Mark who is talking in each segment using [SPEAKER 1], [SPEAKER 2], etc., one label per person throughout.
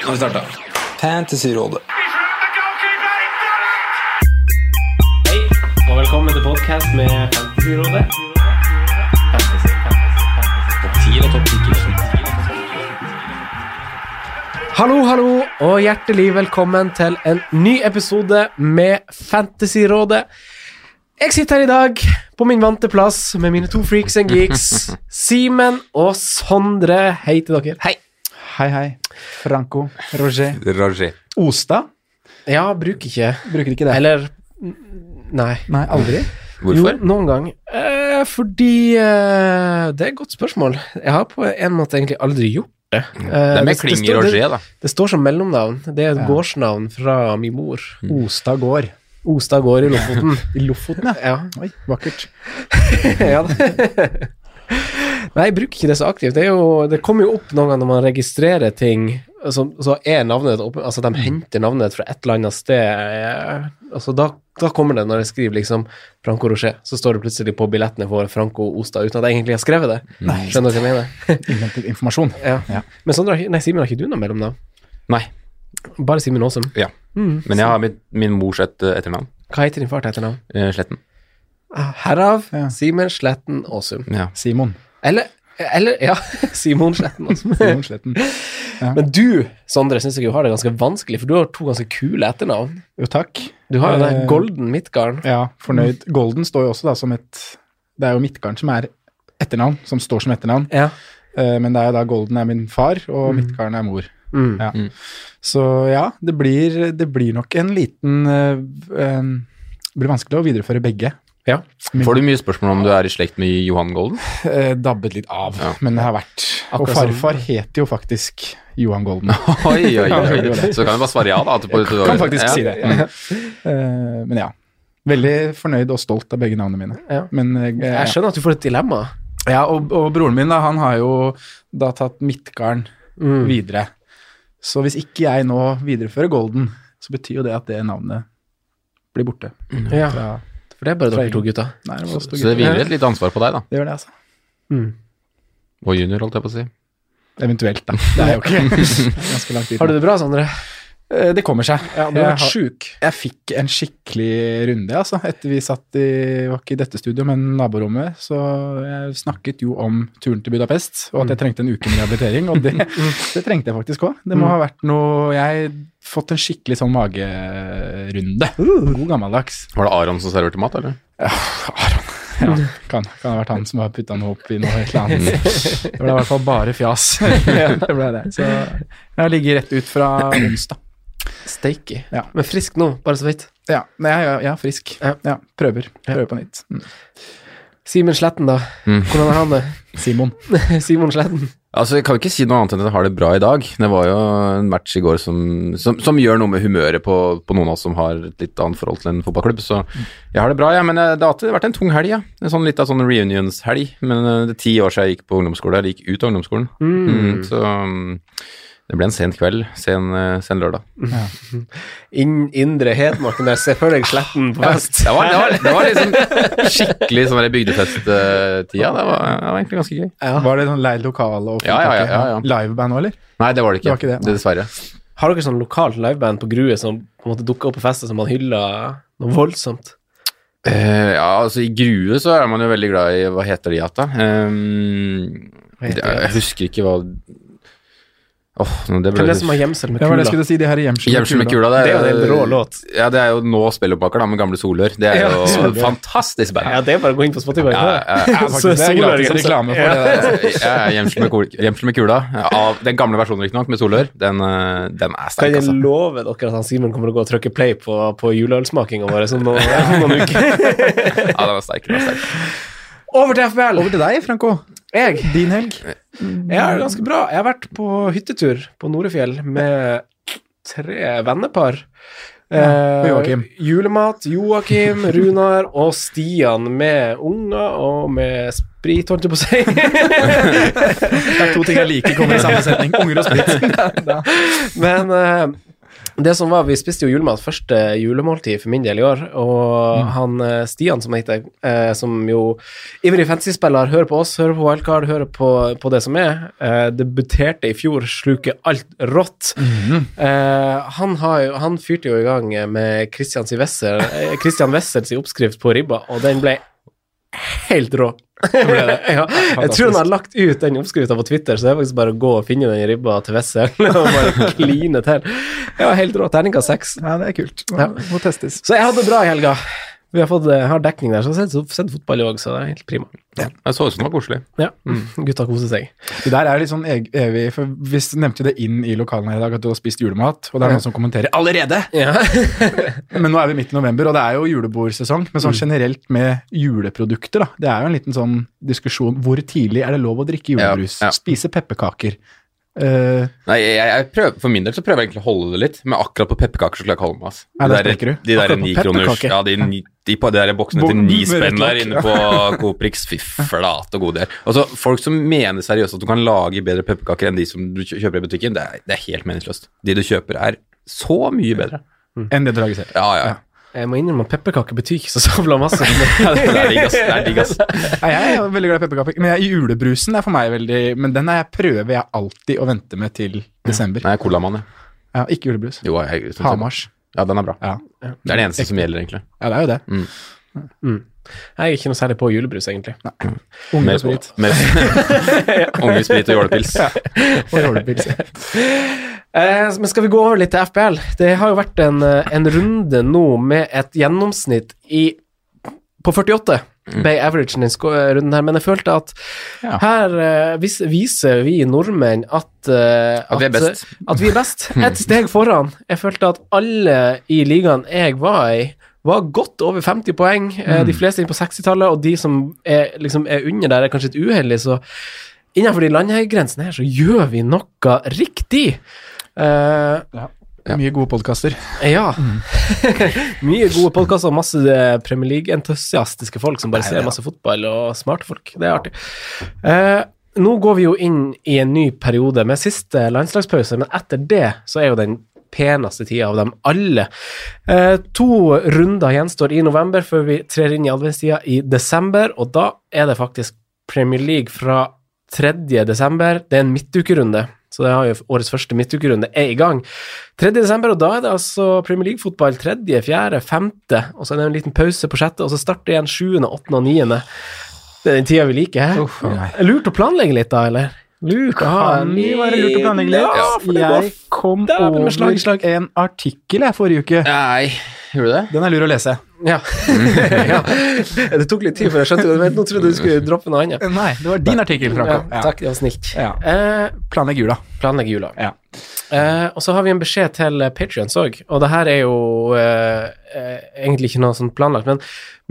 [SPEAKER 1] Nå har vi starta. Fantasyrådet.
[SPEAKER 2] Hei, og velkommen til podcast med Fantasyrådet. Hallo, hallo, og hjertelig velkommen til en ny episode med Fantasyrådet. Jeg sitter her i dag på min vante plass med mine to freaks and geeks. Simen og Sondre. Hei til dere. Hei.
[SPEAKER 3] Hei, hei. Franco, Roger,
[SPEAKER 1] Roger.
[SPEAKER 3] Ostad.
[SPEAKER 2] Ja, bruk ikke.
[SPEAKER 3] Bruker ikke det.
[SPEAKER 2] Eller n- Nei.
[SPEAKER 3] Nei, aldri.
[SPEAKER 1] Hvorfor?
[SPEAKER 2] Jo, noen gang. Eh, fordi eh, Det er et godt spørsmål. Jeg har på en måte egentlig aldri gjort det. Eh,
[SPEAKER 1] Det er mer
[SPEAKER 2] det
[SPEAKER 1] Klinger
[SPEAKER 2] står- det-
[SPEAKER 1] Roger, da.
[SPEAKER 2] Det står som mellomnavn. Det er et gårdsnavn fra min mor.
[SPEAKER 3] Mm. Ostad gård.
[SPEAKER 2] Ostad gård i Lofoten.
[SPEAKER 3] I Lofoten, ja.
[SPEAKER 2] Ja.
[SPEAKER 3] Oi, vakkert.
[SPEAKER 2] ja det. Nei, jeg bruker ikke det så aktivt. Det, er jo, det kommer jo opp noen ganger når man registrerer ting, så, så er navnet opp, Altså,
[SPEAKER 3] Mm.
[SPEAKER 2] de henter navnet fra et eller annet sted. eh, Altså, da, da kommer det, når jeg skriver liksom Franco Rocher, så står det plutselig på billetten jeg får Franco Ostad, uten at jeg egentlig har skrevet det.
[SPEAKER 3] Nei.
[SPEAKER 2] Skjønner du hva jeg mener?
[SPEAKER 3] Innhentet informasjon.
[SPEAKER 2] Ja.
[SPEAKER 3] Mm. Ja.
[SPEAKER 2] Men Sondre, har ikke- nei, Simen, har ikke du noe mellomnavn?
[SPEAKER 1] Nei.
[SPEAKER 2] Bare Simen Aasum.
[SPEAKER 1] Ja.
[SPEAKER 2] Mm.
[SPEAKER 1] Men jeg har mitt, min mors et, eh, etternavn.
[SPEAKER 2] Hva heter din far til etternavn?
[SPEAKER 1] Eh, Sletten.
[SPEAKER 2] Ah, Herav
[SPEAKER 3] Ja.
[SPEAKER 2] Simen Sletten Aasum.
[SPEAKER 1] Ja.
[SPEAKER 3] Simon.
[SPEAKER 2] Eller, eller Ja, Simon Sletten Aasum.
[SPEAKER 3] Simon Sletten.
[SPEAKER 2] Men du, Sondre, syns jeg jo har det ganske vanskelig, for du har to ganske kule etternavn.
[SPEAKER 3] Jo, takk.
[SPEAKER 2] Du har jo det
[SPEAKER 3] Eh,
[SPEAKER 2] Golden Midtgarden.
[SPEAKER 3] Ja, fornøyd. Golden står jo også da som et Det er jo Midtgarden som er etternavn, som står som etternavn.
[SPEAKER 2] Ja.
[SPEAKER 3] Eh, Men det er jo da Golden er min far, og Midtgarden er mor.
[SPEAKER 2] Mm.
[SPEAKER 3] Ja. Så ja, det blir, det blir nok en liten eh, eh, Det blir vanskelig å videreføre begge.
[SPEAKER 2] ja.
[SPEAKER 1] Får du mye spørsmål om du er i slekt med Johan Golden?
[SPEAKER 3] eh, dabbet litt av,
[SPEAKER 1] Ja.
[SPEAKER 3] men det har vært Og
[SPEAKER 2] Akkurat som-
[SPEAKER 3] farfar heter jo faktisk Johan Golden.
[SPEAKER 1] Oi, oi,
[SPEAKER 3] Ja,
[SPEAKER 1] oi.
[SPEAKER 3] jeg gjorde det.
[SPEAKER 1] Så kan du bare svare ja, da. etterpå.
[SPEAKER 3] Kan faktisk
[SPEAKER 1] Ja.
[SPEAKER 3] si det. Eh, men ja. Veldig fornøyd og stolt av begge navnene mine.
[SPEAKER 2] Ja.
[SPEAKER 3] Men, eh,
[SPEAKER 2] Jeg skjønner at du får et dilemma.
[SPEAKER 3] ja, og, og broren min da, han har jo da tatt Midtgarden
[SPEAKER 2] Mm.
[SPEAKER 3] videre. Så hvis ikke jeg nå viderefører Golden, så betyr jo det at det navnet blir borte.
[SPEAKER 2] Ja.
[SPEAKER 3] Fra,
[SPEAKER 2] For det er bare dere to gutta.
[SPEAKER 3] nei, det var oss to
[SPEAKER 1] Så det
[SPEAKER 3] gutter.
[SPEAKER 1] hviler et lite ansvar på deg, da.
[SPEAKER 3] det gjør det, altså.
[SPEAKER 2] Mm.
[SPEAKER 1] Og junior, holdt jeg på å si.
[SPEAKER 3] Eventuelt, da. Det er jo ikke ganske lang tid.
[SPEAKER 2] Har du det bra, Sondre?
[SPEAKER 3] Eh, Det kommer seg.
[SPEAKER 2] Ja, du
[SPEAKER 3] Jeg
[SPEAKER 2] har vært
[SPEAKER 3] har-
[SPEAKER 2] sjuk.
[SPEAKER 3] Jeg fikk en skikkelig runde, altså. Etter vi satt i Var ikke i dette studio, men naborommet. Så jeg snakket jo om turen til Budapest, og
[SPEAKER 2] Mm.
[SPEAKER 3] at jeg trengte en uke med rehabilitering. Og det, det trengte jeg faktisk òg.
[SPEAKER 2] Mm.
[SPEAKER 3] Det må ha vært noe Jeg har fått en skikkelig sånn magerunde.
[SPEAKER 2] Uh.
[SPEAKER 3] God gammeldags.
[SPEAKER 1] Var det Aron som serverte mat, eller?
[SPEAKER 3] Ja, Aron. Ja,
[SPEAKER 2] Mm.
[SPEAKER 3] kan, kan ha vært han som har putta noe opp i noe et eller annet.
[SPEAKER 2] Mm.
[SPEAKER 3] Det ble i hvert fall bare fjas. det ble det. Så jeg ligger rett ut fra onsdag.
[SPEAKER 2] Steaky.
[SPEAKER 3] Ja.
[SPEAKER 2] Men frisk nå, bare så vidt.
[SPEAKER 3] Ja, nei, jeg, jeg er frisk.
[SPEAKER 2] Ja.
[SPEAKER 3] Ja, prøver. Prøver på nytt. Mm.
[SPEAKER 2] Simen Sletten, da.
[SPEAKER 1] Mm.
[SPEAKER 2] Hvordan har han det?
[SPEAKER 3] Simon.
[SPEAKER 2] Simon Sletten.
[SPEAKER 1] Altså, Jeg kan jo ikke si noe annet enn at jeg har det bra i dag. Det var jo en match i går som, som, som gjør noe med humøret på, på noen av oss som har et litt annet forhold til en fotballklubb. Så jeg har det bra, ja, men eh, det har alltid vært en tung helg. Ja. En sånn litt av sånn reunions-helg. Men eh, det er ti år siden jeg gikk på ungdomsskole. Jeg gikk ut av ungdomsskolen. Mm, så mm, det ble en sen kveld. Sen, eh, sen lørdag.
[SPEAKER 2] Inn, indre Hedmarken der. Se for deg Sletten på fest.
[SPEAKER 1] Det var, det var, det var liksom skikkelig sånn der bygdefest-tida. Det, var- det var egentlig ganske gøy.
[SPEAKER 3] Var det sånn leid lokale og
[SPEAKER 1] Ja, ja, ja, ja, ja.
[SPEAKER 3] liveband òg, eller?
[SPEAKER 1] Nei, det var det ikke.
[SPEAKER 3] Det var ikke det, nei.
[SPEAKER 1] Dessverre.
[SPEAKER 2] Har dere sånn lokalt liveband på Grue som på en måte dukker opp på fester som man hyller noe voldsomt?
[SPEAKER 1] Eh, ja, altså i Grue så er man jo veldig glad i Hva heter de igjen, da? Ehm,
[SPEAKER 2] Hva heter
[SPEAKER 1] det- jeg husker ikke hva Åh, nå det
[SPEAKER 2] Hvem
[SPEAKER 1] ble
[SPEAKER 2] er det som har gjemsel med
[SPEAKER 3] Det var det jeg
[SPEAKER 2] kula?
[SPEAKER 3] skulle si, de her i
[SPEAKER 1] Hjemsel med kula. eh,
[SPEAKER 2] Det er jo en rå låt.
[SPEAKER 1] Ja, det er jo nå Spelloppmaker, da, med gamle Solør. Det er
[SPEAKER 2] Ja,
[SPEAKER 1] jo
[SPEAKER 2] Solør.
[SPEAKER 1] fantastisk
[SPEAKER 2] Ja,
[SPEAKER 1] band.
[SPEAKER 2] det er bare å gå inn på Spotify.
[SPEAKER 1] Ja, ja, ja.
[SPEAKER 3] Ja, faktisk, det er gratis
[SPEAKER 2] liksom
[SPEAKER 3] reklame for det der.
[SPEAKER 1] Eh, ja, Gjemsel med, kul- Gjemsel med kula. Av den gamle versjonen, riktignok, med Solør. Den, eh, den er
[SPEAKER 2] Kan
[SPEAKER 1] sterk,
[SPEAKER 2] jeg
[SPEAKER 1] altså.
[SPEAKER 2] love dere at han Simen kommer til å gå og trykke play på, på juleølsmakinga vår om noen, om noen uker?
[SPEAKER 1] Ja, den er sterk, den er sterk.
[SPEAKER 2] Over til FBL!
[SPEAKER 3] Over til deg, Franco.
[SPEAKER 2] Jeg
[SPEAKER 3] Din helg.
[SPEAKER 2] Jeg har det ganske bra. Jeg har vært på hyttetur på Norefjell med tre vennepar.
[SPEAKER 3] og Joakim.
[SPEAKER 2] Eh, julemat, Joakim, Runar og Stian med unger og med sprit, holdt jeg på å si.
[SPEAKER 3] Det er to ting jeg liker kommer i samme setning. Unger og sprit.
[SPEAKER 2] Men eh, Det som var, Vi spiste jo julemat første julemåltid for min del i år, og han eh, Stian som heter, eh, som jo ivrig fantasy-spiller, hører på oss, hører på Wildcard, hører på, på det som er, eh, debuterte i fjor, sluker alt rått. Eh, han, har jo, han fyrte jo i gang med Christian, si Wesser, eh, Christian Wessels oppskrift på ribba, og den ble helt rå. ja, jeg tror han har lagt ut den oppskrifta på Twitter, så det er faktisk bare å gå og finne den ribba til Wessel og bare kline til. Ja, helt rå. Terningkast seks.
[SPEAKER 3] Ja, det er kult.
[SPEAKER 2] Ja.
[SPEAKER 3] Må testes.
[SPEAKER 2] Så jeg hadde det bra i helga. Vi har fått eh, har dekning der, så jeg har sett, sett fotball òg, så det er helt prima.
[SPEAKER 1] Det så ut som det var koselig.
[SPEAKER 2] Ja, Gutta koser seg.
[SPEAKER 3] Det der er litt sånn eg- evig, for vi s- nevnte jo det inn i lokalene her i dag, at du har spist julemat, og det er noen som kommenterer allerede!
[SPEAKER 2] Ja.
[SPEAKER 3] Men nå er vi midt i november, og det er jo julebordsesong. Men sånn generelt med juleprodukter, da. Det er jo en liten sånn diskusjon. Hvor tidlig er det lov å drikke julebrus?
[SPEAKER 1] Ja, ja.
[SPEAKER 3] Spise pepperkaker? Eh,
[SPEAKER 1] Nei, jeg, jeg prøver, For min del så prøver jeg egentlig å holde det litt, men akkurat på pepperkaker så klarer jeg ikke holde meg. ass.
[SPEAKER 3] Nei, der
[SPEAKER 1] De der-
[SPEAKER 3] sprekker du.
[SPEAKER 1] De der
[SPEAKER 3] Akkurat på
[SPEAKER 1] nikroners
[SPEAKER 3] pepperkaker.
[SPEAKER 1] Ja, de, ni- de, på de der boksene til
[SPEAKER 3] Bom,
[SPEAKER 1] ni
[SPEAKER 3] med
[SPEAKER 1] spenn
[SPEAKER 3] rødt
[SPEAKER 1] der
[SPEAKER 3] lokk.
[SPEAKER 1] inne på Coprix. Fy flate og gode del. Altså, folk som mener seriøst at du kan lage bedre pepperkaker enn de som du kjø- kjøper i butikken, det er, det er helt meningsløst. De du kjøper, er så mye bedre.
[SPEAKER 3] enn det du lager selv.
[SPEAKER 1] Ja, ja.
[SPEAKER 2] Jeg må innrømme at pepperkaker betyr ikke så sabla masse.
[SPEAKER 1] Det er digg, ass. Det er digg, ass.
[SPEAKER 3] Nei, jeg er jo veldig glad i pepperkaker. Men jeg, julebrusen er for meg veldig Men den er jeg prøver jeg alltid å vente med til desember.
[SPEAKER 1] Nei, jeg er colamann, jeg.
[SPEAKER 3] Ja, ikke julebrus.
[SPEAKER 1] Jo, jeg, jeg,
[SPEAKER 3] Hamars.
[SPEAKER 1] Ja, den er bra.
[SPEAKER 3] Ja.
[SPEAKER 1] Det er det eneste som gjelder, egentlig.
[SPEAKER 3] ja, det er jo det.
[SPEAKER 2] Jeg er ikke noe særlig på julebrus, egentlig.
[SPEAKER 3] Unge
[SPEAKER 1] Mer
[SPEAKER 3] og sprit.
[SPEAKER 1] Mer, unge sprit og jålepils.
[SPEAKER 3] Og jordepils.
[SPEAKER 2] Eh, men skal vi gå over litt til FPL? Det har jo vært en, eh, en runde nå med et gjennomsnitt i på 48
[SPEAKER 1] Mm.
[SPEAKER 2] ble averagen i sko- runden her, men jeg følte at
[SPEAKER 3] Ja.
[SPEAKER 2] her eh, vis, viser vi nordmenn at, eh,
[SPEAKER 1] At vi er best.
[SPEAKER 2] At vi er best. Et steg foran. Jeg følte at alle i ligaen jeg var i, var godt over 50 poeng. Eh,
[SPEAKER 1] Mm.
[SPEAKER 2] De fleste inn på 60-tallet, og de som er, liksom, er under der, er kanskje et uheldig, så innenfor de landegrensene her, så gjør vi noe riktig. Eh,
[SPEAKER 3] Mye gode podkaster.
[SPEAKER 2] ja. Mye gode podkaster og masse eh, Premier League-entusiastiske folk som bare ser masse fotball og smarte folk. Det er artig. Eh, nå går vi jo inn i en ny periode med siste landslagspause, men etter det så er jo den peneste tida av dem alle. Eh, to runder gjenstår i november før vi trer inn i adventstida i desember, og da er det faktisk Premier League fra 3. desember. Det er en midtukerunde, så det har jo årets første midtukerunde er i gang. 3. desember, og da er det altså Premier League-fotball 3., 4., 5., og så er det en liten pause på 6., og så starter igjen 7., 8. og 9. Det er den tida vi liker. hæ?
[SPEAKER 3] Uff, nei.
[SPEAKER 2] Lurt å planlegge litt, da, eller? Lurt å ha en
[SPEAKER 3] mye være lurt å planlegge litt.
[SPEAKER 2] Ja, for det går
[SPEAKER 3] jeg kom
[SPEAKER 2] dæven med
[SPEAKER 3] over
[SPEAKER 2] slag i slag.
[SPEAKER 3] en artikkel jeg forrige uke.
[SPEAKER 1] Nei, gjorde du det?
[SPEAKER 3] Den er lur å lese.
[SPEAKER 2] Ja. ja. Det tok litt tid før jeg skjønte det. men Nå trodde jeg du skulle droppe noe annet.
[SPEAKER 3] Nei, det var din artikkel,
[SPEAKER 2] Ja,
[SPEAKER 3] Franco. Ja.
[SPEAKER 2] takk, det var snilt.
[SPEAKER 3] Ja.
[SPEAKER 2] Eh,
[SPEAKER 3] Planlegg jula.
[SPEAKER 2] planlegg jula.
[SPEAKER 3] Ja.
[SPEAKER 2] Eh, og så har vi en beskjed til Patrions òg, og det her er jo eh, eh, egentlig ikke noe sånn planlagt, men,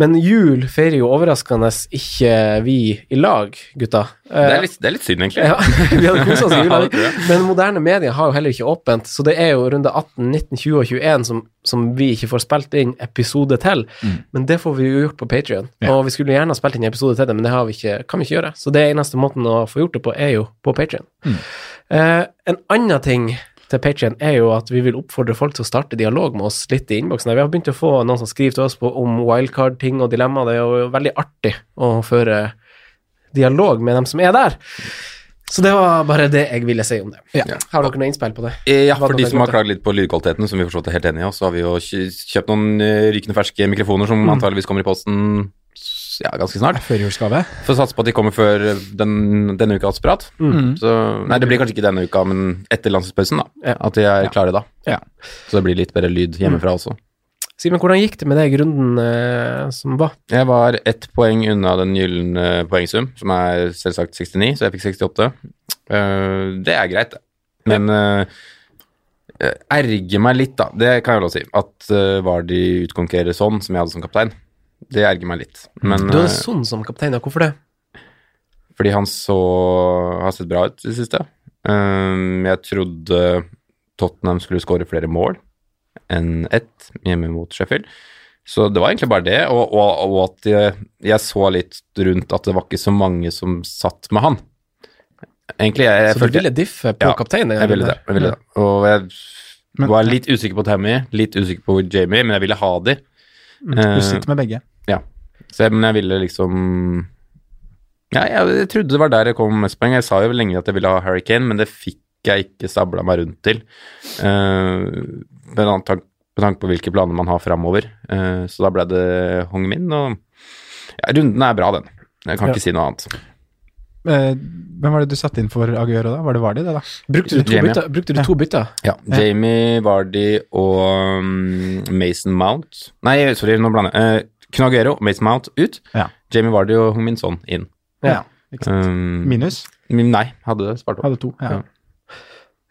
[SPEAKER 2] men jul feirer jo overraskende ikke vi i lag, gutta.
[SPEAKER 1] Det
[SPEAKER 2] Eh,
[SPEAKER 1] er litt, det er litt synd, egentlig.
[SPEAKER 2] ja, vi hadde kosa oss i
[SPEAKER 1] Ja,
[SPEAKER 2] jula.
[SPEAKER 1] det tror jeg.
[SPEAKER 2] Men moderne medier har jo heller ikke åpent, så det er jo runde 18, 19, 20 og 21 som, som vi ikke får spilt inn episode til.
[SPEAKER 1] Mm.
[SPEAKER 2] Men det får vi jo gjort på Patrion.
[SPEAKER 3] Ja.
[SPEAKER 2] Og vi skulle gjerne ha spilt inn episode til det, men det har vi ikke, kan vi ikke gjøre. Så det eneste måten å få gjort det på, er jo på Patrion.
[SPEAKER 1] Mm.
[SPEAKER 2] Eh, en annen ting til Patreon er jo at vi vil oppfordre folk til å starte dialog med oss litt i innboksen. her. Vi har begynt å få noen som skriver til oss på, om wildcard-ting og dilemmaer. Det er jo veldig artig å føre dialog med dem som er der. Så det var bare det jeg ville si om det.
[SPEAKER 3] Ja.
[SPEAKER 2] Har dere noe innspill på det?
[SPEAKER 1] Eh, Ja,
[SPEAKER 2] Hva
[SPEAKER 1] for
[SPEAKER 2] kan
[SPEAKER 1] de
[SPEAKER 2] jeg
[SPEAKER 1] som
[SPEAKER 2] gå
[SPEAKER 1] har
[SPEAKER 2] til?
[SPEAKER 1] klagd litt på lydkvaliteten, som vi forstått er helt enig i, og så har vi jo kj- kjøpt noen eh, rykende ferske mikrofoner
[SPEAKER 2] Mm.
[SPEAKER 1] som antageligvis kommer i posten s- ja, ganske snart.
[SPEAKER 3] Førjulsgave.
[SPEAKER 1] Får satse på at de kommer før eh, den, denne ukas prat.
[SPEAKER 2] Mm.
[SPEAKER 1] Så, nei, det blir kanskje ikke denne uka, men etter landslagspausen, da.
[SPEAKER 2] Ja.
[SPEAKER 1] At de er klare da.
[SPEAKER 3] Ja.
[SPEAKER 1] Så det blir litt bedre lyd hjemmefra også.
[SPEAKER 2] Simen, hvordan gikk det med deg i runden eh, som var?
[SPEAKER 1] Jeg var ett poeng unna den gylne poengsum, som er selvsagt 69, så jeg fikk 68. Eh, det er greit, det. Men eh, eh, erger meg litt, da. Det kan jeg vel også si. At eh, var de utkonkurrerer sånn, som jeg hadde som kaptein. Det erger meg litt. Men
[SPEAKER 2] Du hadde
[SPEAKER 1] eh,
[SPEAKER 2] sånn som kaptein, ja. Hvorfor det?
[SPEAKER 1] fordi han så har sett bra ut i det siste. Eh, jeg trodde Tottenham skulle skåre flere mål enn ett hjemme mot Sheffield. Så det var egentlig bare det, og, og, og at jeg, jeg så litt rundt at det var ikke så mange som satt med han. Egentlig, jeg, jeg
[SPEAKER 2] Så du
[SPEAKER 1] følte
[SPEAKER 2] ville diffe på
[SPEAKER 1] Ja,
[SPEAKER 2] kapteinen?
[SPEAKER 1] jeg ville det. Jeg ville det. Og jeg
[SPEAKER 3] Men-
[SPEAKER 1] Var litt usikker på Tammy, litt usikker på Jamie, men jeg ville ha de. Eh,
[SPEAKER 3] Du sitter med begge.
[SPEAKER 1] så, jeg- men jeg ville liksom ja, jeg, jeg trodde det var der jeg kom med mest poeng. Jeg sa jo lenge at jeg ville ha Hurricane, men det fikk jeg ikke stabla meg rundt til. Eh, med annen tank, med tanke på hvilke planer man har framover. Eh, så da ble det Hong Min, og ja, runden er bra, den. Jeg kan
[SPEAKER 2] Ja.
[SPEAKER 1] ikke si noe annet.
[SPEAKER 3] Eh, Hvem var det du satte inn for Aguero da? Var det Vardy, det da?
[SPEAKER 2] Brukte du to
[SPEAKER 1] Jamie, ja.
[SPEAKER 2] bytter? Brukte du to bytter?
[SPEAKER 1] Ja, Jamie Vardy og um, Mason Mount Nei, sorry, nå blander jeg. Eh, Knagero og Mason Mount ut.
[SPEAKER 3] Ja.
[SPEAKER 1] Jamie Vardy og Huminson inn.
[SPEAKER 2] Ja.
[SPEAKER 3] Ikke sant?
[SPEAKER 1] Um,
[SPEAKER 3] Minus.
[SPEAKER 1] min- Nei, hadde det spart opp.
[SPEAKER 3] Hadde to.
[SPEAKER 1] Ja.
[SPEAKER 3] Ja.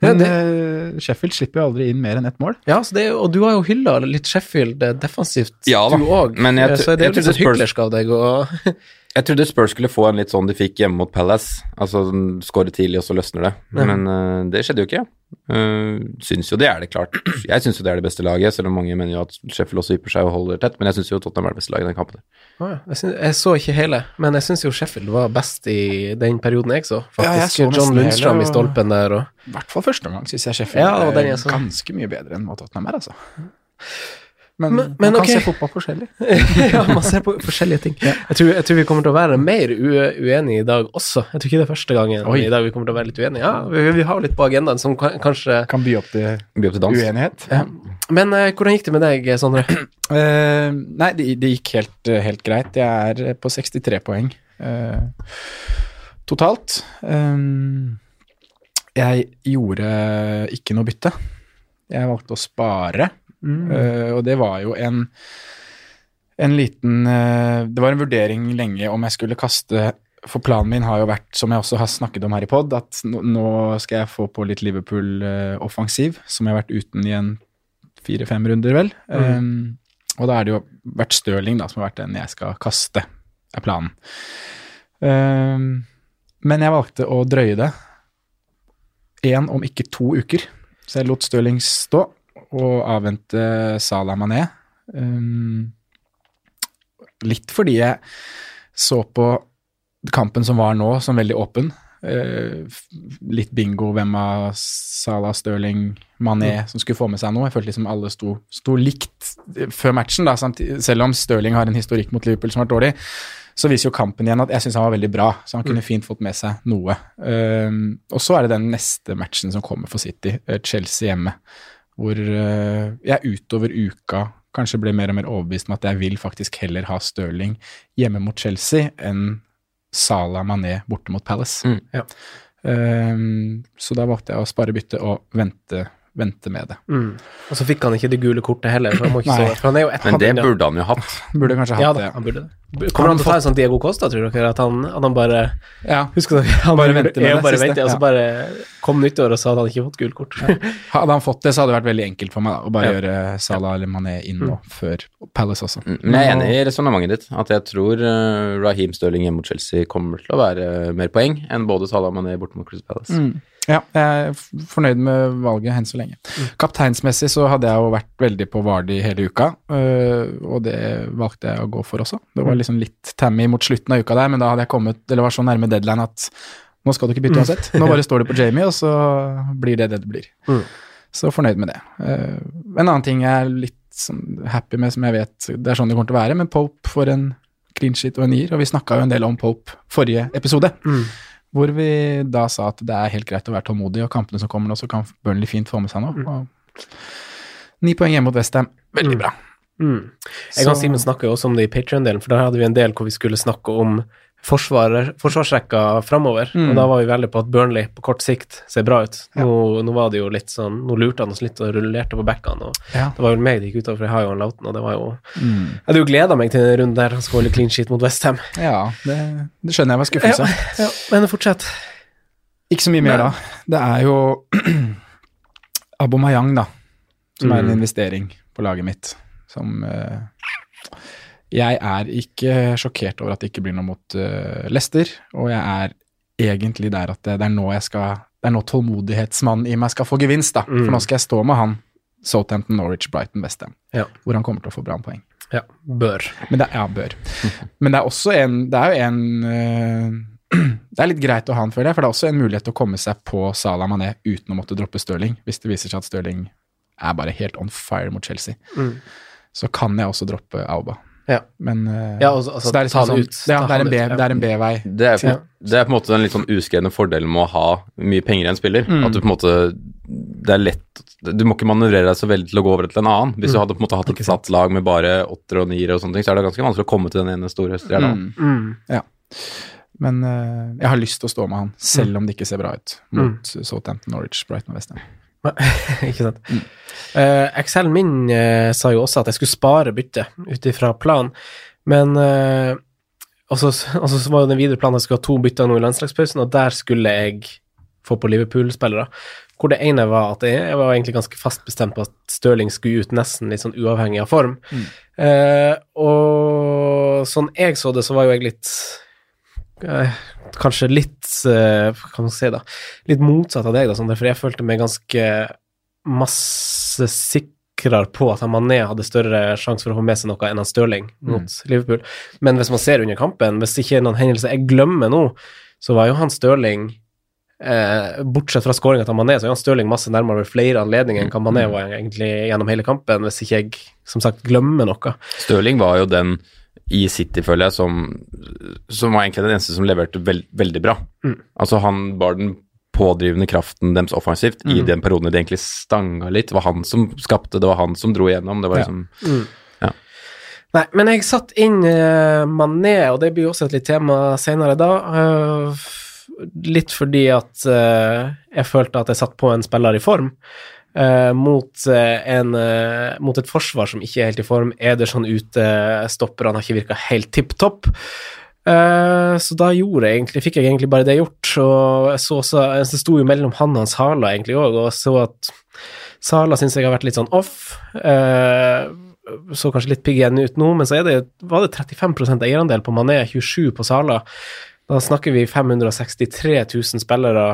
[SPEAKER 2] Ja,
[SPEAKER 3] Men eh, Sheffield slipper jo aldri inn mer enn ett mål.
[SPEAKER 2] Ja, så det, er jo- og du har jo hylla litt Sheffield eh, defensivt,
[SPEAKER 1] Ja da,
[SPEAKER 2] du òg.
[SPEAKER 1] men jeg tr-
[SPEAKER 2] Så det
[SPEAKER 1] jeg
[SPEAKER 2] er jo litt
[SPEAKER 1] trodde
[SPEAKER 2] sånn
[SPEAKER 1] Spurs-
[SPEAKER 2] hyklersk av deg å
[SPEAKER 1] Jeg trodde Spurs skulle få en litt sånn de fikk hjemme mot Palace. Altså sånn, skåre tidlig, og så løsner det.
[SPEAKER 2] Ja.
[SPEAKER 1] Men eh, det skjedde jo ikke. Uh, syns jo det er det klart. Jeg syns jo det er det beste laget, selv om mange mener jo at Sheffield også ypper seg og holder tett. Men jeg syns jo Tottenham er det beste laget i den kampen.
[SPEAKER 2] Å ja. jeg, syns- jeg så ikke hele, men jeg syns jo Sheffield var best i den perioden jeg så.
[SPEAKER 3] Ja, jeg
[SPEAKER 2] Faktisk
[SPEAKER 3] så nesten
[SPEAKER 2] John Lundstrøm
[SPEAKER 3] hele,
[SPEAKER 2] i
[SPEAKER 3] og-
[SPEAKER 2] stolpen der og
[SPEAKER 3] I hvert fall første omgang syns jeg Sheffield
[SPEAKER 2] Ja, det var den jeg
[SPEAKER 3] er
[SPEAKER 2] så.
[SPEAKER 3] ganske mye bedre enn hva Tottenham er, altså. Men,
[SPEAKER 2] Men- men
[SPEAKER 3] man kan
[SPEAKER 2] ok.
[SPEAKER 3] se fotball forskjellig.
[SPEAKER 2] Ja, man ser på forskjellige ting. Jeg, tror, jeg tror vi kommer til å være mer u uenige i dag også. Jeg tror ikke det er første gangen
[SPEAKER 3] Oi.
[SPEAKER 2] i dag vi kommer til å være litt uenige. Ja, vi, vi har litt på agendaen som kan, kanskje
[SPEAKER 3] Kan by opp til
[SPEAKER 1] Blir opp til dans.
[SPEAKER 3] uenighet.
[SPEAKER 2] Men eh, hvordan gikk det med deg, Sondre?
[SPEAKER 3] Eh, nei, det, det gikk helt, helt greit. Jeg er på 63 poeng eh, totalt. Eh, jeg gjorde ikke noe bytte. Jeg valgte å spare, eh, og det var jo en en liten eh, Det var en vurdering lenge om jeg skulle kaste For planen min har jo vært, som jeg også har snakket om her i pod, at nå- nå skal jeg få på litt Liverpool-offensiv, som jeg har vært uten i en fire-fem runder, vel. Um, og da er det jo vært Stirling da, som har vært den jeg skal kaste, er planen. Um, men jeg valgte å drøye det én, om ikke to uker. Så jeg lot Stirling stå og avvente Salah Mané. Um, litt fordi jeg så på kampen som var nå, som veldig åpen. Eh, f- litt bingo hvem av Salah, Stirling, Mané som skulle få med seg noe. Jeg følte liksom alle sto, sto likt eh, før matchen, da, samtidig, selv om Stirling har en historikk mot Liverpool som har vært dårlig. Så viser jo kampen igjen at jeg syns han var veldig bra, så han
[SPEAKER 2] Mm.
[SPEAKER 3] kunne fint fått med seg noe. Um, og så er det den neste matchen som kommer for City, eh, Chelsea hjemme, hvor eh, jeg utover uka kanskje ble mer og mer overbevist om at jeg vil faktisk heller ha Stirling hjemme mot Chelsea enn Salah Mané borte mot Palace.
[SPEAKER 1] Mm,
[SPEAKER 2] ja.
[SPEAKER 3] Ehm, så da valgte jeg å spare byttet og vente, vente med det.
[SPEAKER 2] Mm. Og så fikk han ikke det gule kortet heller, for han må ikke
[SPEAKER 3] Nei.
[SPEAKER 2] stå der. For han er jo ett
[SPEAKER 1] Men det
[SPEAKER 2] minutt.
[SPEAKER 1] burde han jo hatt.
[SPEAKER 3] Burde kanskje
[SPEAKER 2] ja
[SPEAKER 3] hatt
[SPEAKER 2] da,
[SPEAKER 3] det.
[SPEAKER 2] han burde det. Kommer han til å ta en sånn Diego Costa, tror dere? At han, at han bare
[SPEAKER 3] Ja.
[SPEAKER 2] Husker dere? Han
[SPEAKER 3] Bare vente med
[SPEAKER 2] ja,
[SPEAKER 3] det
[SPEAKER 2] bare
[SPEAKER 3] siste,
[SPEAKER 2] vente, Og så
[SPEAKER 3] ja.
[SPEAKER 2] bare kom nyttår og sa at han ikke fått gult kort.
[SPEAKER 3] Hadde han fått det, så hadde det vært veldig enkelt for meg da, å bare
[SPEAKER 2] Ja.
[SPEAKER 3] gjøre Salah eller Mané inn nå, før Palace også.
[SPEAKER 1] Mm. Men jeg er enig i resonnementet ditt. At jeg tror eh, Raheem Stirling hjemme mot Chelsea kommer til å være mer poeng enn både Salah Mané borte mot Crystal Palace.
[SPEAKER 3] Mm. Ja, jeg er f- fornøyd med valget enn så lenge. Kapteinsmessig så hadde jeg jo vært veldig på Vardy hele uka, øh, og det valgte jeg å gå for også. Det var liksom litt Tammy mot slutten av uka der, men da hadde jeg kommet, eller var så nærme deadline at nå skal du ikke bytte uansett. Nå bare står du på Jamie, og så blir det det det blir.
[SPEAKER 2] Mm.
[SPEAKER 3] Så fornøyd med det. Eh, en annen ting jeg er litt sånn happy med, som jeg vet det er sånn det kommer til å være, men Pope får en clean sheet og en nier, og vi snakka jo en del om Pope forrige episode. Hvor vi da sa at det er helt greit å være tålmodig, og kampene som kommer nå, så kan Burnley fint få med seg noe. Og Ni poeng hjemme mot Westham. Veldig bra.
[SPEAKER 2] Mm. Mm. Jeg og
[SPEAKER 3] Så-
[SPEAKER 2] Simen snakka jo også om det i Patrion-delen, for da hadde vi en del hvor vi skulle snakke om forsvarer, forsvarsrekka framover. Og da var vi veldig på at Burnley på kort sikt ser bra ut. Nå, nå var det jo litt sånn Nå lurte han oss litt og rullerte på backene, og
[SPEAKER 3] Ja. Mm.
[SPEAKER 2] det var vel meg det gikk utover, for jeg har jo en Lauten, og det var jo Jeg hadde jo gleda meg til den runden der han skåret clean sheet mot Westham.
[SPEAKER 3] ja det, det skjønner jeg var
[SPEAKER 2] Ja,
[SPEAKER 3] skuffelse.
[SPEAKER 2] ja, men fortsett.
[SPEAKER 3] Ikke så mye mer da. Det er jo Abomayang, da, som er en
[SPEAKER 2] Mm.
[SPEAKER 3] investering på laget mitt, som eh, Jeg er ikke sjokkert over at det ikke blir noe mot eh, Leicester, og jeg er egentlig der at det, det er nå jeg skal Det er nå tålmodighetsmannen i meg skal få gevinst, da.
[SPEAKER 2] Mm.
[SPEAKER 3] For nå skal jeg stå med han Southampton, Norwich, Brighton, Westham,
[SPEAKER 2] Ja.
[SPEAKER 3] hvor han kommer til å få bra poeng.
[SPEAKER 2] Ja, bør.
[SPEAKER 3] Men det, ja, bør. Men det er også en Det er jo en eh, Det er litt greit å ha han, føler jeg, for det er også en mulighet til å komme seg på Salah Mané uten å måtte droppe Stirling, hvis det viser seg at Stirling er bare helt on fire mot Chelsea,
[SPEAKER 2] Mm.
[SPEAKER 3] så kan jeg også droppe Auba.
[SPEAKER 2] Ja.
[SPEAKER 3] Men eh,
[SPEAKER 2] Ja, altså- altså,
[SPEAKER 3] så det er, liksom
[SPEAKER 2] ta han
[SPEAKER 3] sånn-
[SPEAKER 2] ut.
[SPEAKER 3] Ja,
[SPEAKER 2] Ta
[SPEAKER 3] det er
[SPEAKER 2] han
[SPEAKER 3] en B-
[SPEAKER 2] ut, ja.
[SPEAKER 3] det er en B-vei.
[SPEAKER 1] Det er, på,
[SPEAKER 2] Ja.
[SPEAKER 1] det er på en måte den litt sånn uskrevne fordelen med å ha mye penger i en spiller. At du på en måte Det er lett Du må ikke manøvrere deg så veldig til å gå over til en annen. Hvis du hadde på en måte hatt et satt lag med bare åttere og niere og sånne ting, så er det ganske vanskelig å komme til den ene store stjerna.
[SPEAKER 3] Mm.
[SPEAKER 2] Mm.
[SPEAKER 3] Men eh, jeg har lyst til å stå med han,
[SPEAKER 2] Mm.
[SPEAKER 3] selv om det ikke ser bra ut mot Southampton, Norwich, Brighton og West Ham.
[SPEAKER 2] ikke sant. Eh, Excel min eh, sa jo også at jeg skulle spare byttet ut ifra planen, men eh, Og så og så var jo den videre planen at jeg skulle ha to bytter nå i landslagspausen, og der skulle jeg få på Liverpool-spillere. Hvor det ene var at jeg, jeg var egentlig ganske fast bestemt på at Stirling skulle ut nesten litt sånn uavhengig av form. Eh, og sånn jeg så det, så var jo jeg litt eh, Kanskje litt eh, Hva kan man si, da? Litt motsatt av deg, da, Sander, for jeg følte meg ganske masse sikrere på at han Mané hadde større sjanse for å få med seg noe enn han Stirling mot Liverpool. Men hvis man ser under kampen, hvis det ikke er noen hendelser jeg glemmer nå, så var jo han Stirling eh, Bortsett fra skåringa til Mané, så er han Stirling masse nærmere ved flere anledninger enn hva Mané var egentlig gjennom hele kampen, hvis ikke jeg som sagt glemmer noe.
[SPEAKER 1] Stirling var jo den i City, føler jeg, som, som var egentlig den eneste som leverte vel- veldig bra.
[SPEAKER 2] Mm.
[SPEAKER 1] Altså, han var den pådrivende kraften deres offensivt i den perioden de egentlig stanga litt. Det var han som skapte, det var han som dro igjennom. Det var
[SPEAKER 3] Ja.
[SPEAKER 1] liksom
[SPEAKER 2] Nei, men jeg satt inn eh, Mané, og det blir jo også et litt tema senere da. eh, f- litt fordi at eh, jeg følte at jeg satt på en spiller i form. eh, mot, eh, en, eh, mot et forsvar som ikke er helt i form. Ederson ute, stopperne har ikke virka helt tipp topp. Eh, så da gjorde jeg egentlig, fikk jeg egentlig bare det gjort. Og jeg så, eh, så, det sto jo mellom han og hans Sala egentlig òg, og så at Sala syns jeg har vært litt sånn off. Eh, så kanskje litt pigg igjen ut nå, men så er det, var det 35 eierandel på Mané, 27 på Sala. Da snakker vi 563 000 spillere,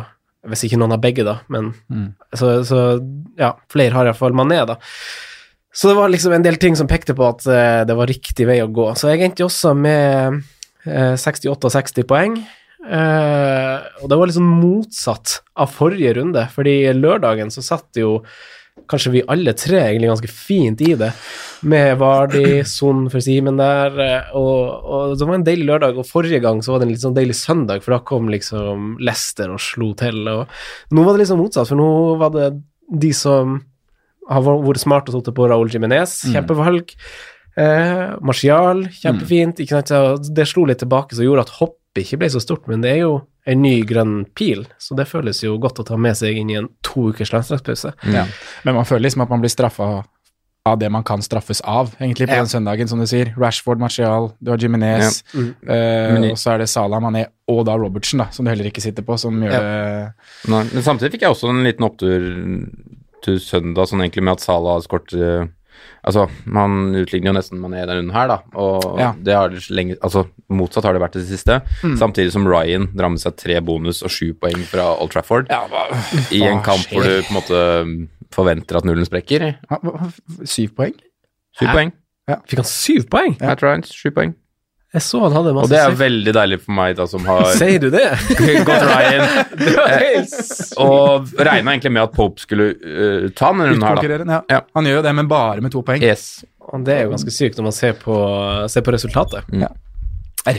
[SPEAKER 2] hvis ikke noen av begge, da. Men,
[SPEAKER 3] Mm.
[SPEAKER 2] så, så ja, flere har iallfall Mané, da. Så det var liksom en del ting som pekte på at eh, det var riktig vei å gå. Så jeg endte jo også med eh, 68 og 60 poeng. Eh, og det var liksom motsatt av forrige runde, fordi lørdagen så satt jo kanskje vi alle tre egentlig ganske fint i det, med Vardi, Son for Simen der, eh, og, og det var en deilig lørdag, og forrige gang så var det en litt sånn deilig søndag, for da kom liksom Lester og slo til, og nå var det liksom motsatt, for nå var det de som har vært vært smart og satt på Raúl Jiménez,
[SPEAKER 1] Mm.
[SPEAKER 2] kjempevalg. Eh, Martial, kjempefint.
[SPEAKER 1] Mm.
[SPEAKER 2] Ikke sant? Så Det slo litt tilbake, som gjorde at hoppet ikke ble så stort, men det er jo en ny grønn pil, så det føles jo godt å ta med seg inn i en to ukers landslagspause.
[SPEAKER 3] Ja. Men man føler liksom at man blir straffa av det man kan straffes av, egentlig, på
[SPEAKER 2] Ja.
[SPEAKER 3] den søndagen, som du sier. Rashford, Martial, du har Jiminez,
[SPEAKER 2] Ja. Mm.
[SPEAKER 1] Men-
[SPEAKER 3] og så er det Salah, Mané og da Robertsen, da, som du heller ikke sitter på, som gjør
[SPEAKER 2] Ja.
[SPEAKER 3] det
[SPEAKER 1] Nei, men samtidig fikk jeg også en liten opptur til søndag, sånn egentlig med at Salah skåret Altså, man utligner jo nesten Mané denne runden her, da, og
[SPEAKER 3] Ja.
[SPEAKER 1] det har det så lenge Altså, motsatt har det vært i det siste.
[SPEAKER 2] Mm.
[SPEAKER 1] Samtidig som Ryan drar med seg tre bonus og sju poeng fra Old Trafford i en
[SPEAKER 3] hva
[SPEAKER 1] kamp hvor du på en måte forventer at nullen sprekker.
[SPEAKER 3] Hva- hva- Syv poeng?
[SPEAKER 1] Sju
[SPEAKER 2] Hæ?
[SPEAKER 1] poeng.
[SPEAKER 2] Fikk han syv poeng?
[SPEAKER 1] Matt Ryan, sju poeng.
[SPEAKER 2] Jeg så han
[SPEAKER 1] Og
[SPEAKER 2] hadde masse
[SPEAKER 1] det er
[SPEAKER 2] syv-
[SPEAKER 1] veldig deilig for meg, da, som har
[SPEAKER 2] Sier du det?
[SPEAKER 1] gått Ryan.
[SPEAKER 2] det var helt
[SPEAKER 1] Og regna egentlig med at Pope skulle eh, ta denne runden her, da.
[SPEAKER 3] Utkonkurrerende, ja.
[SPEAKER 1] Ja.
[SPEAKER 3] Han gjør jo det, men bare med to poeng.
[SPEAKER 1] Yes.
[SPEAKER 2] Og Det er jo ganske sykt når man ser på, ser på resultatet.
[SPEAKER 3] Det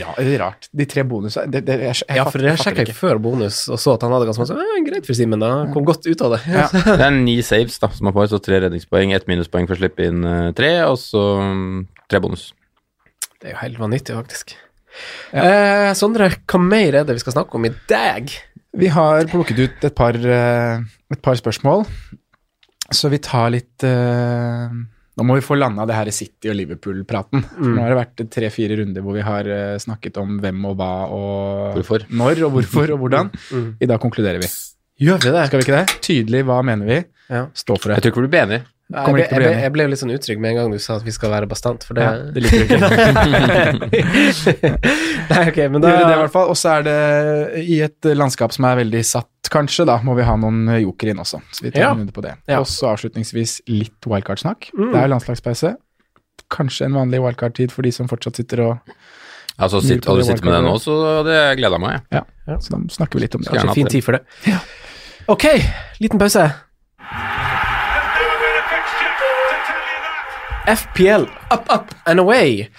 [SPEAKER 3] er ra- det er rart. De tre bonusene det, det, jeg, jeg
[SPEAKER 2] Ja, for
[SPEAKER 3] fatter-
[SPEAKER 2] det
[SPEAKER 3] fatter
[SPEAKER 2] sjekka jeg før
[SPEAKER 3] ikke.
[SPEAKER 2] bonus, og så at han hadde ganske masse «Ja, Greit for Simen, da. Kom godt ut av det.
[SPEAKER 3] Ja.
[SPEAKER 1] Det er ni saves da, som man får, så tre redningspoeng, ett minuspoeng for å slippe inn eh, tre, og så mm, tre bonus.
[SPEAKER 2] Det er jo helt vanvittig, faktisk. Eh, Sondre, hva mer er det vi skal snakke om i dag?
[SPEAKER 3] Vi har plukket ut et par, eh, et par spørsmål, så vi tar litt eh, Nå må vi få landa det her City- og Liverpool-praten.
[SPEAKER 2] Mm.
[SPEAKER 3] For Nå har det vært tre-fire runder hvor vi har eh, snakket om hvem og hva og
[SPEAKER 1] Hvorfor.
[SPEAKER 3] når og hvorfor og hvordan.
[SPEAKER 2] Mm.
[SPEAKER 3] I dag konkluderer vi.
[SPEAKER 2] Gjør vi det?
[SPEAKER 3] Skal vi ikke det? Tydelig hva mener vi?
[SPEAKER 2] Ja.
[SPEAKER 3] Stå for
[SPEAKER 1] Jeg
[SPEAKER 3] det.
[SPEAKER 1] tror ikke du blir enig.
[SPEAKER 2] Nei,
[SPEAKER 3] Kommer
[SPEAKER 2] jeg, ble,
[SPEAKER 3] ikke til å
[SPEAKER 2] jeg,
[SPEAKER 3] bli
[SPEAKER 2] ble,
[SPEAKER 3] enig.
[SPEAKER 2] jeg ble litt sånn utrygg med en gang du sa at vi skal være bastant, for det,
[SPEAKER 3] Ja, det liker du ikke.
[SPEAKER 2] Nei, ok, men
[SPEAKER 3] Da
[SPEAKER 2] da
[SPEAKER 3] gjør vi det i hvert fall. Og så er det i et landskap som er veldig satt, kanskje, da må vi ha noen eh, joker inn også. Så vi tar
[SPEAKER 2] Ja.
[SPEAKER 3] en runde på det.
[SPEAKER 2] Ja.
[SPEAKER 3] Og så avslutningsvis litt wildcard-snakk.
[SPEAKER 2] Mm.
[SPEAKER 3] Det er landslagspause. Kanskje en vanlig wildcard-tid for de som fortsatt sitter og
[SPEAKER 1] Altså, sitt, Hadde du sittet med det nå, så hadde jeg gleda meg. jeg.
[SPEAKER 3] Ja. Så da snakker vi litt om det.
[SPEAKER 1] Skal gjerne
[SPEAKER 2] Fin tid for det. Ok, liten pause.
[SPEAKER 4] Never been a big
[SPEAKER 2] FPL up, up and away.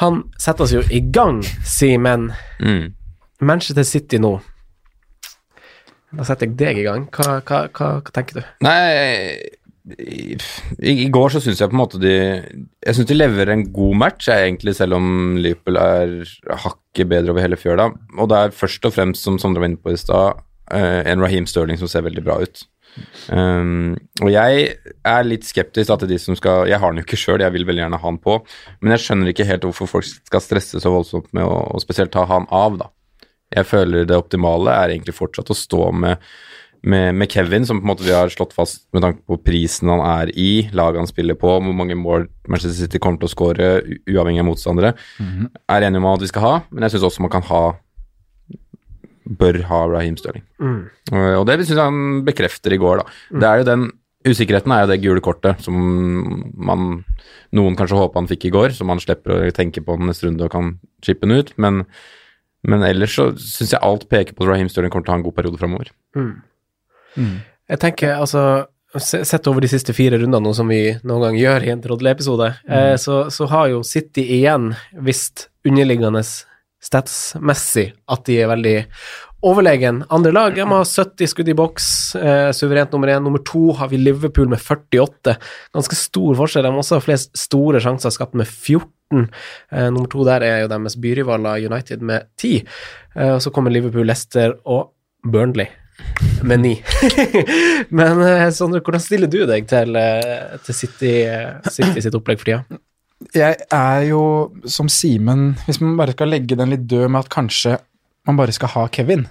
[SPEAKER 2] Han setter oss jo i gang, Simen.
[SPEAKER 1] Mm.
[SPEAKER 2] Manchester City nå. Da setter jeg deg i gang. Hva, hva, hva, hva tenker du?
[SPEAKER 1] Nei i, I går så syns jeg på en måte de Jeg syns de leverer en god match, jeg, egentlig, selv om Liverpool er hakket bedre over hele fjøla. Og det er først og fremst, som Sondre var inne på i stad, eh, en Raheem Sterling som ser veldig bra ut. Um, og jeg er litt skeptisk da til de som skal Jeg har den jo ikke sjøl, jeg vil veldig gjerne ha den på, men jeg skjønner ikke helt hvorfor folk skal stresse så voldsomt med å og spesielt ta han av, da. Jeg føler det optimale er egentlig fortsatt å stå med med, med Kevin, som på en måte vi har slått fast med tanke på prisen han er i, laget han spiller på, hvor mange mål Manchester City kommer til å skåre, u- uavhengig av motstandere, er enige om at vi skal ha, men jeg syns også man kan ha Bør ha Raheem Stirling. Eh, Og det syns jeg han bekrefter i går, da. Det er jo den Usikkerheten er jo det gule kortet som man Noen kanskje håpa han fikk i går, så man slipper å tenke på den neste runde og kan chippe den ut, men, men ellers så syns jeg alt peker på at Raheem Stirling kommer til å ha en god periode framover.
[SPEAKER 2] Jeg tenker, altså se- Sett over de siste fire rundene, nå som vi noen gang gjør i en Trodle-episode, eh, så, så har jo City igjen visst underliggende statsmessig at de er veldig overlegen. Andre lag de har 70 skudd i boks, eh, suverent nummer én. Nummer to har vi Liverpool med 48. Ganske stor forskjell. De har også flest store sjanser skapt med 14. Eh, nummer to der er jo deres byrivaler United med 10. Eh, og så kommer Liverpool, Leicester og Burnley med ni. Men eh, Sondre, hvordan stiller du deg til, eh, til City, eh, City sitt opplegg for tida?
[SPEAKER 3] jeg er jo som Simen Hvis man bare skal legge den litt død med at kanskje man bare skal ha Kevin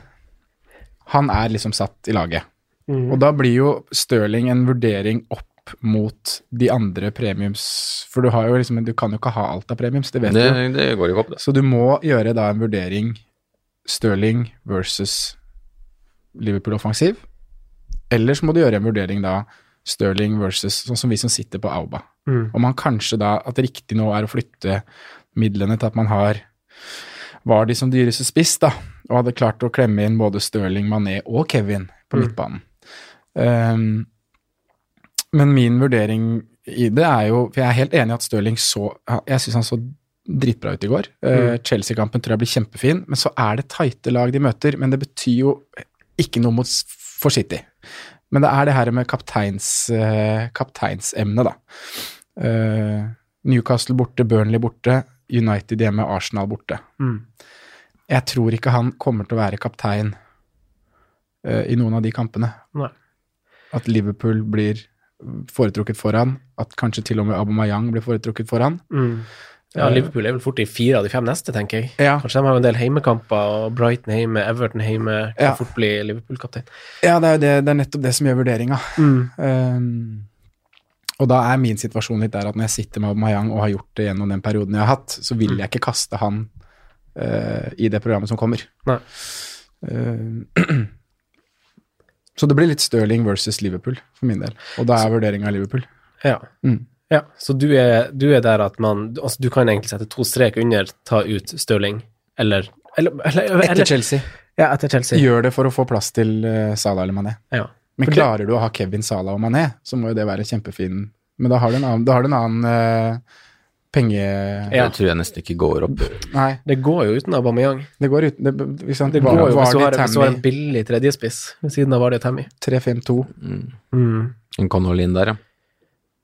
[SPEAKER 3] Han er liksom satt i laget. Og da blir jo Stirling en vurdering opp mot de andre premiums For du, har jo liksom, du kan jo ikke ha alt av premiums, det vet du.
[SPEAKER 1] Det, det går jo ikke opp, det.
[SPEAKER 3] Så du må gjøre da en vurdering Stirling versus Liverpool offensiv. Eller så må du gjøre en vurdering da Stirling versus sånn som vi som sitter på Auba.
[SPEAKER 2] Mm.
[SPEAKER 3] Om man kanskje da, at det riktig nå er å flytte midlene til at man har var de som dyreste spiss, da, og hadde klart å klemme inn både Stirling, Mané og Kevin på midtbanen. Ehm, men min vurdering i det er jo For jeg er helt enig i at Stirling så Jeg syns han så dritbra ut i går. Eh, Chelsea-kampen tror jeg blir kjempefin, men så er det tighte lag de møter. Men det betyr jo ikke noe mot s- for City. Men det er det her med kapteins, eh, kapteinsemnet, da. Eh, Newcastle borte, Burnley borte, United hjemme, Arsenal borte.
[SPEAKER 2] Mm.
[SPEAKER 3] Jeg tror ikke han kommer til å være kaptein eh, i noen av de kampene.
[SPEAKER 2] Nei.
[SPEAKER 3] At Liverpool blir foretrukket foran, at kanskje til og med Aubameyang blir foretrukket foran.
[SPEAKER 2] Ja, Liverpool er vel fort i fire av de fem neste, tenker jeg.
[SPEAKER 3] mm. Eh. Ja.
[SPEAKER 2] Kanskje de har en del heimekamper, og Brighton hjemme, Everton hjemme, kan
[SPEAKER 3] Ja.
[SPEAKER 2] fort bli Liverpool-kaptein.
[SPEAKER 3] Ja, det er, jo det, det er nettopp det som gjør vurderinga.
[SPEAKER 2] Mm.
[SPEAKER 3] Ehm, og da er min situasjon litt der at når jeg sitter med Aubameyang og har gjort det gjennom den perioden jeg har hatt, så
[SPEAKER 2] Mm.
[SPEAKER 3] vil jeg ikke kaste han eh, i det programmet som kommer.
[SPEAKER 2] Nei.
[SPEAKER 3] Ehm, så det blir litt Stirling versus Liverpool for min del. Og da er vurderinga Liverpool.
[SPEAKER 2] Ja.
[SPEAKER 3] Mm.
[SPEAKER 2] ja. Så du er, du er der at man altså, Du kan egentlig sette to strek under, ta ut Stirling, eller, eller, eller,
[SPEAKER 3] Etter
[SPEAKER 2] eller
[SPEAKER 3] Chelsea.
[SPEAKER 2] Ja, etter Chelsea.
[SPEAKER 3] Gjør det for å få plass til eh, Salah eller Mané.
[SPEAKER 2] Ja.
[SPEAKER 3] Men
[SPEAKER 2] For det-
[SPEAKER 3] klarer du å ha Kevin Salah og Mané, så må jo det være kjempefin Men da har du en annen, da har du en annen eh, penge...
[SPEAKER 2] Ja.
[SPEAKER 1] Det tror jeg nesten ikke går opp.
[SPEAKER 3] Nei,
[SPEAKER 2] Det går jo uten Aubameyang.
[SPEAKER 3] det går uten Det, ikke sant?
[SPEAKER 2] Det går jo hvis du har,
[SPEAKER 3] Vardy,
[SPEAKER 2] hvis du har en
[SPEAKER 3] Tammy,
[SPEAKER 2] billig tredjespiss ved siden av Vardy og Tammy,
[SPEAKER 3] 3-5-2.
[SPEAKER 1] En Connell inn der, ja.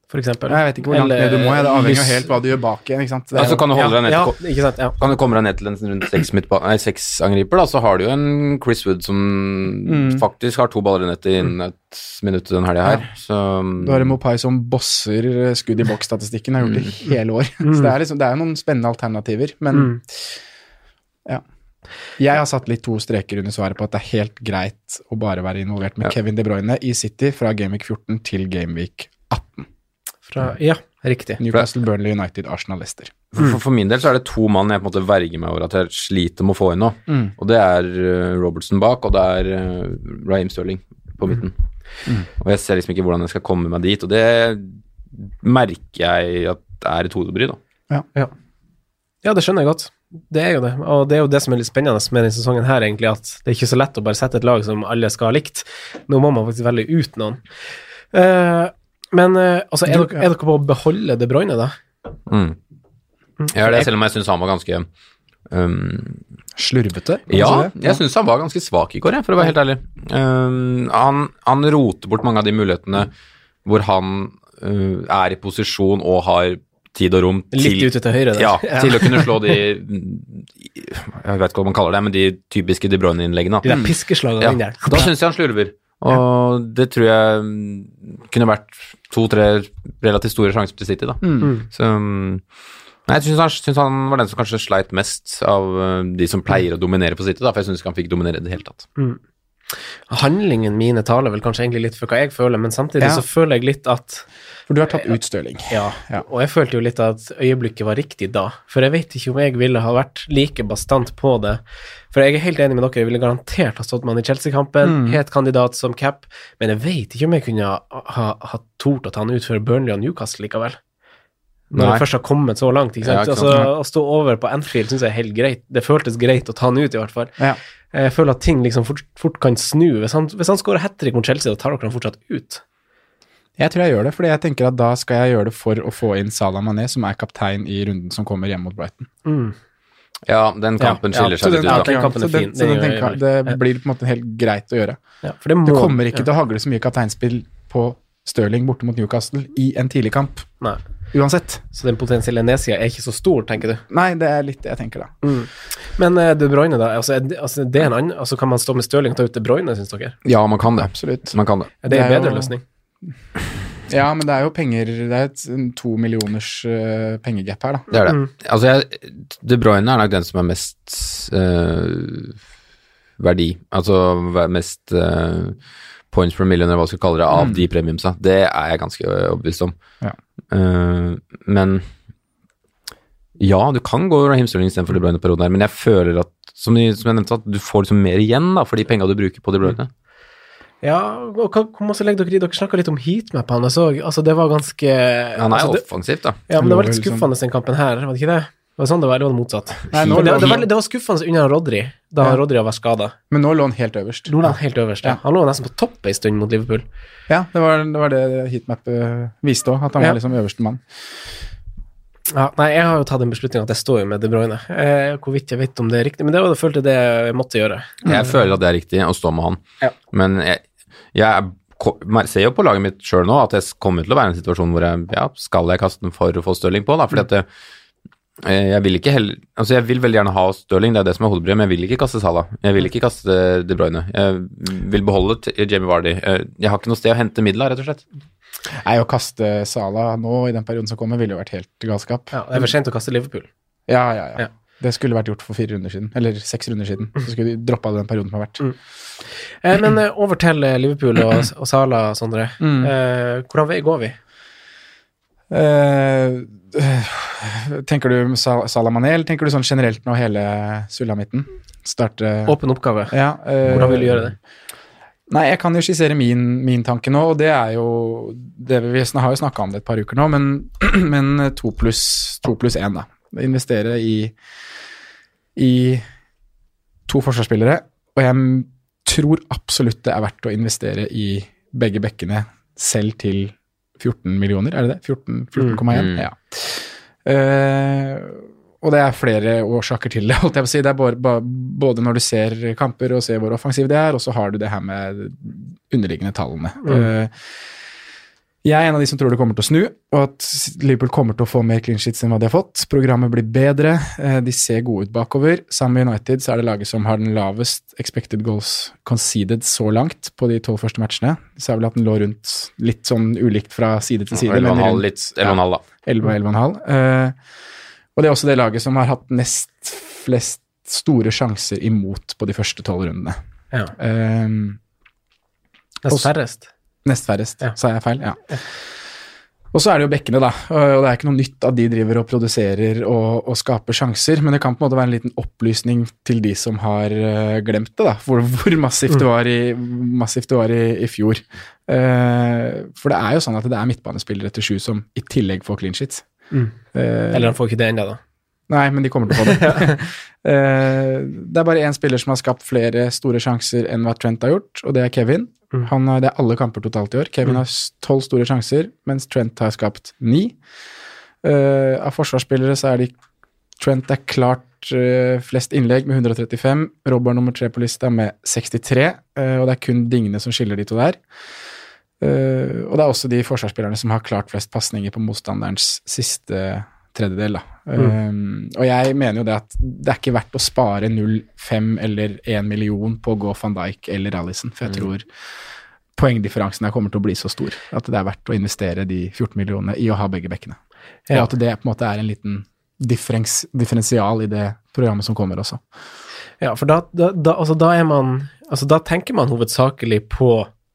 [SPEAKER 2] for eksempel.
[SPEAKER 3] Mm. Jeg vet ikke hvor langt
[SPEAKER 2] Eller
[SPEAKER 3] ned du må. jeg. Det avhenger jo
[SPEAKER 2] Lys-
[SPEAKER 3] helt hva du gjør bak igjen. ikke sant? Det er
[SPEAKER 1] Altså,
[SPEAKER 3] jo-
[SPEAKER 1] kan du holde deg ned
[SPEAKER 2] ja,
[SPEAKER 1] til
[SPEAKER 2] ja, ikke sant. Ja.
[SPEAKER 1] kan du komme deg ned til en rundt seks, midtba- nei, seks angriper, da, så har du jo en Chris Wood som
[SPEAKER 3] Mm.
[SPEAKER 1] faktisk har to baller i nettet innen et minutt den helga her. Så um,
[SPEAKER 3] du har en Mopai som bosser eh, skudd i boks-statistikken, har gjort det i hele år. Så det er liksom, det er noen spennende alternativer, men
[SPEAKER 2] Mm.
[SPEAKER 3] ja. Jeg har satt litt to streker under svaret på at det er helt greit å bare være involvert med Kevin De Bruyne i City fra Gameweek 14 til Gameweek 18.
[SPEAKER 2] Fra, ja, riktig.
[SPEAKER 3] Newcastle, Burnley, United, Arsenal, Leicester.
[SPEAKER 1] for, for, for min del så er det to mann jeg på en måte verger meg over at jeg sliter med å få inn nå.
[SPEAKER 3] Mm.
[SPEAKER 1] Og det er eh, Robertson bak, og det er uh, Raheem Sterling
[SPEAKER 3] Mm.
[SPEAKER 1] på midten. Og jeg ser liksom ikke hvordan jeg skal komme meg dit, og det merker jeg at er et hodebry, da.
[SPEAKER 2] Ja, det skjønner jeg godt. Det er jo det. Og det er jo det som er litt spennende med denne sesongen her, egentlig, at det er ikke så lett å bare sette et lag som alle skal ha likt. Nå må man faktisk velge ut noen. Eh, Men eh, altså, er,
[SPEAKER 3] Du-
[SPEAKER 2] dere- er dere på å beholde De Bruyne, da?
[SPEAKER 1] Mm. Jeg gjør det, selv om jeg syns han var ganske um,
[SPEAKER 3] Slurvete? kan
[SPEAKER 1] Ja,
[SPEAKER 3] man si det?
[SPEAKER 1] jeg syns han var ganske svak i går, jeg, for å være helt ærlig. Um, han, han roter bort mange av de mulighetene hvor han uh, er i posisjon og har tid og rom til
[SPEAKER 2] Litt ute til høyre der.
[SPEAKER 1] Ja, til å kunne slå de Jeg vet ikke hva man kaller det, men de typiske De Bruyne-innleggene.
[SPEAKER 2] De der piskeslagene
[SPEAKER 1] Mm. Ja,
[SPEAKER 2] inn der.
[SPEAKER 1] da syns jeg han slurver. Og det tror jeg mm, kunne vært to-tre relativt store sjanser til City, da. Så mm, Nei, jeg syns han, synes han var den som kanskje sleit mest av eh, de som pleier å dominere på City, da, for jeg syns ikke han fikk dominere i det hele tatt.
[SPEAKER 2] Handlingen mine taler vel kanskje egentlig litt for hva jeg føler, men samtidig
[SPEAKER 3] Ja.
[SPEAKER 2] så føler jeg litt at
[SPEAKER 3] For du har tatt ut Stirling.
[SPEAKER 2] Ja,
[SPEAKER 3] Ja.
[SPEAKER 2] og jeg følte jo litt at øyeblikket var riktig da, for jeg vet ikke om jeg ville ha vært like bastant på det. For jeg er helt enig med dere, jeg ville garantert ha stått med han i Chelsea-kampen, het kandidat som cap, men jeg vet ikke om jeg kunne ha, ha, ha tort å ta han ut for Burnley og Newcastle likevel. Når
[SPEAKER 1] Nei.
[SPEAKER 2] jeg først har kommet så langt, ikke sant.
[SPEAKER 1] Ja, ikke sant.
[SPEAKER 2] Altså, å stå over på Anfield syns jeg er helt greit. Det føltes greit å ta han ut, i hvert fall.
[SPEAKER 3] Ja.
[SPEAKER 2] Jeg føler at ting liksom fort, fort kan snu. Hvis han, hvis han skårer hat trick mot Chelsea, da tar dere han fortsatt ut.
[SPEAKER 3] Jeg tror jeg gjør det, fordi jeg tenker at da skal jeg gjøre det for å få inn Salah Mané, som er kaptein i runden som kommer hjemme mot Brighton.
[SPEAKER 1] Ja, den kampen
[SPEAKER 3] Ja,
[SPEAKER 1] skiller
[SPEAKER 3] så
[SPEAKER 1] seg
[SPEAKER 3] den
[SPEAKER 1] litt ut,
[SPEAKER 2] den
[SPEAKER 1] da.
[SPEAKER 3] tenker jeg-
[SPEAKER 2] kampen er
[SPEAKER 3] så den-
[SPEAKER 2] fin.
[SPEAKER 3] så
[SPEAKER 2] Den
[SPEAKER 3] den
[SPEAKER 2] gjør jeg
[SPEAKER 3] tenker jeg-
[SPEAKER 2] vel.
[SPEAKER 3] Det blir på en måte helt greit å gjøre.
[SPEAKER 2] Ja, for det må
[SPEAKER 3] Det kommer ikke til å hagle så mye kapteinspill på Stirling borte mot Newcastle i en tidlig kamp,
[SPEAKER 2] Nei.
[SPEAKER 3] uansett.
[SPEAKER 2] Så den potensielle nedsida er ikke så stor, tenker du.
[SPEAKER 3] Nei, det er litt det jeg tenker, da.
[SPEAKER 2] Men eh, De Bruyne, da? Altså, er, det- altså, det er en annen, altså, kan man stå med Stirling og ta ut De Bruyne, syns dere?
[SPEAKER 1] Ja, man kan det.
[SPEAKER 3] Absolutt.
[SPEAKER 1] Man kan det.
[SPEAKER 2] Er det, en
[SPEAKER 3] Det er
[SPEAKER 2] bedre
[SPEAKER 3] jo-
[SPEAKER 2] løsning?
[SPEAKER 3] Ja, men det er jo penger Det er et en to millioners eh, pengegap her, da.
[SPEAKER 1] Det
[SPEAKER 2] Mm.
[SPEAKER 1] er det. Altså, jeg, De Bruyne er nok den som er mest eh, verdi, altså ver- mest eh, points per million, eller hva vi skal kalle det,
[SPEAKER 2] Mm.
[SPEAKER 1] av de premiumsa. Det er jeg ganske overbevist om.
[SPEAKER 3] Ja.
[SPEAKER 1] Eh, men ja, du kan gå Raheem Sterling istedenfor De Bruyne-perioden her, men jeg føler at som, de, som jeg nevnte, at du får liksom mer igjen da, for de penga du bruker på De Bruyne.
[SPEAKER 2] Mm. Ja, og hva, hvor masse legger dere i? Dere snakka litt om heatmapene. Altså, altså, det var ganske
[SPEAKER 1] Han er
[SPEAKER 2] altså,
[SPEAKER 1] jo
[SPEAKER 2] det,
[SPEAKER 1] offensivt, da.
[SPEAKER 2] ja, men det var
[SPEAKER 3] Han
[SPEAKER 2] litt
[SPEAKER 3] lå vel
[SPEAKER 2] skuffende, den kampen her, var det ikke det? Var det sånn det var, eller var det motsatt?
[SPEAKER 3] Nei,
[SPEAKER 2] Men det,
[SPEAKER 3] nå lå
[SPEAKER 2] det,
[SPEAKER 3] han,
[SPEAKER 2] var, sånn. det var skuffende under Rodri, da
[SPEAKER 3] Ja.
[SPEAKER 2] Rodri var skada.
[SPEAKER 3] men nå lå han helt øverst.
[SPEAKER 2] Lå han helt øverst? Ja.
[SPEAKER 3] Ja.
[SPEAKER 2] Han lå nesten på topp ei stund mot Liverpool.
[SPEAKER 3] Ja, det var det, var det heatmapet viste òg, at han
[SPEAKER 2] Ja.
[SPEAKER 3] var liksom øverste mann.
[SPEAKER 2] Ja, nei, jeg har jo tatt en beslutning at jeg står jo med De Bruyne. Eh, hvorvidt jeg vet om det er riktig, men det var det følte det jeg måtte gjøre.
[SPEAKER 1] Jeg føler at det er riktig å stå med han.
[SPEAKER 3] Mm. Ja.
[SPEAKER 1] Men jeg, jeg er- ko- mer- ser jo på laget mitt sjøl nå at jeg s- kommer til å være i en situasjon hvor jeg ja, skal jeg kaste den for å få Stirling på, da.
[SPEAKER 3] Mm.
[SPEAKER 1] Fordi at det, eh, jeg vil ikke heller Altså, jeg vil veldig gjerne ha Stirling, det er det som er hodebryet, men jeg vil ikke kaste Salah. Jeg
[SPEAKER 3] Mm.
[SPEAKER 1] vil ikke kaste De Bruyne. Jeg vil beholde t- Jamie Vardy. Eh, Jeg har ikke noe sted å hente midler, rett og slett.
[SPEAKER 3] Nei, å kaste Salah nå i den perioden som kommer, ville jo vært helt galskap.
[SPEAKER 2] Ja, det er for sent å kaste Liverpool.
[SPEAKER 3] Ja, ja, ja.
[SPEAKER 2] Ja.
[SPEAKER 3] Det skulle vært gjort for fire runder siden, eller seks runder siden. Så skulle de droppa den perioden som har vært.
[SPEAKER 2] Eh, men eh, over til eh, Liverpool og, og Sala, Sondre.
[SPEAKER 3] Mm.
[SPEAKER 2] Eh, hvordan vei går vi?
[SPEAKER 3] Eh, eh, tenker du Sa- Salah Mané, eller tenker du sånn generelt nå hele sulamitten? Starte
[SPEAKER 2] Åpen oppgave.
[SPEAKER 3] Ja, eh,
[SPEAKER 2] Hvordan vil du gjøre det?
[SPEAKER 3] Nei, jeg kan jo skissere min, min tanke nå, og det er jo det Vi sn- har jo snakka om det et par uker nå, men, men eh, to pluss to pluss én, da. Investere i, i to forsvarsspillere, og jeg m- tror absolutt det er verdt å investere i begge bekkene selv til 14 millioner, er det det? 14, 14,1?
[SPEAKER 1] Mm.
[SPEAKER 3] Ja. Eh, og det er flere årsaker til det, holdt jeg på å si. Det er bare, ba- både når du ser kamper og ser hvor offensiv de er, og så har du det her med underliggende tallene.
[SPEAKER 1] Mm.
[SPEAKER 3] Eh, jeg er en av de som tror det kommer til å snu, og at Liverpool kommer til å få mer clean sheets enn hva de har fått. Programmet blir bedre, eh, de ser gode ut bakover. Sammen med United så er det laget som har den lavest expected goals conceded så langt på de tolv første matchene. Så er vel at den lå rundt litt sånn ulikt fra side til side.
[SPEAKER 1] Eller
[SPEAKER 3] men
[SPEAKER 1] en halv,
[SPEAKER 3] rundt-
[SPEAKER 1] litt, eller en halv, da.
[SPEAKER 3] 11 og 11,5. Eh, og det er også det laget som har hatt nest flest store sjanser imot på de første tolv rundene.
[SPEAKER 2] Ja.
[SPEAKER 3] Eh,
[SPEAKER 2] Nesten færrest.
[SPEAKER 3] Nest færrest,
[SPEAKER 2] Ja.
[SPEAKER 3] sa jeg feil? Ja. Og så er det jo bekkene, da. Og det er ikke noe nytt at de driver og produserer og, og skaper sjanser, men det kan på en måte være en liten opplysning til de som har eh, glemt det, da. Hvor, hvor massivt
[SPEAKER 2] Mm.
[SPEAKER 3] det var i, massivt det var i, i fjor. Eh, for det er jo sånn at det er midtbanespillere til sju som i tillegg får clean sheets.
[SPEAKER 2] Mm.
[SPEAKER 3] Eh,
[SPEAKER 2] Eller han får ikke det ennå, da.
[SPEAKER 3] Nei, men de kommer til å få det. Eh, det er bare én spiller som har skapt flere store sjanser enn hva Trent har gjort, og det er Kevin. Han har, det er alle kamper totalt i år. Kevin har tolv store sjanser, mens Trent har skapt ni. Eh, av forsvarsspillere så er de Trent er klart eh, flest innlegg med 135. Robber nummer tre på lista med 63, eh, og det er kun dingene som skiller de to der. Eh, og det er også de forsvarsspillerne som har klart flest pasninger på motstanderens siste tredjedel. Da. Eh, og jeg mener jo det at det er ikke verdt å spare 0,5 eller 1 million på å gå van Dijk eller Alison, for jeg tror poengdifferansen her kommer til å bli så stor at det er verdt å investere de 14 millionene i å ha begge bekkene.
[SPEAKER 2] Ja.
[SPEAKER 3] Og at det på en måte er en liten differens, differensial i det programmet som kommer også.
[SPEAKER 2] Ja, for da, da, da, altså, da er man Altså, da tenker man hovedsakelig på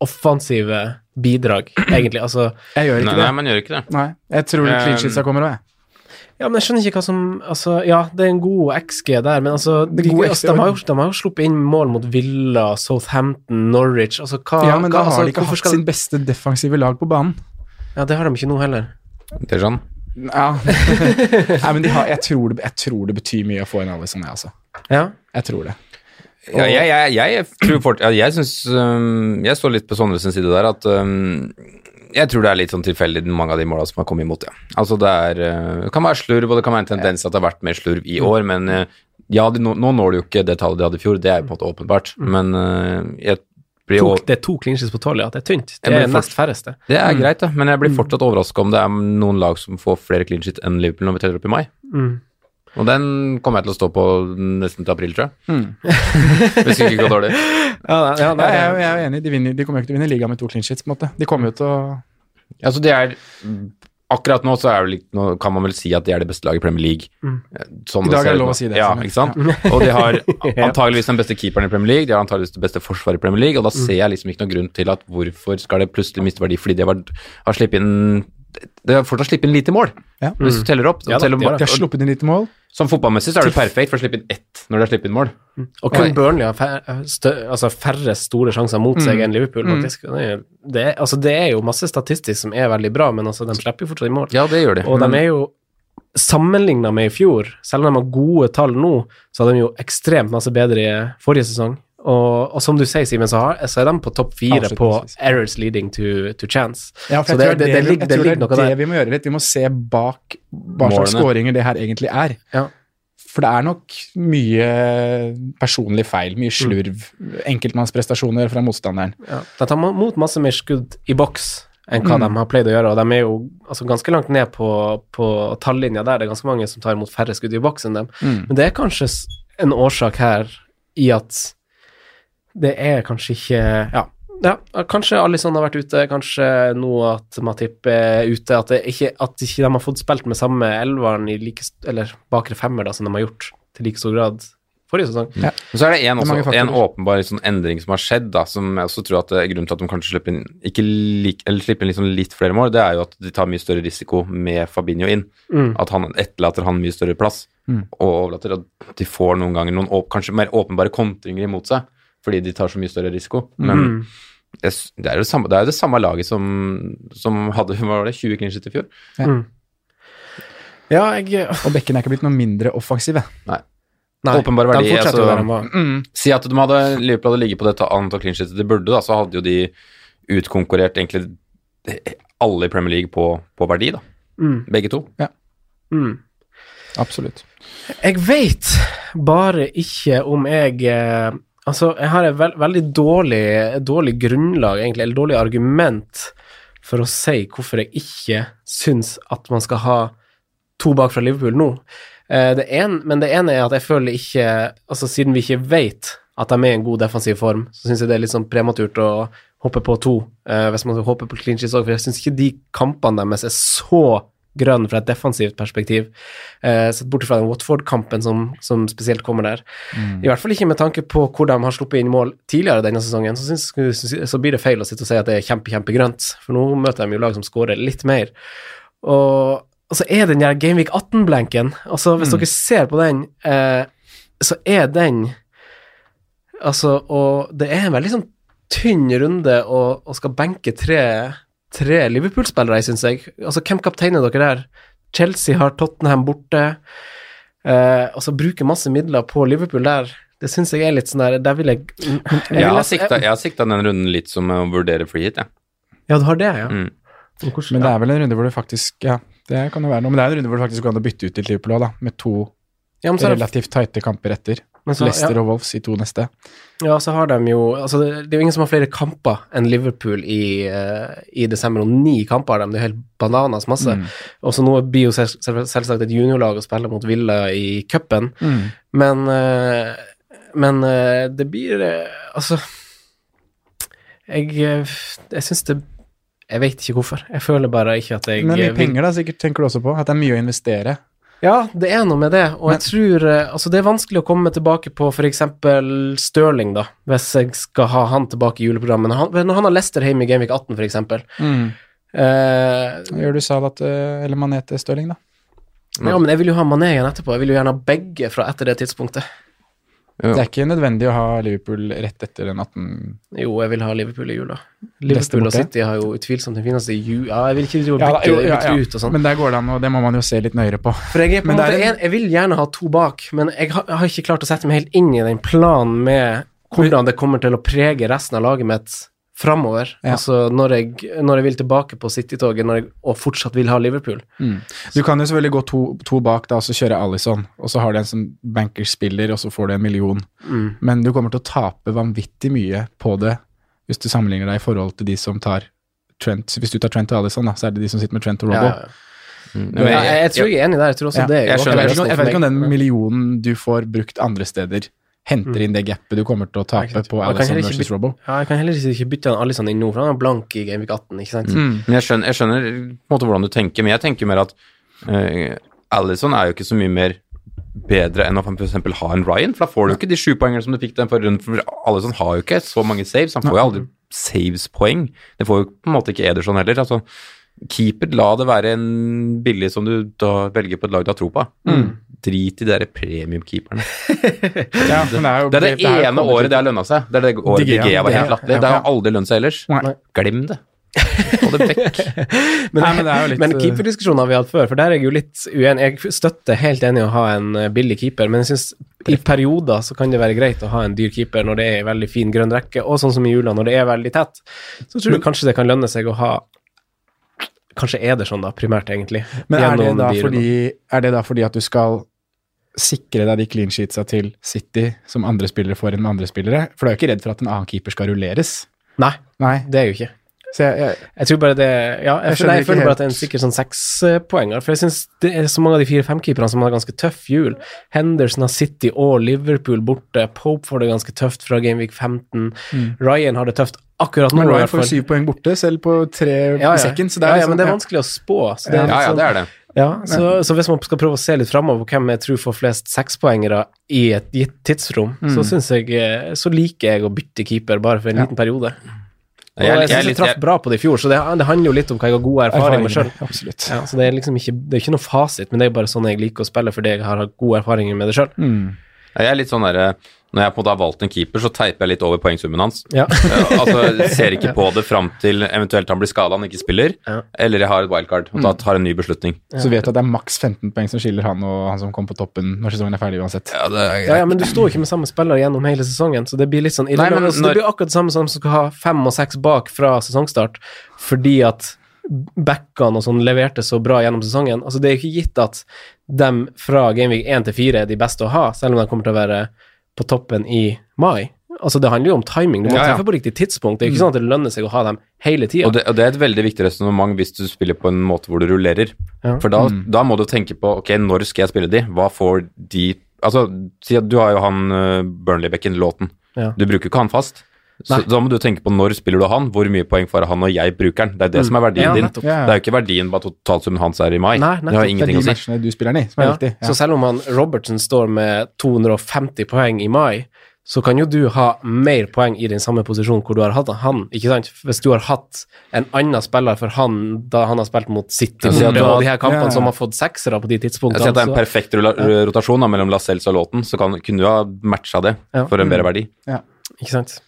[SPEAKER 2] offensive bidrag, egentlig. Altså
[SPEAKER 3] Jeg
[SPEAKER 1] Nei,
[SPEAKER 3] gjør
[SPEAKER 1] nei,
[SPEAKER 3] ikke det.
[SPEAKER 1] man gjør ikke det.
[SPEAKER 3] Nei, jeg tror de clean
[SPEAKER 1] Um,
[SPEAKER 3] sheetsa kommer òg, jeg.
[SPEAKER 2] Ja, men jeg skjønner ikke hva som Altså, ja, det er en god XG der, men altså De,
[SPEAKER 3] Det er god
[SPEAKER 2] altså,
[SPEAKER 3] XG,
[SPEAKER 2] de, har,
[SPEAKER 3] men-
[SPEAKER 2] jo, de har jo sluppet inn mål mot Villa, Southampton, Norwich Altså, hva
[SPEAKER 3] Ja, men
[SPEAKER 2] hva,
[SPEAKER 3] da har
[SPEAKER 2] altså,
[SPEAKER 3] de ikke
[SPEAKER 2] hvorfor
[SPEAKER 3] hatt
[SPEAKER 2] skal-
[SPEAKER 3] sin beste defensive lag på banen.
[SPEAKER 2] Ja, det har de ikke nå heller.
[SPEAKER 1] Det er sånn.
[SPEAKER 3] Ja. Nei, men de har, jeg, tror det, jeg tror det betyr mye å få en Alison, jeg, altså.
[SPEAKER 2] Ja.
[SPEAKER 3] Jeg tror det.
[SPEAKER 1] Ja, jeg, jeg, jeg tror fort, ja, jeg synes, øhm, jeg står litt på Sondres side der, at øhm, jeg tror det er litt sånn tilfeldig mange av de måla som har kommet imot, ja. Altså det er, øh, det kan være slurv, og det kan være en tendens til at det har vært mer slurv i år, men øh, ja, de, nå, nå når du jo ikke det tallet de hadde i fjor, det er jo på en måte åpenbart, men øh, jeg blir
[SPEAKER 2] To,
[SPEAKER 1] jo
[SPEAKER 2] det er to clinches på tolv, ja. Det er tynt. Det
[SPEAKER 1] Jeg
[SPEAKER 2] er
[SPEAKER 1] blir
[SPEAKER 2] nest færreste.
[SPEAKER 1] Det er greit, da, men jeg blir fortsatt overraska om det er noen lag som får flere clean shit enn Liverpool når vi teller opp i mai.
[SPEAKER 2] Mm.
[SPEAKER 1] Og den kommer jeg til å stå på nesten til april, tror jeg. Hvis det ikke går dårlig.
[SPEAKER 2] Ja, nei, ja,
[SPEAKER 3] Nei,
[SPEAKER 2] nei,
[SPEAKER 3] jeg, er- jeg er enig, de, vinner, de kommer jo ikke til å vinne ligaen med to clean sheets, på en måte. De kommer jo til å
[SPEAKER 1] Altså, det er Akkurat nå så er det, litt- nå kan man vel si at de er det beste laget i Premier League. Sånn
[SPEAKER 3] I dag
[SPEAKER 1] ser
[SPEAKER 3] er det
[SPEAKER 1] ut
[SPEAKER 3] lov
[SPEAKER 1] nå.
[SPEAKER 3] å si det,
[SPEAKER 1] Ja,
[SPEAKER 3] Simen.
[SPEAKER 1] ikke sant? Og de har antageligvis den beste keeperen i Premier League, de har antageligvis det beste forsvaret i Premier League, og da ser jeg liksom ikke noen grunn til at hvorfor skal det plutselig miste verdi fordi de har, vært- har slippet inn Det har fortsatt slippet inn lite mål,
[SPEAKER 3] Ja.
[SPEAKER 1] hvis du teller opp.
[SPEAKER 2] Ja da,
[SPEAKER 1] teller
[SPEAKER 2] de har
[SPEAKER 1] bare-
[SPEAKER 3] De har sluppet inn lite mål.
[SPEAKER 1] Som fotballmessig så er det perfekt for å slippe inn ett når de har sluppet inn mål.
[SPEAKER 2] Og kun
[SPEAKER 1] Nei.
[SPEAKER 2] Burnley har fær, stø- altså færre store sjanser mot seg
[SPEAKER 3] Mm.
[SPEAKER 2] enn Liverpool, faktisk. Det, er, det, er- altså, det er jo masse statistikk som er veldig bra, men altså, de slipper jo fortsatt inn mål.
[SPEAKER 1] Ja, det gjør de.
[SPEAKER 2] Og de er jo sammenligna med i fjor, selv om de har gode tall nå, så har de jo ekstremt masse bedre i forrige sesong. Og, og som du sier, Simen, så, har- så er de på topp fire på
[SPEAKER 3] Avslutningsvis.
[SPEAKER 2] errors leading to, to chance.
[SPEAKER 3] Ja,
[SPEAKER 2] så
[SPEAKER 3] for jeg
[SPEAKER 2] det,
[SPEAKER 3] tror
[SPEAKER 2] det, det, ligger,
[SPEAKER 3] vi- jeg
[SPEAKER 2] det
[SPEAKER 3] tror
[SPEAKER 2] ligger
[SPEAKER 3] det
[SPEAKER 2] noe
[SPEAKER 3] er
[SPEAKER 2] der.
[SPEAKER 3] det vi må gjøre litt. Vi må se bak hva slags
[SPEAKER 1] Målene.
[SPEAKER 3] skåringer det her egentlig er.
[SPEAKER 2] Ja.
[SPEAKER 3] For det er nok mye personlig feil, mye slurv, enkeltmannsprestasjoner fra motstanderen.
[SPEAKER 2] Ja. De tar mot masse mer skudd i boks enn
[SPEAKER 1] Mm.
[SPEAKER 2] hva de har pleid å gjøre, og de er jo altså, ganske langt ned på, på tallinja der. Det er ganske mange som tar imot færre skudd i boks enn dem.
[SPEAKER 1] Mm.
[SPEAKER 2] Men det er kanskje s- en årsak her i at det er kanskje ikke Ja. Ja, Kanskje Alison har vært ute, kanskje nå at Matip er ute. At, det ikke, at ikke de har fått spilt med samme elveren i like, st- eller bakre femmer da, som de har gjort til like stor grad forrige sesong.
[SPEAKER 1] Men så er det en,
[SPEAKER 3] Det er mange
[SPEAKER 1] også, en
[SPEAKER 3] faktorer.
[SPEAKER 1] åpenbar sånn endring som har skjedd, da, som jeg også tror at det er grunnen til at de kanskje slipper inn, ikke lik, eller slipper inn liksom litt flere mål, det er jo at de tar mye større risiko med Fabinho inn.
[SPEAKER 3] Mm.
[SPEAKER 1] At han etterlater han mye større plass, og overlater at de får noen ganger noen åp, kanskje mer åpenbare kontringer imot seg, fordi de tar så mye større risiko. Men
[SPEAKER 3] Mm.
[SPEAKER 2] Mm,
[SPEAKER 1] jeg s- det, er jo det, samme, det er jo det samme laget som, som hadde hva var det, 20 clean shit i fjor.
[SPEAKER 2] mm. Ja, jeg
[SPEAKER 3] Og bekken er ikke blitt noe mindre offensive.
[SPEAKER 1] Nei.
[SPEAKER 2] Nei,
[SPEAKER 1] Åpenbar verdi,
[SPEAKER 2] de fortsetter jo
[SPEAKER 1] altså-
[SPEAKER 2] der de var.
[SPEAKER 1] Si at de hadde, Liverpool hadde ligget på dette annet og clean sheets de burde, da, så hadde jo de utkonkurrert egentlig alle i Premier League på, på verdi, da.
[SPEAKER 2] Mm.
[SPEAKER 1] Begge to.
[SPEAKER 2] Mm.
[SPEAKER 3] Absolutt.
[SPEAKER 2] Jeg veit bare ikke om jeg eh, Altså, jeg har et vel- veldig dårlig, dårlig grunnlag, egentlig, eller dårlig argument for å si hvorfor jeg ikke syns at man skal ha to bak fra Liverpool nå. Eh, Det en, men det ene er at jeg føler ikke Altså, siden vi ikke veit at de er i en god defensiv form, så syns jeg det er litt sånn prematurt å hoppe på to, eh, hvis man skal hoppe på clean sheets òg, for jeg syns ikke de kampene deres er så grønne fra et defensivt perspektiv, eh, sett bort fra den Watford-kampen som, som spesielt kommer der. I hvert fall ikke med tanke på hvor de har sluppet inn mål tidligere denne sesongen, så, synes, så blir det feil å sitte og si at det er kjempe, kjempegrønt, for nå møter de jo lag som skårer litt mer. Og, og så er den der Gameweek 18-blenken altså Hvis dere ser på den, eh, så er den Altså, og det er en veldig sånn tynn runde å, å skal benke tre, tre Liverpool-spillere, syns jeg. Altså, hvem kapteiner dere der? Chelsea har Tottenham borte. Eh, altså, bruker masse midler på Liverpool der. Det Det syns jeg er litt sånn der Der vil jeg jeg vil
[SPEAKER 1] Jeg har
[SPEAKER 2] nesten-
[SPEAKER 1] sikta, jeg har sikta den runden litt som å vurdere free hit, jeg.
[SPEAKER 2] Ja, du har det, ja.
[SPEAKER 1] Mm.
[SPEAKER 2] Men hvordan-
[SPEAKER 3] Men det er vel en runde hvor du faktisk Ja, det kan jo være noe. Men det er en runde hvor det faktisk går an å bytte ut til Liverpool òg, da. Med to
[SPEAKER 2] ja, men så har de-
[SPEAKER 3] relativt tighte kamper etter.
[SPEAKER 2] men så-
[SPEAKER 3] Leicester
[SPEAKER 2] ja,
[SPEAKER 3] og Wolves i to neste.
[SPEAKER 2] ja, så har de jo altså, Det det er jo ingen som har flere kamper enn Liverpool i, eh, i desember, og ni kamper har de. Det er helt bananas masse.
[SPEAKER 3] Mm.
[SPEAKER 2] Og så nå blir jo selv- selv- selvsagt et juniorlag å spille mot Villa i cupen,
[SPEAKER 3] Mm.
[SPEAKER 2] men eh, Men eh, det blir eh, Altså Jeg, eh, jeg syns det Jeg vet ikke hvorfor. Jeg føler bare ikke at jeg eh,
[SPEAKER 3] Men mye
[SPEAKER 2] vil-
[SPEAKER 3] penger, da, sikkert tenker du også på. At det er mye å investere.
[SPEAKER 2] Ja, det er noe med det, og jeg tror eh, Altså, det er vanskelig å komme tilbake på f.eks. Stirling, da, hvis jeg skal ha han tilbake i juleprogrammet. Når han, men når han har Lester hjemme i Gameweek 18, f.eks. Eh,
[SPEAKER 3] Gjør du Salah til- eller Mané til Stirling, da?
[SPEAKER 2] ja, men jeg vil jo ha Mané igjen etterpå. Jeg vil jo gjerne ha begge fra etter det tidspunktet.
[SPEAKER 1] Ja.
[SPEAKER 3] Det er ikke nødvendig å ha Liverpool rett etter den 18
[SPEAKER 2] Jo, jeg vil ha Liverpool i jula.
[SPEAKER 3] Leicester
[SPEAKER 2] Liverpool og
[SPEAKER 3] borte.
[SPEAKER 2] City har jo utvilsomt den fineste ju... Ja, jeg vil ikke drive og
[SPEAKER 3] Ja, da,
[SPEAKER 2] bytte
[SPEAKER 3] jo, ja, ja.
[SPEAKER 2] bytte ut og sånn.
[SPEAKER 3] Men der går det an, og det må man jo se litt nøyere på.
[SPEAKER 2] For jeg, er på en
[SPEAKER 3] Men det er
[SPEAKER 2] måte, en, jeg vil gjerne ha to bak, men jeg har, jeg har ikke klart å sette meg helt inn i den planen med hvordan det kommer til å prege resten av laget mitt framover.
[SPEAKER 3] Ja.
[SPEAKER 2] Altså når jeg, når jeg vil tilbake på City-toget når jeg, og fortsatt vil ha Liverpool.
[SPEAKER 3] Du kan jo selvfølgelig gå to, to bak da, og så kjøre Alison, og så har du en som bankerspiller, og så får du en million.
[SPEAKER 2] Mm.
[SPEAKER 3] Men du kommer til å tape vanvittig mye på det hvis du sammenligner deg i forhold til de som tar Trent. Så Hvis du tar Trent og Alison, da, så er det de som sitter med Trent og
[SPEAKER 2] Ja,
[SPEAKER 3] Robbo.
[SPEAKER 2] ja. Men jeg, jeg tror jeg er enig der. Jeg tror også
[SPEAKER 3] Ja,
[SPEAKER 2] det er
[SPEAKER 1] jeg
[SPEAKER 2] godt.
[SPEAKER 1] skjønner.
[SPEAKER 3] Jeg vet, ikke, om- jeg vet ikke om den
[SPEAKER 2] Men-
[SPEAKER 3] millionen du får brukt andre steder,
[SPEAKER 2] Mm.
[SPEAKER 3] henter inn det gapet du kommer til å
[SPEAKER 2] Nei, ikke
[SPEAKER 3] tape
[SPEAKER 2] sant.
[SPEAKER 3] på
[SPEAKER 2] Og kan
[SPEAKER 3] Alison
[SPEAKER 2] heller ikke
[SPEAKER 3] versus
[SPEAKER 2] bytte-
[SPEAKER 3] Robbo.
[SPEAKER 2] ja, Jeg kan heller ikke bytte han Alisson inn nå, for han er blank i Gamevik 18, ikke
[SPEAKER 3] Mm.
[SPEAKER 2] sant?
[SPEAKER 1] Men jeg skjønner, jeg skjønner på en måte hvordan du tenker, men jeg tenker mer at uh, Alison er jo ikke så mye mer bedre enn å for eksempel ha en Ryan, for da får du jo ikke de sju poengene som du fikk den forrige runden, for Alison har jo ikke så mange saves, han får jo aldri saves-poeng. Det får jo på en måte ikke Ederson heller. altså Keeper, la det være en billig som du da velger på et lag du har tro på. Mm. Drit i de der premiumkeeperne.
[SPEAKER 3] Ja, men er jo-
[SPEAKER 1] Det er det,
[SPEAKER 3] er jo
[SPEAKER 1] ene året det har lønna seg. Det er det året
[SPEAKER 3] Digea.
[SPEAKER 1] Digea var helt
[SPEAKER 3] Digea.
[SPEAKER 1] latterlig. Det har aldri lønt seg ellers.
[SPEAKER 3] Nei.
[SPEAKER 1] Glem det. Få det vekk.
[SPEAKER 2] Men,
[SPEAKER 3] Nei, men det er jo litt- eh,
[SPEAKER 2] men keeperdiskusjonen har vi hatt før, for der er jeg jo litt uenig. Jeg støtter helt enig i å ha en eh, billig keeper, men jeg syns i perioder så kan det være greit å ha en dyr keeper når det er en veldig fin grønn rekke, og sånn som i jula når det er veldig tett. Så tror jeg kanskje det kan lønne seg å ha Kanskje er det sånn, da, primært, egentlig.
[SPEAKER 3] Men er det,
[SPEAKER 2] gjennom
[SPEAKER 3] da
[SPEAKER 2] de rundene.
[SPEAKER 3] fordi, er det da fordi at du skal sikre deg de clean sheetsa til City som andre spillere får enn med andre spillere? For du er jo ikke redd for at en annen keeper skal rulleres?
[SPEAKER 2] Nei,
[SPEAKER 3] Nei.
[SPEAKER 2] det er jo ikke.
[SPEAKER 3] Så jeg, jeg,
[SPEAKER 2] Jeg tror bare det Ja, jeg,
[SPEAKER 3] Jeg
[SPEAKER 2] føler,
[SPEAKER 3] skjønner
[SPEAKER 2] jeg
[SPEAKER 3] ikke
[SPEAKER 2] føler bare
[SPEAKER 3] helt.
[SPEAKER 2] at det er en sikkert sånn sekspoenger. For jeg syns det er så mange av de fire femkeeperne som har ganske tøff jul. Henderson har City og Liverpool borte. Pope får det ganske tøft fra Gameweek 15. Ryan har det tøft akkurat nå.
[SPEAKER 3] men
[SPEAKER 2] i
[SPEAKER 3] Ryan
[SPEAKER 2] hvert
[SPEAKER 3] får
[SPEAKER 2] fall.
[SPEAKER 3] syv poeng borte, selv på tre
[SPEAKER 2] ja, ja.
[SPEAKER 3] i sekken. Så det er
[SPEAKER 2] ja, ja, men det er
[SPEAKER 3] liksom-
[SPEAKER 2] vanskelig å spå. Så, det
[SPEAKER 1] Ja,
[SPEAKER 2] er
[SPEAKER 1] ja, det
[SPEAKER 2] litt sånn-
[SPEAKER 1] er det.
[SPEAKER 2] ja, så, så hvis man skal prøve å se litt framover hvem jeg tror får flest sekspoengere i et gitt tidsrom, så syns jeg eh, Så liker jeg å bytte keeper bare for en liten periode. Og jeg,
[SPEAKER 1] Jeg,
[SPEAKER 2] synes jeg,
[SPEAKER 1] litt-
[SPEAKER 2] traff bra på det i fjor, så det, det handler jo litt om hva jeg har god erfaring med sjøl.
[SPEAKER 3] Erfaringene, Absolutt.
[SPEAKER 2] Ja, så det er liksom ikke, det er ikke noe fasit, men det er bare sånn jeg liker å spille fordi jeg har hatt gode erfaringer med det sjøl.
[SPEAKER 3] Mm.
[SPEAKER 1] jeg er litt sånn der, Når jeg på en måte har valgt en keeper, så teiper jeg litt over poengsummen hans.
[SPEAKER 2] Ja.
[SPEAKER 1] Eh, altså, Ser ikke på det fram til eventuelt han blir skada han ikke spiller,
[SPEAKER 2] Ja. Mm.
[SPEAKER 1] eller jeg har et wildcard og da tar jeg en ny beslutning.
[SPEAKER 3] Så vet du at det er maks 15 poeng som skiller han og han som kom på toppen når sesongen er ferdig uansett.
[SPEAKER 1] Ja, det er
[SPEAKER 2] Ja, ja, men du står ikke med samme spiller gjennom hele sesongen, så det blir litt sånn
[SPEAKER 1] Nei, men
[SPEAKER 2] irrelevant. Så
[SPEAKER 1] når-
[SPEAKER 2] Det blir akkurat det samme som som skal ha fem og seks bak fra sesongstart, fordi at backene og sånn leverte så bra gjennom sesongen. Altså, det er jo ikke gitt at dem fra Gameweek 1 til 4 er de beste å ha, selv om de kommer til å være på toppen i mai. Altså, det handler jo om timing. Du må
[SPEAKER 1] Ja, ja.
[SPEAKER 2] treffe på riktig tidspunkt. Det er jo ikke sånn at det lønner seg å ha dem hele tida.
[SPEAKER 1] Og det, og det er et veldig viktig resonnement hvis du spiller på en måte hvor du rullerer.
[SPEAKER 2] Ja. Mm.
[SPEAKER 1] For da, da må du tenke på ok, når skal jeg spille de? Hva får de Altså, si at du har jo han eh, Burnley-bekken, Lawton.
[SPEAKER 2] Ja.
[SPEAKER 1] Du bruker ikke han fast. Så
[SPEAKER 2] Nei.
[SPEAKER 1] da må du tenke på når spiller du han, hvor mye poeng får han når jeg bruker han. Det er det som er verdien
[SPEAKER 2] Mm. Ja,
[SPEAKER 1] din.
[SPEAKER 2] nettopp.
[SPEAKER 3] Ja, ja.
[SPEAKER 1] Det er jo ikke verdien hva totalsummen hans er i mai.
[SPEAKER 2] Nei,
[SPEAKER 1] det har
[SPEAKER 2] nettopp.
[SPEAKER 3] Det er
[SPEAKER 1] ingenting
[SPEAKER 3] de
[SPEAKER 1] å si.
[SPEAKER 3] matchene du spiller den i, som er
[SPEAKER 2] Ja,
[SPEAKER 3] viktig. Ja.
[SPEAKER 2] Så selv om han Robertson står med 250 poeng i mai, så kan jo du ha mer poeng i den samme posisjonen hvor du har hatt han, ikke sant? Hvis du har hatt en annen spiller for han da han har spilt mot
[SPEAKER 1] Ja,
[SPEAKER 2] City,
[SPEAKER 1] så
[SPEAKER 2] borte,
[SPEAKER 1] du har-
[SPEAKER 2] og de her kampene
[SPEAKER 3] Ja, ja.
[SPEAKER 2] som har fått seksere på de
[SPEAKER 1] Jeg
[SPEAKER 2] tidspunktene.
[SPEAKER 1] sier at det er en
[SPEAKER 2] så-
[SPEAKER 1] perfekt rula- rotasjon da, mellom Lascelles og Lawton, så kan, kunne du ha matcha det
[SPEAKER 2] Ja.
[SPEAKER 1] for en bedre verdi.
[SPEAKER 2] Ikke sant?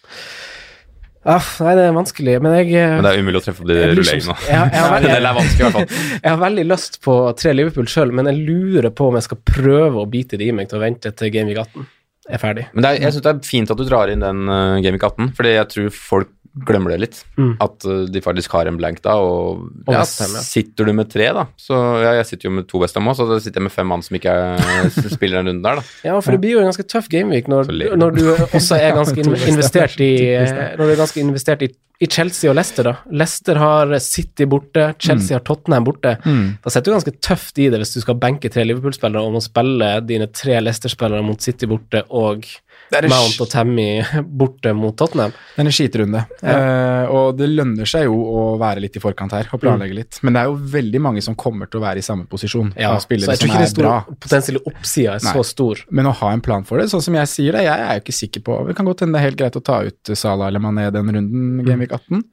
[SPEAKER 2] Aff, nei, det er vanskelig, men jeg
[SPEAKER 1] Men det er umulig å treffe opp de
[SPEAKER 2] jeg blir så-
[SPEAKER 1] rulleringene.
[SPEAKER 2] Jeg, jeg, har
[SPEAKER 1] Den
[SPEAKER 2] veldig-
[SPEAKER 1] delen er vanskelig, i hvert fall.
[SPEAKER 2] jeg har veldig lyst på tre Liverpool sjøl, men jeg lurer på om jeg skal prøve å bite det i meg til å vente til Gameweek 18. er ferdig.
[SPEAKER 1] Men det er, jeg syns det er fint at du drar inn den uh, Gaming 18, fordi jeg tror folk glemmer det litt.
[SPEAKER 2] Mm.
[SPEAKER 1] At eh, de faktisk har en blank da, og,
[SPEAKER 2] Og
[SPEAKER 1] ja,
[SPEAKER 2] Westham, ja.
[SPEAKER 1] sitter du med tre, da Så ja, jeg sitter jo med to Westham også, så da sitter jeg med fem mann som ikke er, eh, spiller den runden der, da.
[SPEAKER 2] Ja, for det blir jo en ganske tøff gameweek når,
[SPEAKER 1] Så ler du.
[SPEAKER 2] når du også er ganske in
[SPEAKER 3] Ja, men
[SPEAKER 2] investert i
[SPEAKER 3] Torgeir, det er
[SPEAKER 2] eh, Når du er ganske investert i, i Chelsea og Leicester, da. Leicester har eh, City borte, Chelsea
[SPEAKER 3] Mm.
[SPEAKER 2] har Tottenham borte. Da sitter du ganske tøft i det hvis du skal benke tre Liverpool-spillere og må spille dine tre Leicester-spillere mot City borte og
[SPEAKER 3] Det er en
[SPEAKER 2] Mount og Tammy borte mot Tottenham.
[SPEAKER 3] Det er en skitrunde. Eh, og det lønner seg jo å være litt i forkant her og planlegge litt. Men det er jo veldig mange som kommer til å være i samme posisjon.
[SPEAKER 2] Ja, så
[SPEAKER 3] av
[SPEAKER 2] jeg
[SPEAKER 3] spillere
[SPEAKER 2] tror
[SPEAKER 3] som
[SPEAKER 2] ikke
[SPEAKER 3] er
[SPEAKER 2] den store
[SPEAKER 3] bra.
[SPEAKER 2] potensielle oppsida er
[SPEAKER 3] Nei.
[SPEAKER 2] så stor.
[SPEAKER 3] Men å ha en plan for det, sånn som jeg sier det, jeg er jo ikke sikker på Det kan godt hende det er helt greit å ta ut Salah eller Mané den runden,
[SPEAKER 2] Mm.
[SPEAKER 3] Gamvik 18.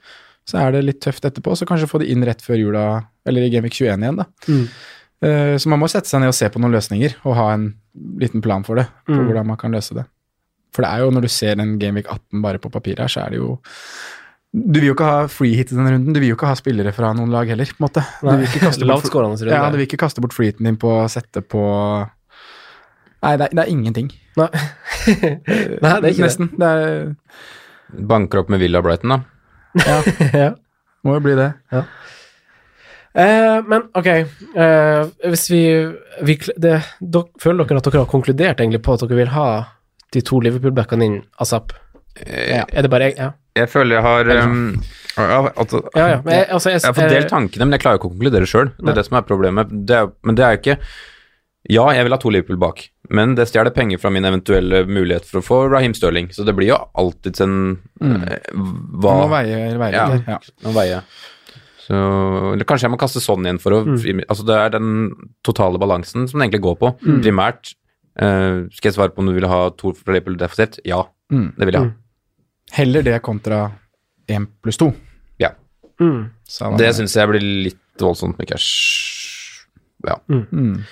[SPEAKER 3] Så er det litt tøft etterpå, så kanskje få det inn rett før jula, eller i Gamvik 21 igjen, da.
[SPEAKER 2] Mm.
[SPEAKER 3] Eh, Så man må sette seg ned og se på noen løsninger, og ha en liten plan for det, på
[SPEAKER 2] Mm.
[SPEAKER 3] hvordan man kan løse det. For det er jo, når du ser en Gamvik 18 bare på papir her, så er det jo Du vil jo ikke ha free hit i den runden, du vil jo ikke ha spillere fra noen lag heller, på en måte. Du vil ikke kaste bort
[SPEAKER 2] Lavtskårende runde.
[SPEAKER 3] ja, du vil ikke kaste bort flyten din på å sette på Nei, det er, det er ingenting.
[SPEAKER 2] Nei. Nei, det er ikke
[SPEAKER 3] Nesten. Det er,
[SPEAKER 1] Banker opp med Villa Brighton, da.
[SPEAKER 2] det. Ja.
[SPEAKER 3] må jo bli det.
[SPEAKER 2] Eh, men ok, eh, hvis vi, vi kl- det, dok, Føler dere at dere har konkludert egentlig på at dere vil ha de to Liverpool-backene inn asap?
[SPEAKER 1] Jeg,
[SPEAKER 2] Er det bare jeg? Ja,
[SPEAKER 1] jeg føler jeg har um, ja, altså,
[SPEAKER 2] ja. ja. Men jeg, altså, jeg,
[SPEAKER 1] Jeg har fått delt tankene, men jeg klarer ikke å konkludere sjøl. Det
[SPEAKER 2] Nei.
[SPEAKER 1] er det som er problemet. Det er, men det er jo ikke Ja, jeg vil ha to Liverpool bak, men det stjeler penger fra min eventuelle mulighet for å få Raheem Sterling. Så det blir jo alltids en
[SPEAKER 2] Mm.
[SPEAKER 1] eh,
[SPEAKER 3] Du
[SPEAKER 1] Hva
[SPEAKER 3] må veie, veie
[SPEAKER 1] Ja.
[SPEAKER 3] litt her. Ja.
[SPEAKER 1] må veie. Så, eller kanskje jeg må kaste sånn igjen for å
[SPEAKER 2] Mm.
[SPEAKER 1] Altså det er den totale balansen som det egentlig går på,
[SPEAKER 2] Mm.
[SPEAKER 1] primært. Eh, skal jeg svare på om du vil ha to fra Liverpool defensivt? Ja,
[SPEAKER 3] Mm.
[SPEAKER 1] det vil jeg ha.
[SPEAKER 3] Heller det kontra én pluss to.
[SPEAKER 1] Ja.
[SPEAKER 2] mm.
[SPEAKER 3] sa han.
[SPEAKER 1] Det syns jeg blir litt voldsomt med cash. Ja.
[SPEAKER 3] Mm.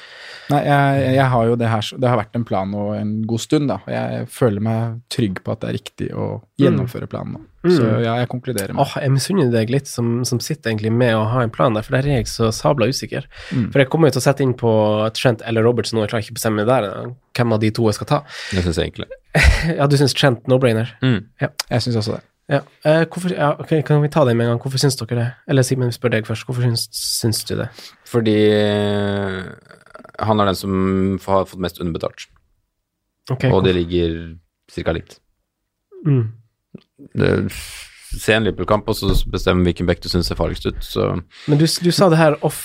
[SPEAKER 3] Nei, jeg, jeg har jo det her så- Det har vært en plan nå en god stund, da. Jeg føler meg trygg på at det er riktig å gjennomføre planen nå. Så ja, jeg konkluderer
[SPEAKER 2] Mm.
[SPEAKER 3] med
[SPEAKER 2] Åh, jeg misunner deg litt som, som sitter egentlig med å ha en plan der, for der er jeg så sabla usikker.
[SPEAKER 1] Mm.
[SPEAKER 2] For jeg kommer jo til å sette inn på Trent eller Robertson, og jeg klarer ikke å bestemme meg der eh, hvem av de to jeg skal ta.
[SPEAKER 1] Det syns jeg egentlig.
[SPEAKER 2] Ja, du syns Trent no-brainer?
[SPEAKER 1] Mm.
[SPEAKER 3] Jeg syns også det.
[SPEAKER 2] Ja. Eh, hvorfor, ja, ok, kan vi ta det med en gang? Hvorfor syns dere det? Eller Simen, vi spør deg først. Hvorfor syns, syns du det?
[SPEAKER 1] Fordi eh, han er den som f- har fått mest underbetalt,
[SPEAKER 2] Ok,
[SPEAKER 1] og det ligger ca. likt.
[SPEAKER 2] Mm.
[SPEAKER 1] Det- Se en Liverpool-kamp, og så bestemmer hvilken bekk du syns ser farligst ut. Så
[SPEAKER 2] Men du, du sa det her off,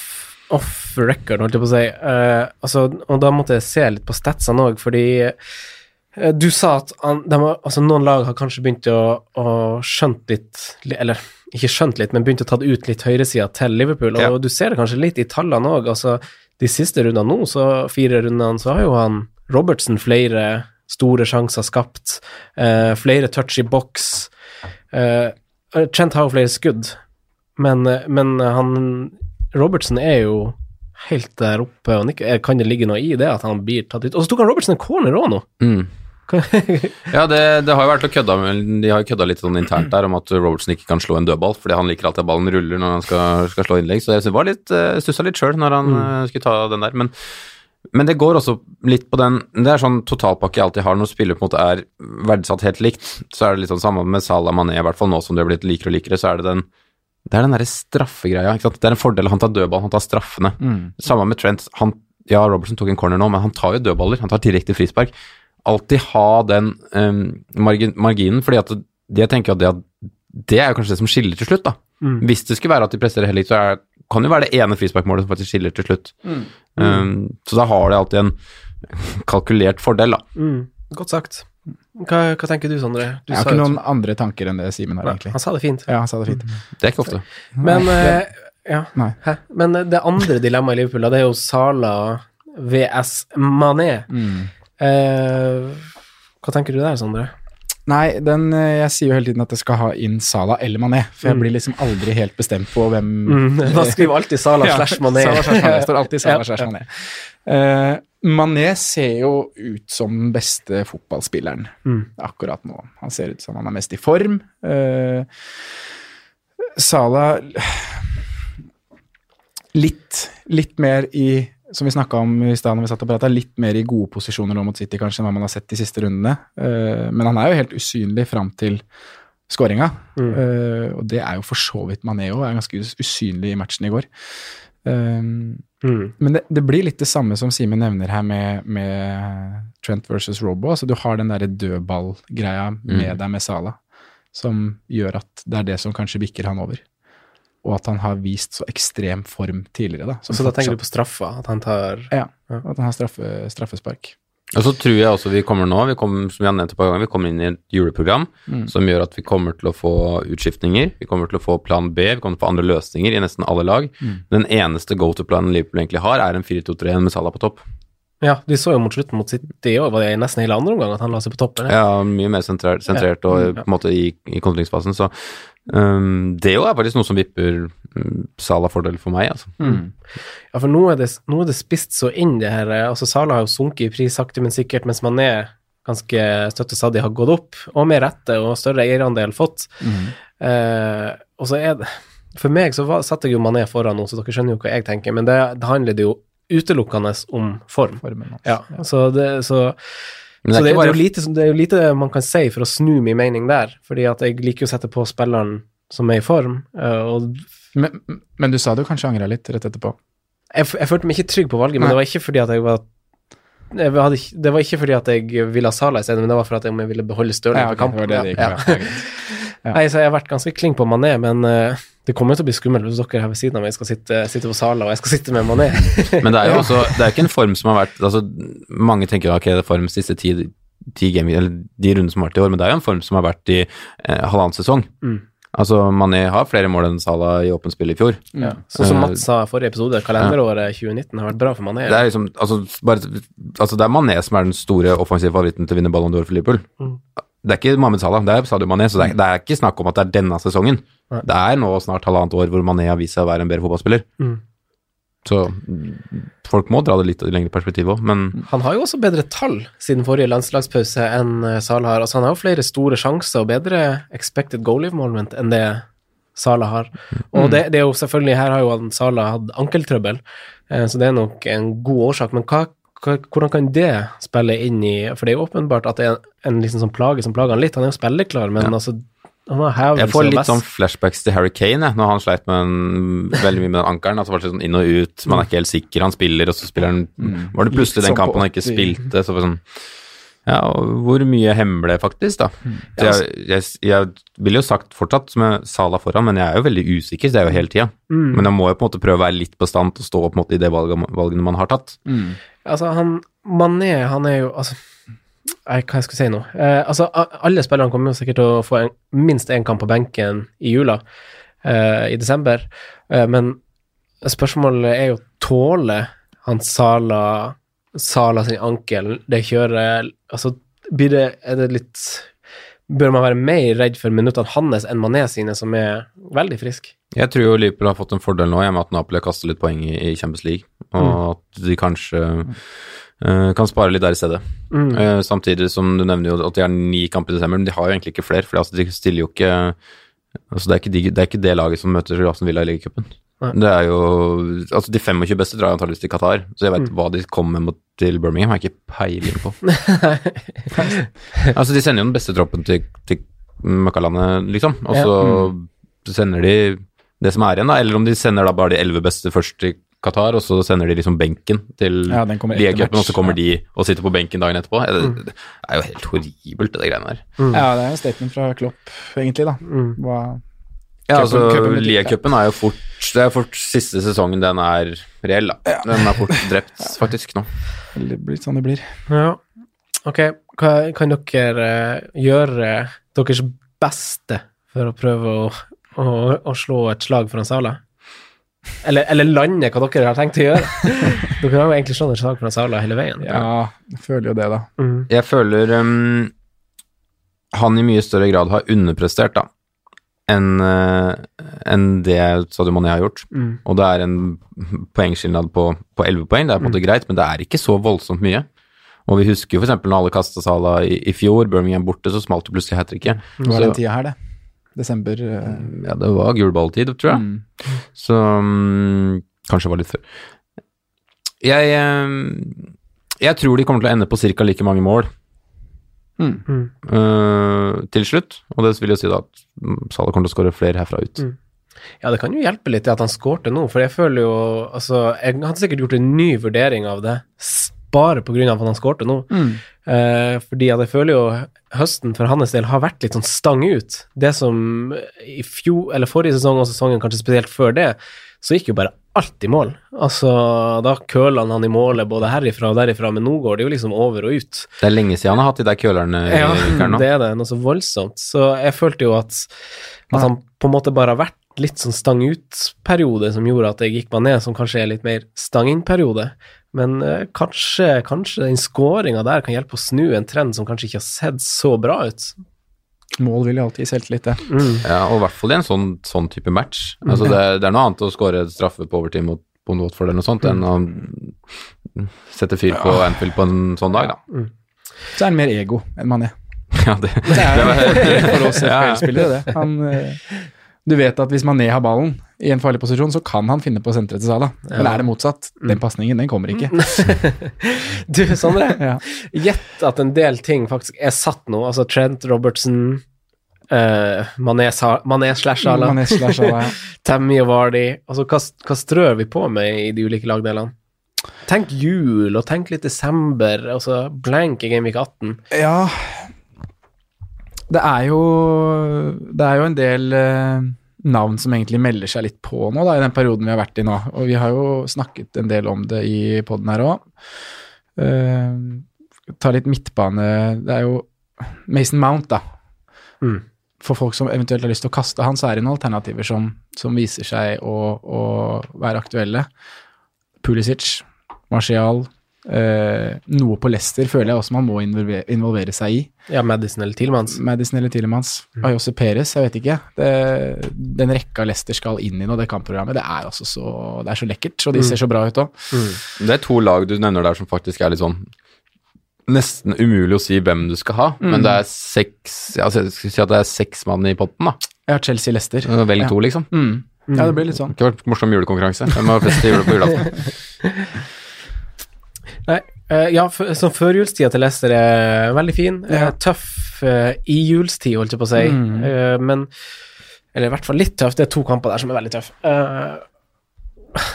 [SPEAKER 2] off record, holdt jeg på å si. Eh, altså, og da måtte jeg se litt på statsene òg, fordi eh, du sa at an, de, har- altså, noen lag har kanskje begynt å, å skjønt litt li- Eller ikke skjønt litt, men begynt å ta det ut litt høyresida til Liverpool. Og
[SPEAKER 1] Ja.
[SPEAKER 2] du ser det kanskje litt i tallene òg. Altså, de siste rundene nå, så fire rundene, så har jo han Robertsen flere store sjanser skapt. eh, flere touch i boks. Eh, Trent har jo flere skudd, men, eh, men han Robertsen er jo helt der oppe, og nikker. Eh, kan det ligge noe i det at han blir tatt ut? Og så tok han Robertsen en corner òg nå!
[SPEAKER 1] mm. Ja, det, det har jo vært å kødda med De har jo kødda litt sånn internt der om at Robertson ikke kan slå en dødball, fordi han liker alltid at ballen ruller når han skal, skal slå innlegg. Så jeg synes det var litt uh, stussa litt sjøl når han eh, skulle ta den der. Men, men det går også litt på den Det er sånn totalpakke jeg alltid har når spillere på en måte er verdsatt helt likt. Så er det litt sånn samme med Salah Mané, i hvert fall nå som det har blitt likere og likere, så er det den det er den derre straffegreia. ikke sant? Det er en fordel. Han tar dødball, han tar straffene.
[SPEAKER 3] Mm.
[SPEAKER 1] Samme med Trent. Han, ja, Robertson tok en corner nå, men han tar jo dødballer. Han tar direkte frispark. Alltid ha den em, margin, marginen, fordi at det- jeg tenker at det, at det er jo kanskje det som skiller til slutt, da. Hvis det skulle være at de presterer helt likt, så er, kan det jo være det ene frisparkmålet som faktisk skiller til slutt. Em, så da har de alltid en kalkulert fordel, da.
[SPEAKER 2] Mm. Godt sagt. Hva, hva tenker du, Sondre? Du
[SPEAKER 3] Jeg har
[SPEAKER 2] sa
[SPEAKER 3] ikke
[SPEAKER 2] jo-
[SPEAKER 3] noen andre tanker enn det Simen har,
[SPEAKER 2] Nei,
[SPEAKER 3] egentlig.
[SPEAKER 2] Han sa det Mm. fint.
[SPEAKER 3] Ja, han sa det fint.
[SPEAKER 1] Det er ikke ofte.
[SPEAKER 2] Men, eh, ja.
[SPEAKER 3] Nei.
[SPEAKER 2] Hæ? Men eh, det andre dilemmaet i Liverpool, da, det er jo Sala VS Mané.
[SPEAKER 3] Mm.
[SPEAKER 2] Eh, hva tenker du der, Sondre?
[SPEAKER 3] Nei, den, eh, jeg sier jo hele tiden at jeg skal ha inn Salah eller Mané, for jeg
[SPEAKER 2] Mm.
[SPEAKER 3] blir liksom aldri helt bestemt på hvem
[SPEAKER 2] Da skriver alltid Sala
[SPEAKER 3] Mm. Ja,
[SPEAKER 2] slash Mané.
[SPEAKER 3] Salah slash Mané. Står alltid Salah
[SPEAKER 2] Ja.
[SPEAKER 3] slash Mané. Eh, Mané ser jo ut som den beste fotballspilleren
[SPEAKER 2] Mm.
[SPEAKER 3] akkurat nå. Han ser ut som han er mest i form. Eh, Salah litt, litt mer i som vi snakka om i stad når vi satt og prata, litt mer i gode posisjoner nå mot City kanskje enn hva man har sett de siste rundene. Eh, Men han er jo helt usynlig fram til skåringa.
[SPEAKER 2] Mm.
[SPEAKER 3] Eh, og det er jo for så vidt Mané òg, er ganske us- usynlig i matchen i går. Eh,
[SPEAKER 2] Mm.
[SPEAKER 3] men det, det blir litt det samme som Simen nevner her med, med Trent versus Robo. Altså du har den derre dødballgreia med
[SPEAKER 1] Mm.
[SPEAKER 3] deg med Sala, som gjør at det er det som kanskje bikker han over. Og at han har vist så ekstrem form tidligere, da.
[SPEAKER 2] Så da tenker du på straffa, at han tar
[SPEAKER 3] Ja, og at han har straffe, straffespark.
[SPEAKER 1] Og så tror jeg også vi kommer nå, vi kommer, som jeg har nevnt et par ganger, vi kommer inn i et juleprogram
[SPEAKER 3] Mm.
[SPEAKER 1] som gjør at vi kommer til å få utskiftninger, vi kommer til å få plan B, vi kommer til å få andre løsninger i nesten alle lag.
[SPEAKER 3] Mm.
[SPEAKER 1] Den eneste go-to-planen Liverpool egentlig har, er en 4-2-3 med Salah på topp.
[SPEAKER 2] Ja, de så jo mot slutten mot City i år, var det nesten hele andre omgang at han la seg på toppen? eller?
[SPEAKER 1] Ja, mye mer sentrert, sentrert og
[SPEAKER 2] Ja.
[SPEAKER 1] på en måte i, i kontringsfasen, så øhm, det jo er faktisk noe som vipper øhm, Salah fordel for meg, altså.
[SPEAKER 3] Mm.
[SPEAKER 2] Ja, for nå er, det, nå er det spist så inn, det her. Altså, Sala har jo sunket i pris sakte, men sikkert, mens Mané ganske støtt og stadig har gått opp, og med rette og større eierandel fått.
[SPEAKER 3] Mm.
[SPEAKER 2] Eh, og så er det For meg så var, satte jeg jo Mané foran nå, så dere skjønner jo hva jeg tenker, men det, det handler det jo utelukkende om form.
[SPEAKER 3] Formen hans.
[SPEAKER 2] Ja, så det, så,
[SPEAKER 1] Men det er
[SPEAKER 2] så det, det, er
[SPEAKER 1] ikke
[SPEAKER 2] jo
[SPEAKER 1] bare
[SPEAKER 2] lite, som- det er jo lite man kan si for å snu min mening der, fordi at jeg liker jo å sette på spilleren som er i form, eh, og
[SPEAKER 3] Men, men du sa du kanskje angra litt rett etterpå.
[SPEAKER 2] jeg, f- jeg følte meg ikke trygg på valget, men
[SPEAKER 3] Nei.
[SPEAKER 2] det var ikke fordi at jeg var jeg hadde, ikke- Det var ikke fordi at jeg ville ha Sala i stedet, men det var for at jeg ville beholde Stirling
[SPEAKER 3] Ja,
[SPEAKER 2] på
[SPEAKER 3] ok,
[SPEAKER 2] kampen.
[SPEAKER 3] det var det det gikk
[SPEAKER 2] Ja.
[SPEAKER 3] på, ja, greit. ja.
[SPEAKER 2] Nei, så jeg har vært ganske klink på Mané, men eh, det kommer jo til å bli skummelt hvis dere her ved siden av meg skal sitte, sitte på Sala, og jeg skal sitte med Mané.
[SPEAKER 1] Men det er jo også, det er ikke en form som har vært altså, Mange tenker ok, det er form siste ti, ti game, eller de rundene som har vært i år, men det er jo en form som har vært i eh, halvannen sesong.
[SPEAKER 2] Mm.
[SPEAKER 1] Altså, Mané har flere mål enn Salah i åpent spill i fjor.
[SPEAKER 2] Ja. Sånn som Mats sa i forrige episode, kalenderåret 2019 har vært bra for Mané.
[SPEAKER 1] Det er liksom, altså, bare, altså, det er Mané som er den store offensive favoritten til å vinne Ballon d'Or for Liverpool.
[SPEAKER 2] Mm.
[SPEAKER 1] Det er ikke Mohammed Salah, det er Sadio Mané, så det er, det er ikke snakk om at det er denne sesongen.
[SPEAKER 2] Nei.
[SPEAKER 1] Det er nå snart halvannet år hvor Mané har vist seg å være en bedre fotballspiller.
[SPEAKER 2] Mm.
[SPEAKER 1] Så mm, folk må dra det litt i lengre perspektiv òg, men
[SPEAKER 2] Han har jo også bedre tall siden forrige landslagspause enn eh, Sala har. Altså, han har jo flere store sjanser og bedre expected goal involvement enn det Sala har.
[SPEAKER 1] Mm.
[SPEAKER 2] Og det, det er jo selvfølgelig, her har jo han Sala hatt ankeltrøbbel, eh, så det er nok en god årsak. Men hva, hva, hvordan kan det spille inn i For det er jo åpenbart at det er en, en liksom sånn plage som plager han litt. Han er jo spilleklar, men altså han har hevelse
[SPEAKER 1] Jeg får
[SPEAKER 2] og
[SPEAKER 1] litt
[SPEAKER 2] best.
[SPEAKER 1] sånn flashbacks til Harry Kane, jeg, når han sleit med en, veldig mye med den ankelen. Altså, var det sånn inn og ut, man er ikke helt sikker, han spiller, og så spiller han
[SPEAKER 3] Mm.
[SPEAKER 1] Var det plutselig
[SPEAKER 3] Litt
[SPEAKER 1] den
[SPEAKER 3] sånn på
[SPEAKER 1] kampen han ikke
[SPEAKER 3] 80.
[SPEAKER 1] spilte, så var det sånn Ja, og hvor mye hemmer det faktisk, da?
[SPEAKER 3] Mm.
[SPEAKER 1] Så jeg, jeg, jeg ville jo sagt fortsatt med Sala foran, men jeg er jo veldig usikker, det er jo hele tida.
[SPEAKER 2] Mm.
[SPEAKER 1] Men jeg må jo på en måte prøve å være litt bastant og stå på en måte i de valgene, valgene man har tatt.
[SPEAKER 3] Mm.
[SPEAKER 2] Altså, han Mané, han er jo Altså, nei, hva jeg skal si nå? Eh, altså, a- alle spillerne kommer jo sikkert til å få en, minst én kamp på benken i jula, eh, i desember, eh, men spørsmålet er jo tåler han Sala Sala sin ankel, det kjøret Altså, blir det Er det litt Bør man være mer redd for minuttene hans enn Mané sine, som er veldig frisk?
[SPEAKER 1] Jeg tror jo Liverpool har fått en fordel nå, i og med at Napoli har kastet litt poeng i, i Champions League, og
[SPEAKER 2] Mm.
[SPEAKER 1] at de kanskje eh, kan spare litt der i stedet.
[SPEAKER 2] Mm.
[SPEAKER 1] Eh, samtidig som du nevner jo at de har ni kamper i desember, men de har jo egentlig ikke flere. For altså, de stiller jo ikke altså, det, er ikke de, det er ikke det laget som møter Aston Villa i ligacupen.
[SPEAKER 2] Nei.
[SPEAKER 1] Det er jo Altså, de 25 beste drar antakeligvis til Qatar, så jeg
[SPEAKER 2] Mm.
[SPEAKER 1] veit hva de kommer med mot- til Birmingham, har jeg ikke peiling på. altså, de sender jo den beste troppen til, til møkkalandet, liksom, og
[SPEAKER 2] Ja. Mm.
[SPEAKER 1] så sender de det som er igjen, da, eller om de sender da bare de 11 beste først til Qatar, og så sender de liksom benken til
[SPEAKER 3] Ja, den kommer etter
[SPEAKER 1] Liacupen,
[SPEAKER 3] match.
[SPEAKER 1] og så kommer
[SPEAKER 3] Ja.
[SPEAKER 1] de og sitter på benken dagen etterpå. Er Det, det er jo helt horribelt, det der greiene der.
[SPEAKER 3] Mm. Ja, det er en statement fra Klopp, egentlig, da.
[SPEAKER 2] Mm.
[SPEAKER 3] Hva,
[SPEAKER 1] Ja,
[SPEAKER 3] Cupen-
[SPEAKER 1] altså,
[SPEAKER 3] cupen betyr-
[SPEAKER 1] Liacupen er jo fort Det er fort siste sesongen den er reell, da. Den er fort drept, faktisk, nå.
[SPEAKER 3] det blir sånn det blir.
[SPEAKER 2] Ja. Ok, hva kan dere eh, gjøre deres beste for å prøve å, å, å slå et slag foran Sala? Eller, eller lande hva dere har tenkt å gjøre? dere har jo egentlig slått et slag foran Sala hele veien.
[SPEAKER 3] Ja, jeg føler jo det, da.
[SPEAKER 2] Mm.
[SPEAKER 1] Jeg føler ehm, han i mye større grad har underprestert, da, enn eh, enn det Sadio Mané har gjort.
[SPEAKER 2] Mm.
[SPEAKER 1] Og det er en poengskillnad på, på 11 poeng, det er på en
[SPEAKER 3] Mm.
[SPEAKER 1] måte greit, men det er ikke så voldsomt mye. Og vi husker jo f.eks. når alle kasta Sala i, i fjor, Birmingham borte, så smalt det plutselig hat tricket.
[SPEAKER 3] Det var
[SPEAKER 1] Så-
[SPEAKER 3] den tida her, det. Desember. eh,
[SPEAKER 1] Ja, det var gul balltid, tror jeg.
[SPEAKER 3] mm.
[SPEAKER 1] Så mm, kanskje det var litt før. Jeg, eh, jeg tror de kommer til å ende på ca. like mange mål
[SPEAKER 3] Mm.
[SPEAKER 2] Mm.
[SPEAKER 1] eh, til slutt, og det vil jo si da at mm, Salah kommer til å skåre flere herfra ut.
[SPEAKER 2] Mm. Ja, det kan jo hjelpe litt det at han skårte nå, for jeg føler jo Altså, jeg hadde sikkert gjort en ny vurdering av det, s- bare på grunn av at han skårte nå. Eh, fordi at jeg føler jo høsten for hans del har vært litt sånn stang ut. Det som i fjor, eller forrige sesong og sesongen kanskje spesielt før det, så gikk jo bare alt i mål. Altså, da køla han han i målet både herifra og derifra, men nå går det jo liksom over og ut.
[SPEAKER 1] Det er lenge siden han har hatt de der kølerne.
[SPEAKER 2] Ja,
[SPEAKER 1] Rikard, eh, nå.
[SPEAKER 2] det er det. Noe så voldsomt. Så jeg følte jo at, at han på en måte bare har vært litt sånn stang ut-periode som gjorde at jeg gikk meg ned, som kanskje er litt mer stang inn-periode. Men eh, kanskje, kanskje den skåringa der kan hjelpe å snu en trend som kanskje ikke har sett så bra ut.
[SPEAKER 3] Mål vil jo alltid gi selvtillit, det.
[SPEAKER 2] Mm.
[SPEAKER 1] Ja, og i hvert fall i en sånn, sånn type match. Altså, det, er- det er noe annet å skåre straffe på overtid mot mot Watford eller noe sånt, enn
[SPEAKER 2] Mm.
[SPEAKER 1] å sette fyr på Anfield på en sånn dag, da.
[SPEAKER 3] Så er han mer ego enn Mané.
[SPEAKER 1] Ja, det,
[SPEAKER 3] Det er jo en fordel for oss
[SPEAKER 1] Ja, ja.
[SPEAKER 3] FPL-spillere, det. Han, eh, du vet at hvis Mané har ballen i en farlig posisjon, så kan han finne på senteret til Salah. Eller er det motsatt?
[SPEAKER 1] Mm.
[SPEAKER 3] Den pasningen, den kommer ikke.
[SPEAKER 2] Du, Sondre,
[SPEAKER 3] Ja.
[SPEAKER 2] gjett at en del ting faktisk er satt nå. Altså Trent Robertson, uh, Mané Sa- Mané slash Salah.
[SPEAKER 3] Mané slash Salah, ja.
[SPEAKER 2] Tammy og Vardy. Altså, hva, hva strør vi på med i de ulike lagdelene? Tenk jul, og tenk litt desember, og så blank i Gameweek 18.
[SPEAKER 3] Ja Det er jo Det er jo en del eh, navn som egentlig melder seg litt på nå, da, i den perioden vi har vært i nå. Og vi har jo snakket en del om det i poden her òg. ta litt midtbane Det er jo Mason Mount, da.
[SPEAKER 2] Mm.
[SPEAKER 3] For folk som eventuelt har lyst til å kaste han, så er det noen alternativer som, som viser seg å, å være aktuelle. Pulisic, Martial eh, Noe på Leicester føler jeg også man må involvere, involvere seg i.
[SPEAKER 2] Ja, Madison eller Tilmans.
[SPEAKER 3] Madison eller Tillemans.
[SPEAKER 2] Mm.
[SPEAKER 3] Ayose Perez, jeg vet ikke. Det, den rekka Leicester skal inn i nå, det kampprogrammet, det er altså så, det er så lekkert.
[SPEAKER 2] Mm.
[SPEAKER 3] Og de ser så bra ut òg.
[SPEAKER 1] det er to lag du nevner der som faktisk er litt sånn Nesten umulig å si hvem du skal ha, men det er seks altså, Jeg skulle si at det er seks mann i potten, da.
[SPEAKER 3] Jeg har Chelsea-Leicester.
[SPEAKER 1] Velg to, liksom. Det
[SPEAKER 3] Mm. Ja, det blir litt sånn.
[SPEAKER 1] kunne vært en morsom julekonkurranse. Hvem har flest jule på julaften?
[SPEAKER 2] Nei, eh, ja, f så førjulstida til Leicester er veldig fin. Eh,
[SPEAKER 3] Ja.
[SPEAKER 2] Tøff eh, i julstid, holdt jeg på å si.
[SPEAKER 3] Mm.
[SPEAKER 2] Eh, men Eller i hvert fall litt tøff. Det er to kamper der som er veldig tøffe. Eh,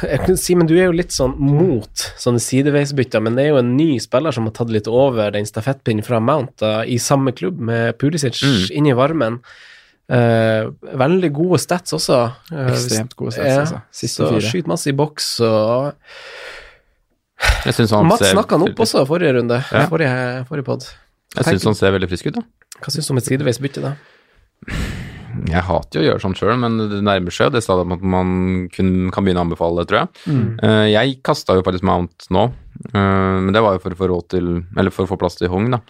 [SPEAKER 2] jeg kunne si, men du er jo litt sånn mot sånne sideveisbytter, men det er jo en ny spiller som har tatt litt over den stafettpinnen fra Mount da, i samme klubb med Pulisic
[SPEAKER 1] Mm.
[SPEAKER 2] inn i varmen. Eh, veldig gode stats også. Eh, hvis-
[SPEAKER 3] Ekstremt gode stats,
[SPEAKER 2] Ja,
[SPEAKER 3] altså. Siste
[SPEAKER 2] så
[SPEAKER 3] fire.
[SPEAKER 2] skyter masse i boks og
[SPEAKER 1] Jeg syns han,
[SPEAKER 2] Mats
[SPEAKER 1] ser-
[SPEAKER 2] snakka han opp også forrige runde.
[SPEAKER 1] Ja.
[SPEAKER 2] Forrige, forrige pod.
[SPEAKER 1] jeg synes han ser veldig frisk ut, da.
[SPEAKER 2] Hva syns du om et sideveis bytte, da?
[SPEAKER 1] Jeg hater jo å gjøre sånn sjøl, men det nærmer seg jo det stadiet at man kun kan begynne å anbefale det, tror jeg.
[SPEAKER 2] Mm.
[SPEAKER 1] Eh, jeg kasta jo faktisk Mount nå, eh, men det var jo for å få råd til Eller for å få plass til Hong, da.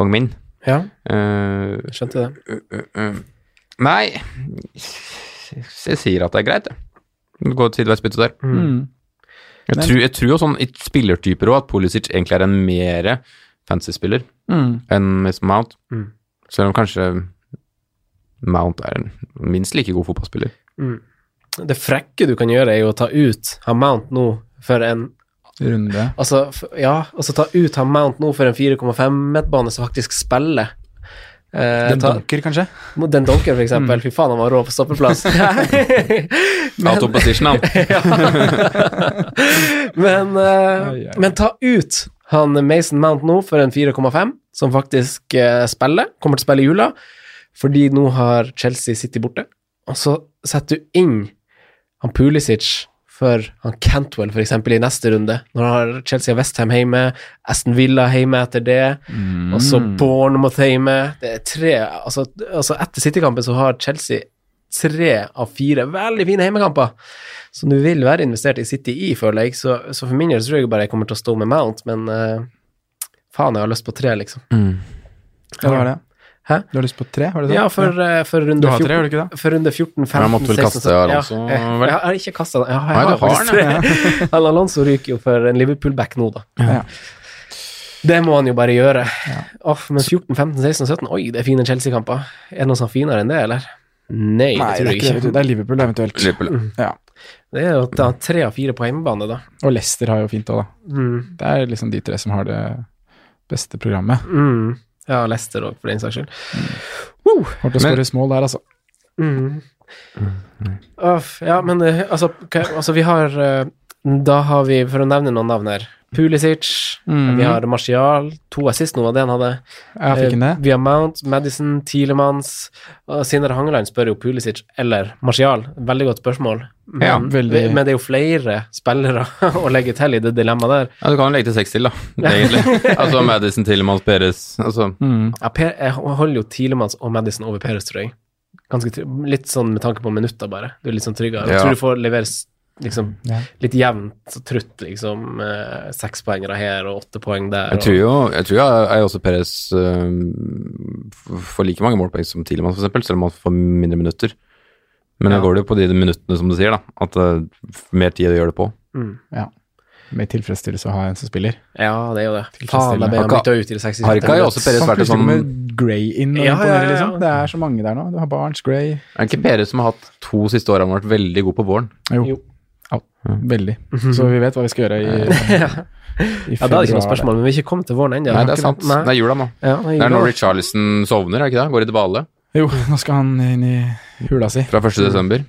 [SPEAKER 1] Hong Min.
[SPEAKER 2] Ja,
[SPEAKER 1] Eh,
[SPEAKER 2] jeg skjønte
[SPEAKER 1] ø,
[SPEAKER 2] det.
[SPEAKER 1] ø, ø. Nei, jeg sier at det er greit, jeg. Det går et sideveisbytte der.
[SPEAKER 3] Mm.
[SPEAKER 1] Jeg
[SPEAKER 3] Men-
[SPEAKER 1] tror, jeg tror jo sånn i spillertyper òg at Pulisic egentlig er en mere fancy-spiller
[SPEAKER 3] Mm.
[SPEAKER 1] enn Miss Mount.
[SPEAKER 2] Mm.
[SPEAKER 1] Selv om kanskje Mount er en minst like god fotballspiller.
[SPEAKER 2] Mm. Det frekke du kan gjøre, er jo å ta ut han Mount nå for en
[SPEAKER 3] Runde.
[SPEAKER 2] Altså, f- ja, altså ta ut han Mount nå for en 4,5-midtbane som faktisk spiller. Eh,
[SPEAKER 3] Den
[SPEAKER 2] ta,
[SPEAKER 3] dunker, kanskje?
[SPEAKER 2] mot den Donker, for eksempel. Fy faen, han var rå på stoppeplass. Men-
[SPEAKER 1] Out of position, han.
[SPEAKER 2] Men, eh,
[SPEAKER 3] Ai, ai.
[SPEAKER 2] men ta ut han Mason Mount nå for en 4,5, som faktisk eh, spiller, kommer til å spille i jula, fordi nå har Chelsea City borte. Og så setter du inn han Pulisic for han Cantwell, for eksempel, i neste runde. Når han har Chelsea og Westham hjemme, Aston Villa hjemme etter det,
[SPEAKER 3] Mm.
[SPEAKER 2] og så Bournemouth hjemme. Det er tre Altså, altså etter City-kampen så har Chelsea tre av fire veldig fine hjemmekamper som du vil være investert i City i, føler jeg. Så, så for min del så tror jeg bare jeg kommer til å stå med Mount, men eh, faen, jeg har lyst på tre, liksom.
[SPEAKER 3] Ja, det var det.
[SPEAKER 2] Hæ?
[SPEAKER 3] Du har lyst på tre? Var det sånn?
[SPEAKER 2] Ja, for, eh, for runde
[SPEAKER 3] Du har tre,
[SPEAKER 2] 14.
[SPEAKER 3] gjør du ikke det?
[SPEAKER 2] For runde 14, 15,
[SPEAKER 1] Ja, jeg måtte vel
[SPEAKER 2] 16,
[SPEAKER 1] kaste
[SPEAKER 2] 17.
[SPEAKER 1] Alonso,
[SPEAKER 2] Ja, jeg,
[SPEAKER 1] vel?
[SPEAKER 2] jeg har ikke kasta den. Ja, jeg
[SPEAKER 1] Nei, du
[SPEAKER 2] har
[SPEAKER 1] har
[SPEAKER 2] faktisk tre. Han Alonso ryker jo for en Liverpool-back nå, da.
[SPEAKER 3] Ja.
[SPEAKER 2] Det må han jo bare gjøre. Åh, men 14, 15, 16, 17 Oi, det er fine Chelsea-kamper. Er det noe som er finere enn det, eller? Nei,
[SPEAKER 3] Nei,
[SPEAKER 2] det tror jeg
[SPEAKER 3] det er
[SPEAKER 2] ikke.
[SPEAKER 3] ikke det. Det er Liverpool eventuelt.
[SPEAKER 1] Liverpool.
[SPEAKER 3] Ja.
[SPEAKER 2] Det er jo at det er tre av fire på hjemmebane, da.
[SPEAKER 3] Og Leicester har jo fint òg, da.
[SPEAKER 2] Mm.
[SPEAKER 3] Det er liksom de tre som har det beste programmet.
[SPEAKER 2] Mm. Ja, Leicester òg, for den saks skyld. Wow.
[SPEAKER 3] Kommer til å
[SPEAKER 1] Men-
[SPEAKER 3] skåre mål der, altså.
[SPEAKER 2] Mm. Uff, ja, men eh, altså, hva- altså Vi har eh, Da har vi, for å nevne noen navn her Pulisic,
[SPEAKER 3] Mhm.
[SPEAKER 2] vi har Martial, to assist nå, var det han hadde.
[SPEAKER 3] Jeg fikk en det.
[SPEAKER 2] Eh, Vi har Mount, Madison, Tilemans. Og Sindre Hangeland spør jo Pulisic eller Martial. Veldig godt spørsmål. Men,
[SPEAKER 3] Ja, veldig.
[SPEAKER 2] men det er jo flere spillere å legge til i det dilemmaet der.
[SPEAKER 1] Ja, du kan jo legge til seks til, da, egentlig. altså Madison, Tillemanns, Peres Altså
[SPEAKER 3] Mm.
[SPEAKER 2] Ja, per, jeg holder jo Tilemans og Madison over Peres, tror jeg. Ganske try- litt sånn med tanke på minutter, bare. Du er litt sånn tryggere. Jeg
[SPEAKER 1] Ja.
[SPEAKER 2] tror du får levere s- liksom,
[SPEAKER 3] Ja.
[SPEAKER 2] litt jevnt og trutt, liksom. eh, Seks poengere her og åtte poeng der.
[SPEAKER 1] Jeg tror jo jeg, tror jeg er jo også Peres får like mange målpoeng som Tilemann, f.eks., selv om han får mindre minutter. Men da
[SPEAKER 2] Ja.
[SPEAKER 1] går det jo på de minuttene, som du sier, da. At det er mer tid å gjøre det på.
[SPEAKER 2] og, mm.
[SPEAKER 3] Med tilfredsstillelse å ha en som spiller.
[SPEAKER 2] Ja, det er jo det. Faen, da ble han
[SPEAKER 1] Har
[SPEAKER 2] bytta ut i det 60
[SPEAKER 1] har ikke jo også Per- Perez
[SPEAKER 3] Sånn
[SPEAKER 1] vært det
[SPEAKER 3] plutselig
[SPEAKER 1] sånn-
[SPEAKER 3] kommer Gray inn og
[SPEAKER 2] Ja,
[SPEAKER 3] inn
[SPEAKER 2] ja,
[SPEAKER 3] på dere,
[SPEAKER 2] ja, ja.
[SPEAKER 3] liksom. Det er så mange der nå. Du har Barents, Gray
[SPEAKER 1] Er det ikke Peres som har hatt to siste år han har vært veldig god på våren?
[SPEAKER 3] Jo.
[SPEAKER 2] Jo. Mm.
[SPEAKER 3] Au. Veldig. Så vi vet hva vi skal gjøre i, i
[SPEAKER 2] Ja, da er det ikke noe
[SPEAKER 3] februar.
[SPEAKER 2] spørsmål, men vi er ikke kommet til våren ennå.
[SPEAKER 1] Nei, det er sant. Det er jula nå.
[SPEAKER 2] Ja, det
[SPEAKER 1] Det er
[SPEAKER 2] er
[SPEAKER 1] når
[SPEAKER 2] jula.
[SPEAKER 1] Richarlison sovner, er det ikke det? Går i dvale
[SPEAKER 3] Jo, nå skal han inn i hula si.
[SPEAKER 1] fra 1. desember.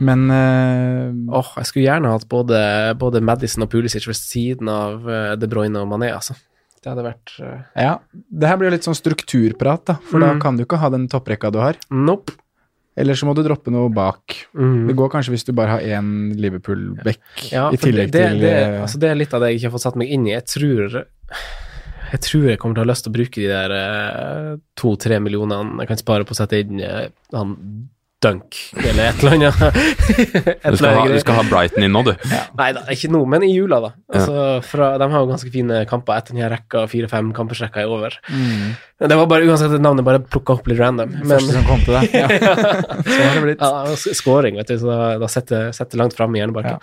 [SPEAKER 3] Men eh,
[SPEAKER 2] Åh, jeg skulle gjerne hatt både, både Madison og Pulisic ved siden av eh, De Bruyne og Mané, altså. Det hadde vært eh,
[SPEAKER 3] ja, det her blir jo litt sånn strukturprat, da. For da
[SPEAKER 2] Mm.
[SPEAKER 3] kan du ikke ha den topprekka du har.
[SPEAKER 2] Nope.
[SPEAKER 3] Eller så må du droppe noe bak. Det
[SPEAKER 2] Mm.
[SPEAKER 3] går kanskje hvis du bare har én Liverpool-back
[SPEAKER 2] Ja,
[SPEAKER 3] i
[SPEAKER 2] for
[SPEAKER 3] tillegg
[SPEAKER 2] det, det,
[SPEAKER 3] til
[SPEAKER 2] det,
[SPEAKER 3] eh,
[SPEAKER 2] altså, det er litt av det jeg ikke har fått satt meg inn i. Jeg tror jeg tror jeg kommer til å ha lyst til å bruke de der eh, to-tre millionene jeg kan spare på å sette inn eh, han Dunk, eller et eller annet. Et
[SPEAKER 1] Du
[SPEAKER 2] eller
[SPEAKER 1] skal,
[SPEAKER 2] annet
[SPEAKER 1] ha, du
[SPEAKER 2] greier.
[SPEAKER 1] skal ha Brighton inn nå, du.
[SPEAKER 2] Nei da, ikke nå, men i jula, da. Altså, fra, de har jo ganske fine kamper etter den her rekka, fire-fem kampersrekka er over.
[SPEAKER 3] mm,
[SPEAKER 2] Det var bare uansett et navn jeg bare plukka opp litt random.
[SPEAKER 3] Første
[SPEAKER 2] Men
[SPEAKER 3] som kom til deg. Ja. Sånn har det blitt.
[SPEAKER 2] ja, sk- scoring, vet du, så da, da setter setter langt fram i hjernebarken.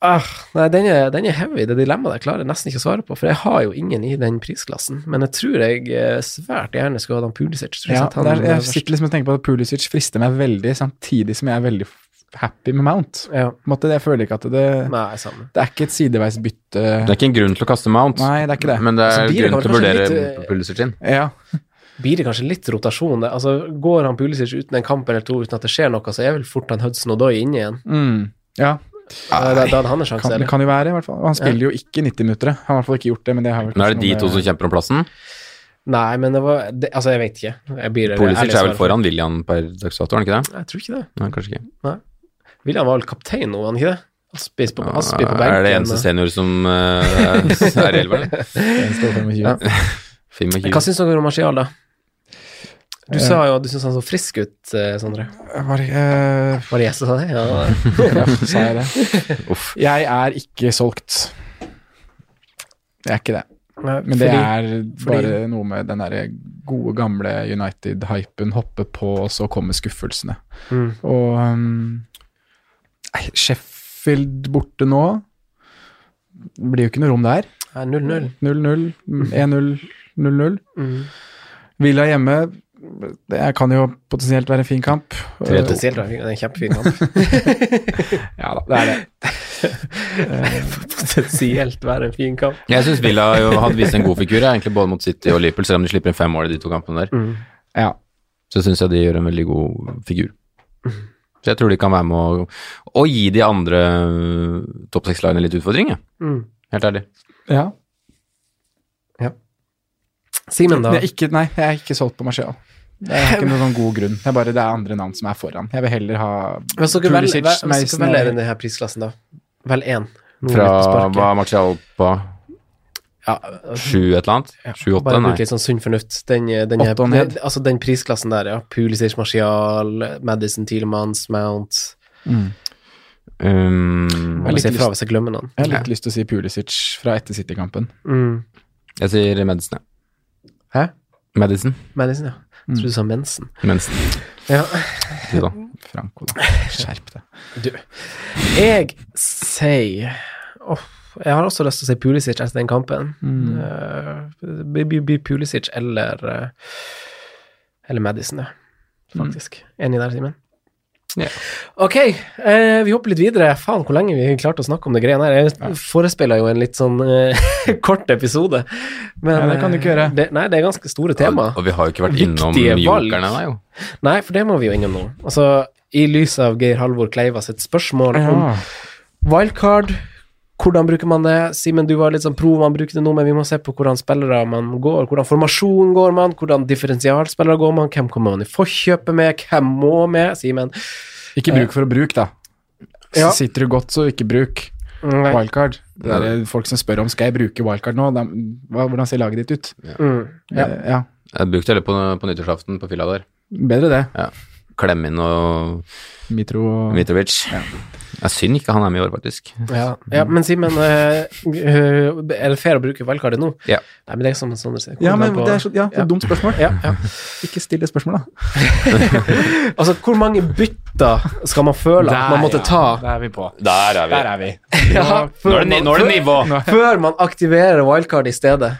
[SPEAKER 2] Ah, nei, den er, den er heavy, det dilemmaet der klarer jeg nesten ikke å svare på, for jeg har jo ingen i den prisklassen. Men jeg tror jeg eh, svært gjerne skulle hatt han Pulisic. Tror jeg
[SPEAKER 3] Ja,
[SPEAKER 2] sett han,
[SPEAKER 3] der,
[SPEAKER 2] eh,
[SPEAKER 3] jeg sitter liksom og tenker på at Pulisic frister meg veldig, samtidig som jeg er veldig happy med Mount.
[SPEAKER 2] verst. ja.
[SPEAKER 3] På en måte, jeg føler ikke at det,
[SPEAKER 2] Nei, samme.
[SPEAKER 3] det er ikke et sideveisbytte.
[SPEAKER 1] Det er ikke en grunn til å kaste Mount,
[SPEAKER 3] Nei, det er ikke det.
[SPEAKER 1] men det
[SPEAKER 2] Altså,
[SPEAKER 1] er
[SPEAKER 2] bilen
[SPEAKER 1] grunn
[SPEAKER 2] kan
[SPEAKER 1] til å
[SPEAKER 2] kanskje
[SPEAKER 1] vurdere
[SPEAKER 2] litt, eh,
[SPEAKER 1] Pulisic inn.
[SPEAKER 3] Ja,
[SPEAKER 2] Blir det kanskje litt rotasjon? Det? Altså, går han Pulisic uten en kamp eller to, uten at det skjer noe, så er vel fort han Hudson Odoi inne igjen. Eh,
[SPEAKER 3] mm, ja
[SPEAKER 2] Da, da, da hadde han en sjanse,
[SPEAKER 3] kan, det
[SPEAKER 2] eller?
[SPEAKER 3] kan jo være, i hvert fall. Og Han spiller jo ikke 90 minutter. Han har i hvert fall ikke gjort det, men det har
[SPEAKER 1] Nå
[SPEAKER 3] vel
[SPEAKER 1] er det
[SPEAKER 3] kanskje
[SPEAKER 1] de
[SPEAKER 3] noe
[SPEAKER 1] to som
[SPEAKER 3] med-
[SPEAKER 1] kjemper om plassen.
[SPEAKER 2] Nei, men det var det, Altså, jeg vet ikke. Jeg blir
[SPEAKER 1] Pulisic
[SPEAKER 2] ærlig
[SPEAKER 1] er vel
[SPEAKER 2] svar.
[SPEAKER 1] foran William per dags dato, er han ikke det?
[SPEAKER 2] Jeg tror ikke det.
[SPEAKER 1] Nei, kanskje ikke.
[SPEAKER 2] William var vel kaptein nå, var han ikke det? Aspi på, Aspi på benken.
[SPEAKER 1] er det eneste senior som eh, er i elveren?
[SPEAKER 3] en står eh, frem med
[SPEAKER 2] Ja.
[SPEAKER 3] 20.
[SPEAKER 1] 25.
[SPEAKER 2] Hva syns dere om Martial, da? Du
[SPEAKER 3] Eh.
[SPEAKER 2] sa jo at du syns han så frisk ut, eh, Sondre.
[SPEAKER 3] Var det, eh,
[SPEAKER 2] Var det jeg som sa det? Ja.
[SPEAKER 3] ja, sa jeg det?
[SPEAKER 1] Uff.
[SPEAKER 3] Jeg er ikke solgt. Jeg er ikke det. Men det er bare noe med den derre gode, gamle United-hypen. Hoppe på, og så kommer skuffelsene.
[SPEAKER 2] Mm.
[SPEAKER 3] Og um, nei, Sheffield borte nå Det blir jo ikke noe rom der.
[SPEAKER 2] Nei, 0-0.
[SPEAKER 3] 0-0, 1-0, 0-0.
[SPEAKER 2] Mm.
[SPEAKER 3] Villa hjemme det kan jo potensielt være en fin kamp.
[SPEAKER 1] Tre- to.
[SPEAKER 2] Potensielt var det en kjempefin kamp.
[SPEAKER 3] Ja da, det er det.
[SPEAKER 2] Potensielt være en fin kamp.
[SPEAKER 1] Jeg syns Villa jo hadde vist en god figur, jeg, egentlig både mot City og Liverpool, selv om de slipper inn fem mål i de to kampene der.
[SPEAKER 2] Mm.
[SPEAKER 3] Ja.
[SPEAKER 1] Så syns jeg de gjør en veldig god figur. Så jeg tror de kan være med å, å gi de andre eh, topp seks-lagene litt utfordring, jeg.
[SPEAKER 2] Mm.
[SPEAKER 1] Helt ærlig.
[SPEAKER 3] ja.
[SPEAKER 2] Simen, da?
[SPEAKER 3] Men jeg er ikke, nei, jeg er ikke solgt på Marcial. Det er ikke noen sånn god grunn. Det er bare det er andre navn som er foran. Jeg vil heller ha
[SPEAKER 2] Hvis dere velger
[SPEAKER 3] Pulisic,
[SPEAKER 2] hvis dere
[SPEAKER 3] Mason og-
[SPEAKER 2] velger i denne prisklassen, da? Velg én.
[SPEAKER 1] Fra
[SPEAKER 2] Noen Mm, litt på sparket.
[SPEAKER 1] hva er Martial på?
[SPEAKER 2] Ja,
[SPEAKER 1] Sju et eller annet? Sju-åtte?
[SPEAKER 2] Bare
[SPEAKER 1] Nei.
[SPEAKER 2] bruk litt sånn sunn fornuft. Den, den,
[SPEAKER 3] Åtte og ned.
[SPEAKER 2] altså den prisklassen der, ja. Pulisic, Martial, Madison, Tilemans, Mount
[SPEAKER 1] Um,
[SPEAKER 2] Jeg må
[SPEAKER 3] litt
[SPEAKER 2] si fra
[SPEAKER 3] lyst-
[SPEAKER 2] hvis jeg glemmer noen.
[SPEAKER 3] Jeg har litt lyst til å si Pulisic fra etter City-kampen.
[SPEAKER 2] Mm.
[SPEAKER 1] jeg sier Medicine.
[SPEAKER 2] Hæ?
[SPEAKER 1] Medicine.
[SPEAKER 2] Madison, ja.
[SPEAKER 3] Mm.
[SPEAKER 2] Jeg tror du sa mensen.
[SPEAKER 1] Mensen.
[SPEAKER 2] Ja.
[SPEAKER 1] Si da.
[SPEAKER 3] Franco, da. Skjerp deg.
[SPEAKER 2] Du. Jeg sier Åh, Jeg har også lyst til å si Pulisic etter den kampen.
[SPEAKER 3] Mm.
[SPEAKER 2] Eh, Det blir blir Pulisic
[SPEAKER 3] Mm.
[SPEAKER 2] eller eh, Eller Madison, ja. Faktisk. Enig der, Simen? Ok, eh, vi hopper litt videre. Faen, hvor lenge vi klarte å snakke om det greiene her. Jeg forespeiler jo en litt sånn eh, kort episode. Men,
[SPEAKER 3] Ja, det kan du ikke gjøre.
[SPEAKER 2] eh, Det, nei, det er ganske store tema.
[SPEAKER 1] Og vi har jo ikke vært innom
[SPEAKER 2] Viktige valg.
[SPEAKER 1] jokerne, nei jo.
[SPEAKER 2] Nei, for det må vi jo innom nå. Altså, i lys av Geir Halvor Kleiva sitt spørsmål om wildcard, hvordan bruker man det? Simen, du var litt sånn pro, man bruker det nå, men vi må se på hvordan spillere man går, hvordan formasjon går man, hvordan differensialspillere går man, hvem kommer man i forkjøpet med, hvem må med, Simen?
[SPEAKER 3] Ikke bruk for å bruke, da.
[SPEAKER 2] Ja.
[SPEAKER 3] Sitter du godt, så ikke bruk
[SPEAKER 2] Nei.
[SPEAKER 3] wildcard. Det
[SPEAKER 1] Det
[SPEAKER 3] er folk som spør om skal jeg bruke wildcard nå. Da, hva, hvordan ser laget ditt ut?
[SPEAKER 2] Mm.
[SPEAKER 3] Ja. ja.
[SPEAKER 1] Jeg brukte det på, på nyttårsaften på fylla der.
[SPEAKER 3] Bedre det.
[SPEAKER 1] Klemme inn og
[SPEAKER 3] Mitro og
[SPEAKER 1] Mitrovic. Jeg synd ikke han er med i år, faktisk.
[SPEAKER 2] Ja, ja, men Simen, eh, eh, er det fair å bruke valgkartet nå?
[SPEAKER 1] Ja.
[SPEAKER 2] Nei, men det er ikke som Sondre sier.
[SPEAKER 3] ja, men
[SPEAKER 2] Kommer
[SPEAKER 3] det
[SPEAKER 2] an
[SPEAKER 3] er så, ja, det er
[SPEAKER 2] Ja.
[SPEAKER 3] et dumt spørsmål.
[SPEAKER 2] Ja, ja.
[SPEAKER 3] Ikke still det spørsmålet, da.
[SPEAKER 2] Altså, hvor mange bytter skal man føle at man måtte ta
[SPEAKER 3] Der er vi på.
[SPEAKER 1] Der er
[SPEAKER 3] Der er vi.
[SPEAKER 2] Ja,
[SPEAKER 1] Nå
[SPEAKER 2] før,
[SPEAKER 1] er det, ni-
[SPEAKER 2] man,
[SPEAKER 1] nå er det nivå!
[SPEAKER 2] før man aktiverer wildcard i stedet?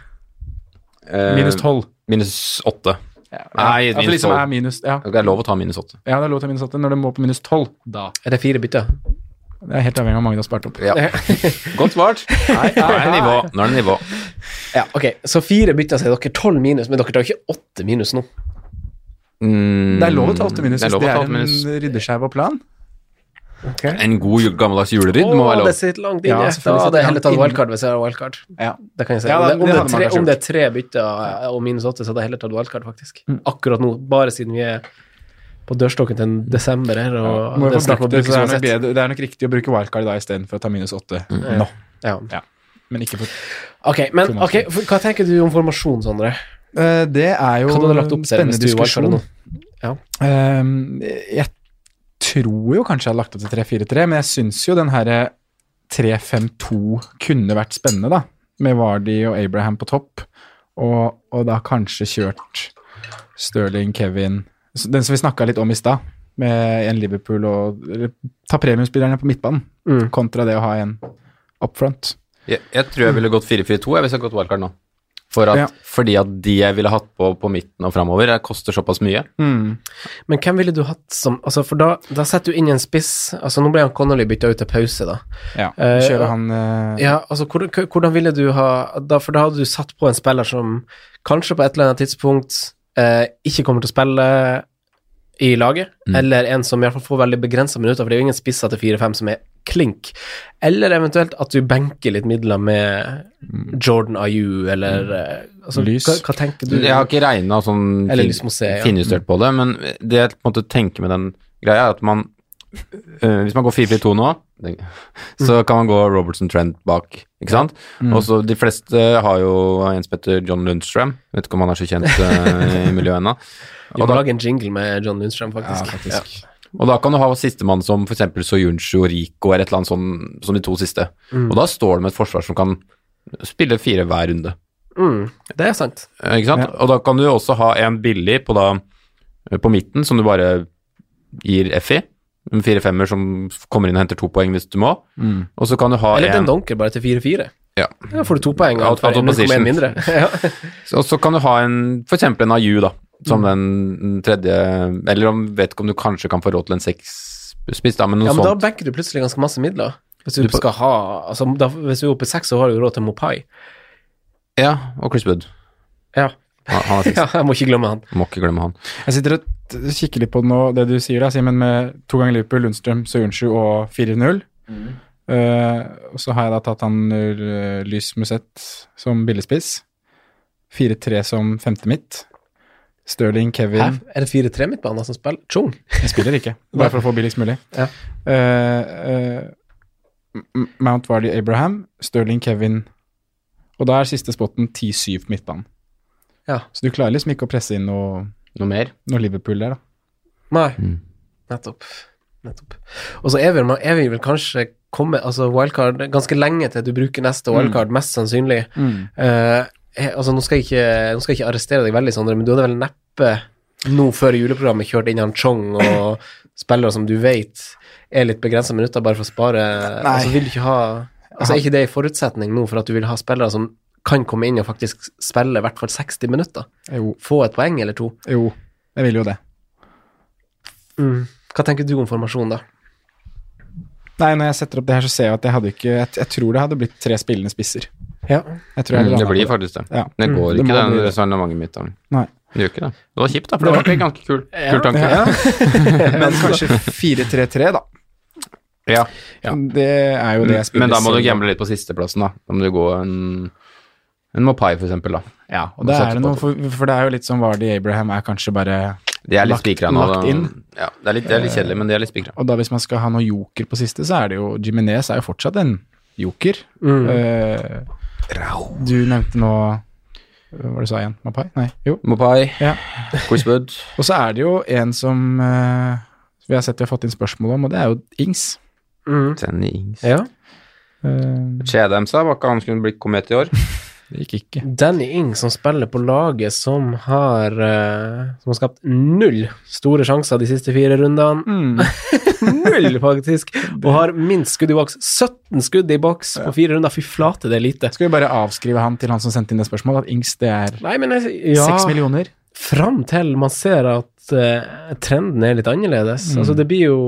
[SPEAKER 1] Eh,
[SPEAKER 3] Minus tolv.
[SPEAKER 1] Minus åtte. Nei,
[SPEAKER 3] ja, for
[SPEAKER 1] minus
[SPEAKER 3] liksom er
[SPEAKER 1] tolv.
[SPEAKER 3] minus, ja.
[SPEAKER 1] Det er lov å ta minus åtte.
[SPEAKER 3] ja, det er lov til å minus åtte. Når du må på minus tolv, da
[SPEAKER 2] Er det fire bytter?
[SPEAKER 3] Det er helt avhengig av hvor mange du har spart opp.
[SPEAKER 1] Ja. Godt svart. Nei, nå er det nivå. Nå er det nivå.
[SPEAKER 2] Ja, ok. Så fire bytter, så er dere tolv minus, men dere tar ikke åtte minus nå.
[SPEAKER 1] Mm,
[SPEAKER 3] Det er lov å ta åtte minus
[SPEAKER 1] Det er
[SPEAKER 3] hvis
[SPEAKER 1] lov
[SPEAKER 3] det
[SPEAKER 1] å ta
[SPEAKER 3] er
[SPEAKER 1] åtte minus.
[SPEAKER 3] en ryddeskeiv og plan.
[SPEAKER 1] En god ju- gammeldags juleridd må
[SPEAKER 2] Å,
[SPEAKER 1] være
[SPEAKER 2] det
[SPEAKER 1] lov.
[SPEAKER 2] sitter langt inne.
[SPEAKER 3] Ja,
[SPEAKER 2] da
[SPEAKER 3] selvfølgelig
[SPEAKER 2] hadde
[SPEAKER 3] sitter
[SPEAKER 2] jeg heller tatt
[SPEAKER 3] langt inne.
[SPEAKER 2] wildcard hvis jeg har wildcard.
[SPEAKER 3] Ja.
[SPEAKER 2] Det kan jeg si.
[SPEAKER 3] Ja,
[SPEAKER 2] om,
[SPEAKER 3] da,
[SPEAKER 2] det, om,
[SPEAKER 3] det
[SPEAKER 2] det
[SPEAKER 3] hadde
[SPEAKER 2] er
[SPEAKER 3] man
[SPEAKER 2] tre,
[SPEAKER 3] kanskje
[SPEAKER 2] om det er tre bytter eh, og minus åtte, så hadde jeg heller tatt wildcard, faktisk.
[SPEAKER 3] Mm.
[SPEAKER 2] Akkurat nå, bare siden vi er på dørstokken til en desember her, og
[SPEAKER 3] Må
[SPEAKER 2] det
[SPEAKER 3] jo
[SPEAKER 2] er
[SPEAKER 3] få
[SPEAKER 2] snakk om å
[SPEAKER 3] brukt det,
[SPEAKER 2] bruke
[SPEAKER 3] så det,
[SPEAKER 2] som
[SPEAKER 3] er nok
[SPEAKER 2] uansett.
[SPEAKER 3] bedre, det er nok riktig å bruke wildcard da istedenfor å ta minus åtte
[SPEAKER 1] Mm.
[SPEAKER 3] nå.
[SPEAKER 2] Ja.
[SPEAKER 3] Men ikke for
[SPEAKER 2] Ok, men ok, for, hva tenker du om formasjon, Sondre?
[SPEAKER 3] Eh, Det er
[SPEAKER 2] Hva
[SPEAKER 3] jo
[SPEAKER 2] hadde du lagt opp
[SPEAKER 3] en
[SPEAKER 2] selv hvis
[SPEAKER 3] spennende
[SPEAKER 2] du var
[SPEAKER 3] diskusjon.
[SPEAKER 2] nå? Ja.
[SPEAKER 3] Ehm, jeg tror jo kanskje jeg hadde lagt opp til 3-4-3, men jeg syns jo den herre 3-5-2 kunne vært spennende, da. Med Vardy og Abraham på topp, og, og da kanskje kjørt Sterling, Kevin Så Den som vi snakka litt om i stad, med en Liverpool og eller, Ta premiumspillerne på midtbanen,
[SPEAKER 2] Mm.
[SPEAKER 3] kontra det å ha en up front.
[SPEAKER 1] Jeg, jeg tror jeg ville gått 4-4-2 jeg, hvis jeg hadde gått wildcard nå. For at,
[SPEAKER 3] Ja.
[SPEAKER 1] Fordi at de jeg ville hatt på på midten og framover, koster såpass mye.
[SPEAKER 2] Mm. Men hvem ville du hatt som altså For da, da setter du inn en spiss altså Nå ble han Connolly bytta ut til pause, da.
[SPEAKER 3] Ja.
[SPEAKER 2] Eh,
[SPEAKER 3] Kjøre han eh,
[SPEAKER 2] Ja, altså hvordan, hvordan ville du ha da, For da hadde du satt på en spiller som kanskje på et eller annet tidspunkt eh, ikke kommer til å spille i laget, eller en som i hvert fall får veldig begrensa minutter, for det er jo ingen spisser til 4-5 som er klink. Eller eventuelt at du benker litt midler med Jordan Ayew eller eh, altså,
[SPEAKER 3] Lys.
[SPEAKER 2] Hva, hva tenker du?
[SPEAKER 1] Jeg har ikke regna sånn
[SPEAKER 2] Eller
[SPEAKER 1] fin-
[SPEAKER 2] lyst på å se, ja.
[SPEAKER 1] finjustert på det, men det jeg på en måte tenker med den greia, er at man øh, Hvis man går 4-4-2 nå, tenk- så
[SPEAKER 2] Mm.
[SPEAKER 1] kan man gå Robertson Trent bak, ikke sant? Og så de fleste har jo Jens Petter John Lundstrøm, vet ikke om han er så kjent øh, i miljøet ennå.
[SPEAKER 2] Vi må lage en jingle med John Lundstrøm,
[SPEAKER 3] ja,
[SPEAKER 2] faktisk. Ja.
[SPEAKER 3] faktisk.
[SPEAKER 1] Og da kan du ha sistemann som f.eks. Soyuncu og Rico eller et eller annet sånn som de to siste.
[SPEAKER 2] Mm.
[SPEAKER 1] Og da står det med et forsvar som kan spille fire hver runde.
[SPEAKER 2] Mm, det er sant.
[SPEAKER 1] Eh, Ikke sant? Og da kan du også ha en billig på, da, eh, på midten som du bare gir F i. En Fire-femmer som kommer inn og henter to poeng hvis du må. Og så kan du ha
[SPEAKER 2] Eller
[SPEAKER 1] en
[SPEAKER 2] den donker bare til 4-4.
[SPEAKER 1] Ja.
[SPEAKER 2] Da får du to poeng
[SPEAKER 1] Out-
[SPEAKER 2] og
[SPEAKER 1] out of position.
[SPEAKER 2] 0,1 mindre. ja.
[SPEAKER 1] Og så kan du ha en f.eks. en AU, da. Som den tredje Eller om, vet ikke om du kanskje kan få råd til en seksspiss, da, men noe
[SPEAKER 2] ja, men da
[SPEAKER 1] sånt.
[SPEAKER 2] banker du plutselig ganske masse midler. Hvis du,
[SPEAKER 1] Du på-
[SPEAKER 2] skal ha altså, da, Hvis du er oppe i seks, så har du jo råd til Mopai.
[SPEAKER 1] Ja, og Chris Wood.
[SPEAKER 2] Ja.
[SPEAKER 1] Han, han er seks.
[SPEAKER 2] ja, jeg må ikke glemme han.
[SPEAKER 1] Må ikke glemme han.
[SPEAKER 3] Jeg sitter og t- kikker litt på nå, det du sier, da, Simen, med to ganger Liverpool, Lundstrøm, Soyuncu og 4-0.
[SPEAKER 2] Mm.
[SPEAKER 3] Eh, og så har jeg da tatt han eh, Lys Musett som billigspiss. 4-3 som femte mitt. Sterling, Kevin
[SPEAKER 2] Hæ? Er det 4-3 midtbaner som spiller? Chung?
[SPEAKER 3] Jeg spiller ikke, bare for å få billigst mulig.
[SPEAKER 2] Ja.
[SPEAKER 3] Eh, eh, M- Mount Vardy, Abraham, Sterling, Kevin Og da er siste spotten 10-7 på midtbanen.
[SPEAKER 2] Ja.
[SPEAKER 3] Så du klarer liksom ikke å presse inn noe,
[SPEAKER 1] Noe mer?
[SPEAKER 3] noe Liverpool der, da.
[SPEAKER 2] Nei.
[SPEAKER 1] Mm.
[SPEAKER 2] Nettopp. Nettopp. Og så er vi, er vi vel kanskje kommet altså wildcard ganske lenge til du bruker
[SPEAKER 1] Mm.
[SPEAKER 2] neste wildcard, mest sannsynlig. Eh, eh, altså, nå skal, jeg ikke, nå skal jeg ikke arrestere deg veldig, Sondre, men du hadde vel neppe nå før juleprogrammet kjørt inn han Chong og spillere som du vet er litt begrensa minutter bare for å spare
[SPEAKER 3] Nei.
[SPEAKER 2] altså, vil du ikke ha, altså, Er ikke det en forutsetning nå for at du vil ha spillere som kan komme inn og faktisk spille i hvert fall 60 minutter?
[SPEAKER 3] Jo,
[SPEAKER 2] Få et poeng eller to?
[SPEAKER 3] jo jeg vil jo det.
[SPEAKER 2] Hva tenker du om formasjonen, da?
[SPEAKER 3] Nei, når jeg setter opp det her, så ser jeg at jeg hadde ikke Jeg, jeg tror det hadde blitt tre spillende spisser.
[SPEAKER 2] Ja.
[SPEAKER 3] Jeg tror jeg
[SPEAKER 1] Mm,
[SPEAKER 3] hadde
[SPEAKER 1] det
[SPEAKER 3] landet
[SPEAKER 1] blir
[SPEAKER 3] på
[SPEAKER 1] faktisk det.
[SPEAKER 3] Ja.
[SPEAKER 1] Det går
[SPEAKER 3] det
[SPEAKER 1] ikke,
[SPEAKER 3] må bli
[SPEAKER 1] den
[SPEAKER 3] det.
[SPEAKER 1] resonnementet mitt. Arne.
[SPEAKER 3] Nei.
[SPEAKER 1] Det gjør ikke det. Det var kjipt, da, for det var en ganske kul, kul tanke.
[SPEAKER 3] Ja. Men kanskje 4-3-3, da.
[SPEAKER 1] Ja. Ja.
[SPEAKER 3] Det er jo det jeg spiller
[SPEAKER 1] Men da må du
[SPEAKER 3] selv.
[SPEAKER 1] gamble litt på sisteplassen, da. Da må du gå en, en Mopai, for eksempel, da.
[SPEAKER 3] Ja, og
[SPEAKER 1] Må
[SPEAKER 3] det
[SPEAKER 1] satse
[SPEAKER 3] er det
[SPEAKER 1] på
[SPEAKER 3] noe,
[SPEAKER 1] det.
[SPEAKER 3] for, for det er jo litt sånn Vardy Abraham er kanskje bare
[SPEAKER 1] De er litt
[SPEAKER 3] Lagt-
[SPEAKER 1] spikra nå.
[SPEAKER 3] lagt
[SPEAKER 1] da.
[SPEAKER 3] inn.
[SPEAKER 1] Ja, det, er litt, det er litt kjedelig, men de er litt spikra.
[SPEAKER 3] Og da hvis man skal ha noe joker på siste, så er det jo Jiminez er jo fortsatt en joker.
[SPEAKER 2] Mm.
[SPEAKER 3] Eh, du nevnte nå Hva var det du sa igjen? Mapai? Nei, jo.
[SPEAKER 1] Mopai,
[SPEAKER 3] Ja.
[SPEAKER 1] Quizbud.
[SPEAKER 3] Og så er det jo en som eh, vi har sett vi har fått inn spørsmål om, og det er jo Ings.
[SPEAKER 2] Mm.
[SPEAKER 1] Senny Ings.
[SPEAKER 2] ja.
[SPEAKER 3] Eh,
[SPEAKER 1] Chedamsa, var ikke han skulle bli komet i år?
[SPEAKER 3] det gikk ikke.
[SPEAKER 2] Danny Ing som spiller på laget som har, eh, som har skapt null store sjanser de siste fire rundene.
[SPEAKER 3] hmm.
[SPEAKER 2] Null, faktisk! Og har minst skudd i boks. 17 skudd i boks på fire runder. Fy flate, det er lite.
[SPEAKER 3] Skal vi bare avskrive han til han som sendte inn det spørsmålet, at Ings det er
[SPEAKER 2] Nei, men jeg, ja,
[SPEAKER 3] seks millioner?
[SPEAKER 2] fram til man ser at eh, trenden er litt
[SPEAKER 3] Mm.
[SPEAKER 2] annerledes. Altså, det blir jo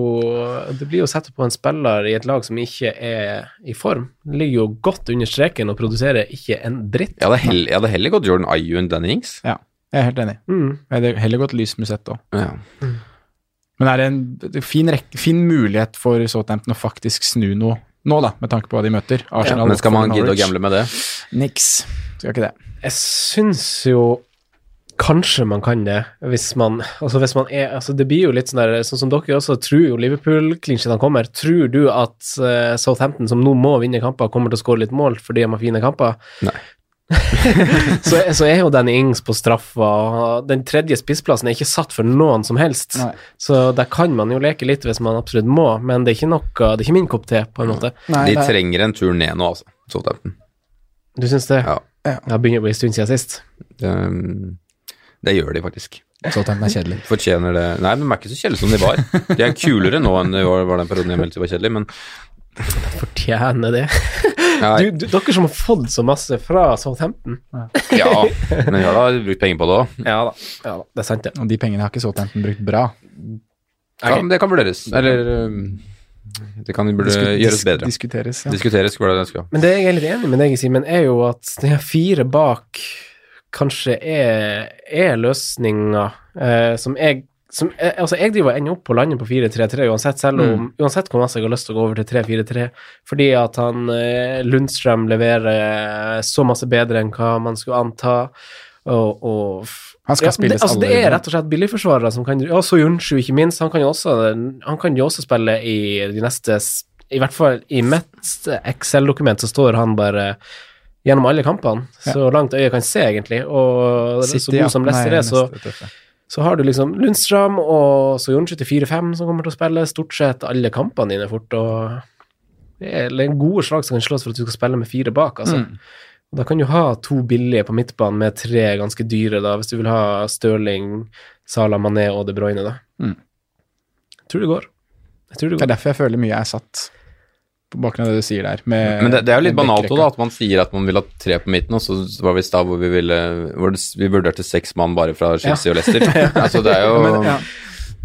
[SPEAKER 2] Det blir jo å sette på en spiller i et lag som ikke er i form. Det ligger jo godt under streken og produserer ikke en dritt.
[SPEAKER 1] Jeg hadde, hell, jeg hadde heller gått Jordan Ayu enn Danny Ings.
[SPEAKER 3] Ja, jeg er helt enig.
[SPEAKER 2] Mm.
[SPEAKER 3] Jeg hadde heller gått lys musett òg.
[SPEAKER 1] Ja.
[SPEAKER 3] Men er det en fin, rekke, fin mulighet for Southampton å faktisk snu noe nå, da, med tanke på hva de møter? Arsenal,
[SPEAKER 1] Men skal man
[SPEAKER 3] Watford,
[SPEAKER 1] gidde å
[SPEAKER 3] Norwich?
[SPEAKER 1] gamble med det?
[SPEAKER 3] Niks. Skal ikke det.
[SPEAKER 2] Jeg syns jo kanskje man kan det, hvis man Altså, hvis man er altså Det blir jo litt sånn der Sånn som dere også tror jo Liverpool-klinsjene kommer. Tror du at eh, Southampton, som nå må vinne kamper, kommer til å skåre litt mål fordi de har fine kamper?
[SPEAKER 1] Nei.
[SPEAKER 2] så, så er jo Danny Ings på straffa. og Den tredje spissplassen er ikke satt for noen som helst.
[SPEAKER 3] Nei.
[SPEAKER 2] Så der kan man jo leke litt hvis man absolutt må, men det er ikke noe Det er ikke min kopp te, på en måte.
[SPEAKER 1] De trenger en tur ned nå, altså. Southampton.
[SPEAKER 2] Du syns det?
[SPEAKER 1] Ja.
[SPEAKER 3] Ja.
[SPEAKER 2] Det begynner å bli en stund siden sist.
[SPEAKER 1] Det, det gjør de faktisk.
[SPEAKER 3] Southampton er kjedelig.
[SPEAKER 1] Fortjener det Nei, men de er ikke så kjedelige som de var. De er kulere nå enn de var, var den perioden jeg meldte var kjedelig, men
[SPEAKER 2] Fortjener det.
[SPEAKER 1] Nei,
[SPEAKER 2] Du, du, dere som har fått så masse fra Southampton.
[SPEAKER 1] ja. Men vi har da brukt penger på det òg.
[SPEAKER 2] Ja da. Ja da, Det er sant, det.
[SPEAKER 3] Og de pengene har ikke Southampton brukt bra.
[SPEAKER 1] Ja, men det kan vurderes. Eller øhm, det kan burde
[SPEAKER 3] Disku-
[SPEAKER 1] gjøres
[SPEAKER 3] disk-
[SPEAKER 1] bedre.
[SPEAKER 3] Diskuteres, ja.
[SPEAKER 1] Diskuteres hvordan det skal.
[SPEAKER 2] Men det jeg er litt enig med deg i, Simen, er jo at de her fire bak kanskje er, er løsninga eh, som jeg som, eh, altså jeg driver og ender opp på landet på 4-3-3 uansett, selv
[SPEAKER 3] Mm.
[SPEAKER 2] om, uansett hvor masse jeg har lyst til å gå over til 3-4-3, fordi at han eh, Lundstrøm leverer eh, så masse bedre enn hva man skulle anta, og, og f-
[SPEAKER 3] Han skal
[SPEAKER 2] det,
[SPEAKER 3] spilles
[SPEAKER 2] altså, det
[SPEAKER 3] alle
[SPEAKER 2] er
[SPEAKER 3] runder.
[SPEAKER 2] rett og slett billigforsvarere som kan Ja, Soyunshu, ikke minst. Han kan jo også, han kan jo også spille i de neste s- I hvert fall i mitt Excel-dokument så står han bare gjennom alle kampene, så langt øyet kan se, egentlig. Og så god som Leicester er, så, så har du liksom Lundstrøm og Soyunshu til 4-5 som kommer til å spille stort sett alle kampene dine fort. og det er det er gode slag som kan slås for at du skal spille med fire bak, altså. Og Da kan du ha to billige på midtbanen med tre ganske dyre, da, hvis du vil ha Stirling, Salah, Mané og De Bruyne, da.
[SPEAKER 3] Mm.
[SPEAKER 2] Jeg tror det går. Jeg tror det
[SPEAKER 3] Det
[SPEAKER 2] går.
[SPEAKER 3] er derfor jeg føler mye er satt på bakgrunn av det du sier der. med-
[SPEAKER 1] Men det, det er jo litt
[SPEAKER 3] med
[SPEAKER 1] banalt også,
[SPEAKER 3] dekkrekka.
[SPEAKER 1] da, at man sier at man vil ha tre på midten, og så var vi i stad hvor vi ville hvor det, Vi vurderte seks mann bare fra Chelsea og Leicester. Altså, det er jo
[SPEAKER 3] Men, ja.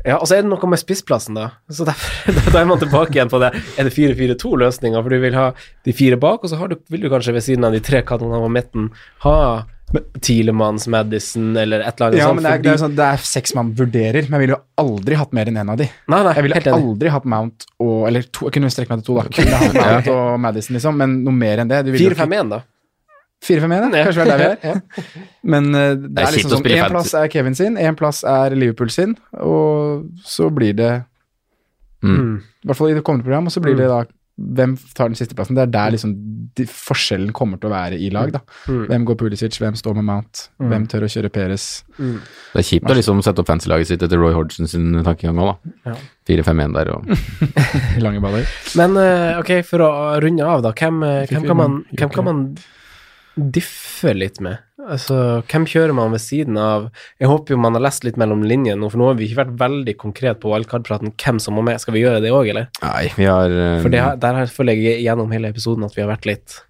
[SPEAKER 2] Ja, og så er det noe med spissplassen, da. Så derfor, da, da er man tilbake igjen på det. Er det 4-4-2-løsninga, for du vil ha de fire bak, og så har du, vil du kanskje ved siden av de tre kanonene på midten ha Tilemanns, Madison eller et eller annet
[SPEAKER 3] Ja,
[SPEAKER 2] sånt.
[SPEAKER 3] men det er, det er
[SPEAKER 2] fordi-
[SPEAKER 3] jo sånn, det er seks man vurderer, men jeg ville jo aldri hatt mer enn én av de.
[SPEAKER 2] Nei, nei,
[SPEAKER 3] sånn- Jeg ville
[SPEAKER 2] helt enig.
[SPEAKER 3] aldri hatt Mount og Eller to, jeg kunne strekke meg til to, da. Kunne hatt Mount og Madison, liksom, men noe mer enn det. du ville jo ikke-
[SPEAKER 2] 4-5-1, da.
[SPEAKER 3] 4-5-1, ja. Kanskje det er der vi er. Men eh, det,
[SPEAKER 1] er
[SPEAKER 3] er
[SPEAKER 1] kjipt
[SPEAKER 3] liksom
[SPEAKER 1] å
[SPEAKER 3] sånn,
[SPEAKER 1] spille
[SPEAKER 3] en
[SPEAKER 1] fantasy.
[SPEAKER 3] plass er Kevin sin, en plass er Liverpool sin, og så blir det,
[SPEAKER 2] Mm.
[SPEAKER 3] i hvert fall i det kommende program, og så blir det da hvem tar den siste plassen? Det er der liksom de, forskjellen kommer til å være i lag, da.
[SPEAKER 2] Mm.
[SPEAKER 3] Hvem går Pulisic, hvem står med Mount, hvem tør å kjøre Peres?
[SPEAKER 1] Det er kjipt å liksom sette opp fancy-laget sitt etter Roy Hodgson sin tankegang òg, da.
[SPEAKER 2] Ja.
[SPEAKER 1] 4-5-1 der og
[SPEAKER 3] Lange baller.
[SPEAKER 2] Men eh, ok, for å runde av, da. Hvem, eh, hvem, kan, man,
[SPEAKER 3] Fy-fy,
[SPEAKER 2] hvem kan man diffe litt med? Altså, hvem kjører man ved siden av? Jeg håper jo man har lest litt mellom linjene nå, for nå har vi ikke vært veldig konkret på wildcard-praten hvem som må med. Skal vi gjøre det òg, eller?
[SPEAKER 1] Nei, vi har eh,
[SPEAKER 2] For det, har- der har- føler jeg gjennom hele episoden at vi har vært litt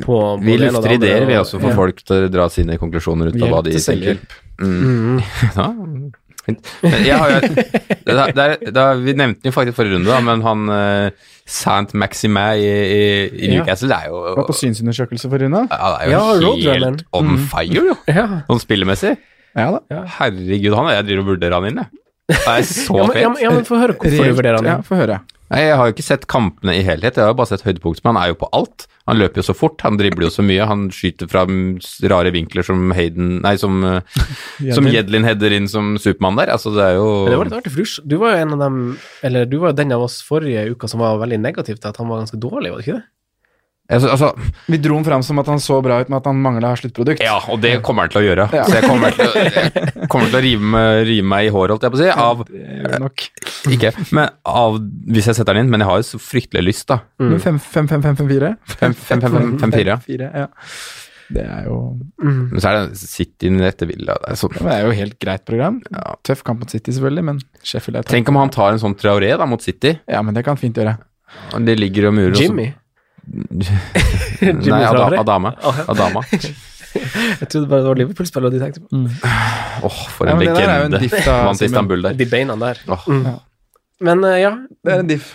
[SPEAKER 2] på
[SPEAKER 1] um, Vi
[SPEAKER 2] både det ene og
[SPEAKER 1] lufter
[SPEAKER 2] det andre,
[SPEAKER 1] ideer, vi
[SPEAKER 2] og-
[SPEAKER 1] også, for folk til å dra sine konklusjoner ut
[SPEAKER 3] Vi
[SPEAKER 1] av hva
[SPEAKER 3] hjelper
[SPEAKER 1] de
[SPEAKER 3] til
[SPEAKER 1] tenker.
[SPEAKER 3] selvhjelp.
[SPEAKER 2] Mm.
[SPEAKER 1] Ja. Jeg har jo et- det, er- det, er- det, er- vi nevnte den jo faktisk forrige runde, da, men han eh, Saint Maximin i, i, i
[SPEAKER 3] Ja.
[SPEAKER 1] Newcastle det er jo,
[SPEAKER 3] Var på synsundersøkelse for Runa.
[SPEAKER 1] ja, det er
[SPEAKER 2] Ja, Mm.
[SPEAKER 1] jo
[SPEAKER 2] Roadrunneren.
[SPEAKER 1] helt on fire, jo.
[SPEAKER 2] Ja.
[SPEAKER 1] Sånn spillemessig.
[SPEAKER 3] Ja da.
[SPEAKER 1] Herregud, han jeg driver og vurderer han inn, jeg. Det er så
[SPEAKER 2] Ja, men, ja,
[SPEAKER 1] fett.
[SPEAKER 2] men, ja, men få høre hvorfor du vurderer han.
[SPEAKER 3] Ja, få høre.
[SPEAKER 1] Nei, jeg har jo ikke sett kampene i helhet, jeg har jo bare sett høydepunkt, men han er jo på alt. Han løper jo så fort, han dribler jo så mye, han skyter fra mm, s- rare vinkler som Hayden Nei, som, eh, som Jedlin header inn som Supermann der. Altså, det er jo
[SPEAKER 2] Men Det var litt artig, for du, du var jo en av dem, eller du var jo den av oss forrige uka som var veldig negativ til at han var ganske dårlig, var det ikke det?
[SPEAKER 1] altså, altså,
[SPEAKER 3] Vi dro ham fram som at han så bra ut, men at han mangla sluttprodukt.
[SPEAKER 1] Ja, og det kommer han til å gjøre.
[SPEAKER 3] Ja.
[SPEAKER 1] Så jeg kommer til å, jeg kommer til å rive, meg- rive meg i håret, holdt jeg på å si. Av
[SPEAKER 3] Det gjør det nok.
[SPEAKER 1] Ikke men av hvis jeg setter den inn, men jeg har jo så fryktelig lyst, da.
[SPEAKER 3] Men 5-5-5-4?
[SPEAKER 1] 5-4.
[SPEAKER 3] ja. Det er jo
[SPEAKER 1] Men så er det City etter Villa. Det er sånn.
[SPEAKER 3] Det er jo helt greit program.
[SPEAKER 1] Ja.
[SPEAKER 3] Tøff kamp mot City, selvfølgelig, men Sheffield er tøff.
[SPEAKER 1] Tenk om han tar en sånn Traoré da, mot City.
[SPEAKER 3] Ja, men det kan fint gjøre.
[SPEAKER 1] Og De ligger og murer. og så-
[SPEAKER 2] Jimmy?
[SPEAKER 1] Nei, Ada-
[SPEAKER 2] Traoré?
[SPEAKER 1] Adama.
[SPEAKER 2] Å,
[SPEAKER 1] Adama.
[SPEAKER 2] Jeg trodde bare det var Liverpool-spillet de tenkte på.
[SPEAKER 1] Åh, for
[SPEAKER 3] Ja,
[SPEAKER 1] en
[SPEAKER 3] men det der er jo en
[SPEAKER 1] legende.
[SPEAKER 3] diff, da,
[SPEAKER 1] Vant
[SPEAKER 3] Simen. Mm.
[SPEAKER 1] Istanbul der.
[SPEAKER 2] De beina der.
[SPEAKER 1] Åh.
[SPEAKER 2] Men eh, ja,
[SPEAKER 3] Det er en diff.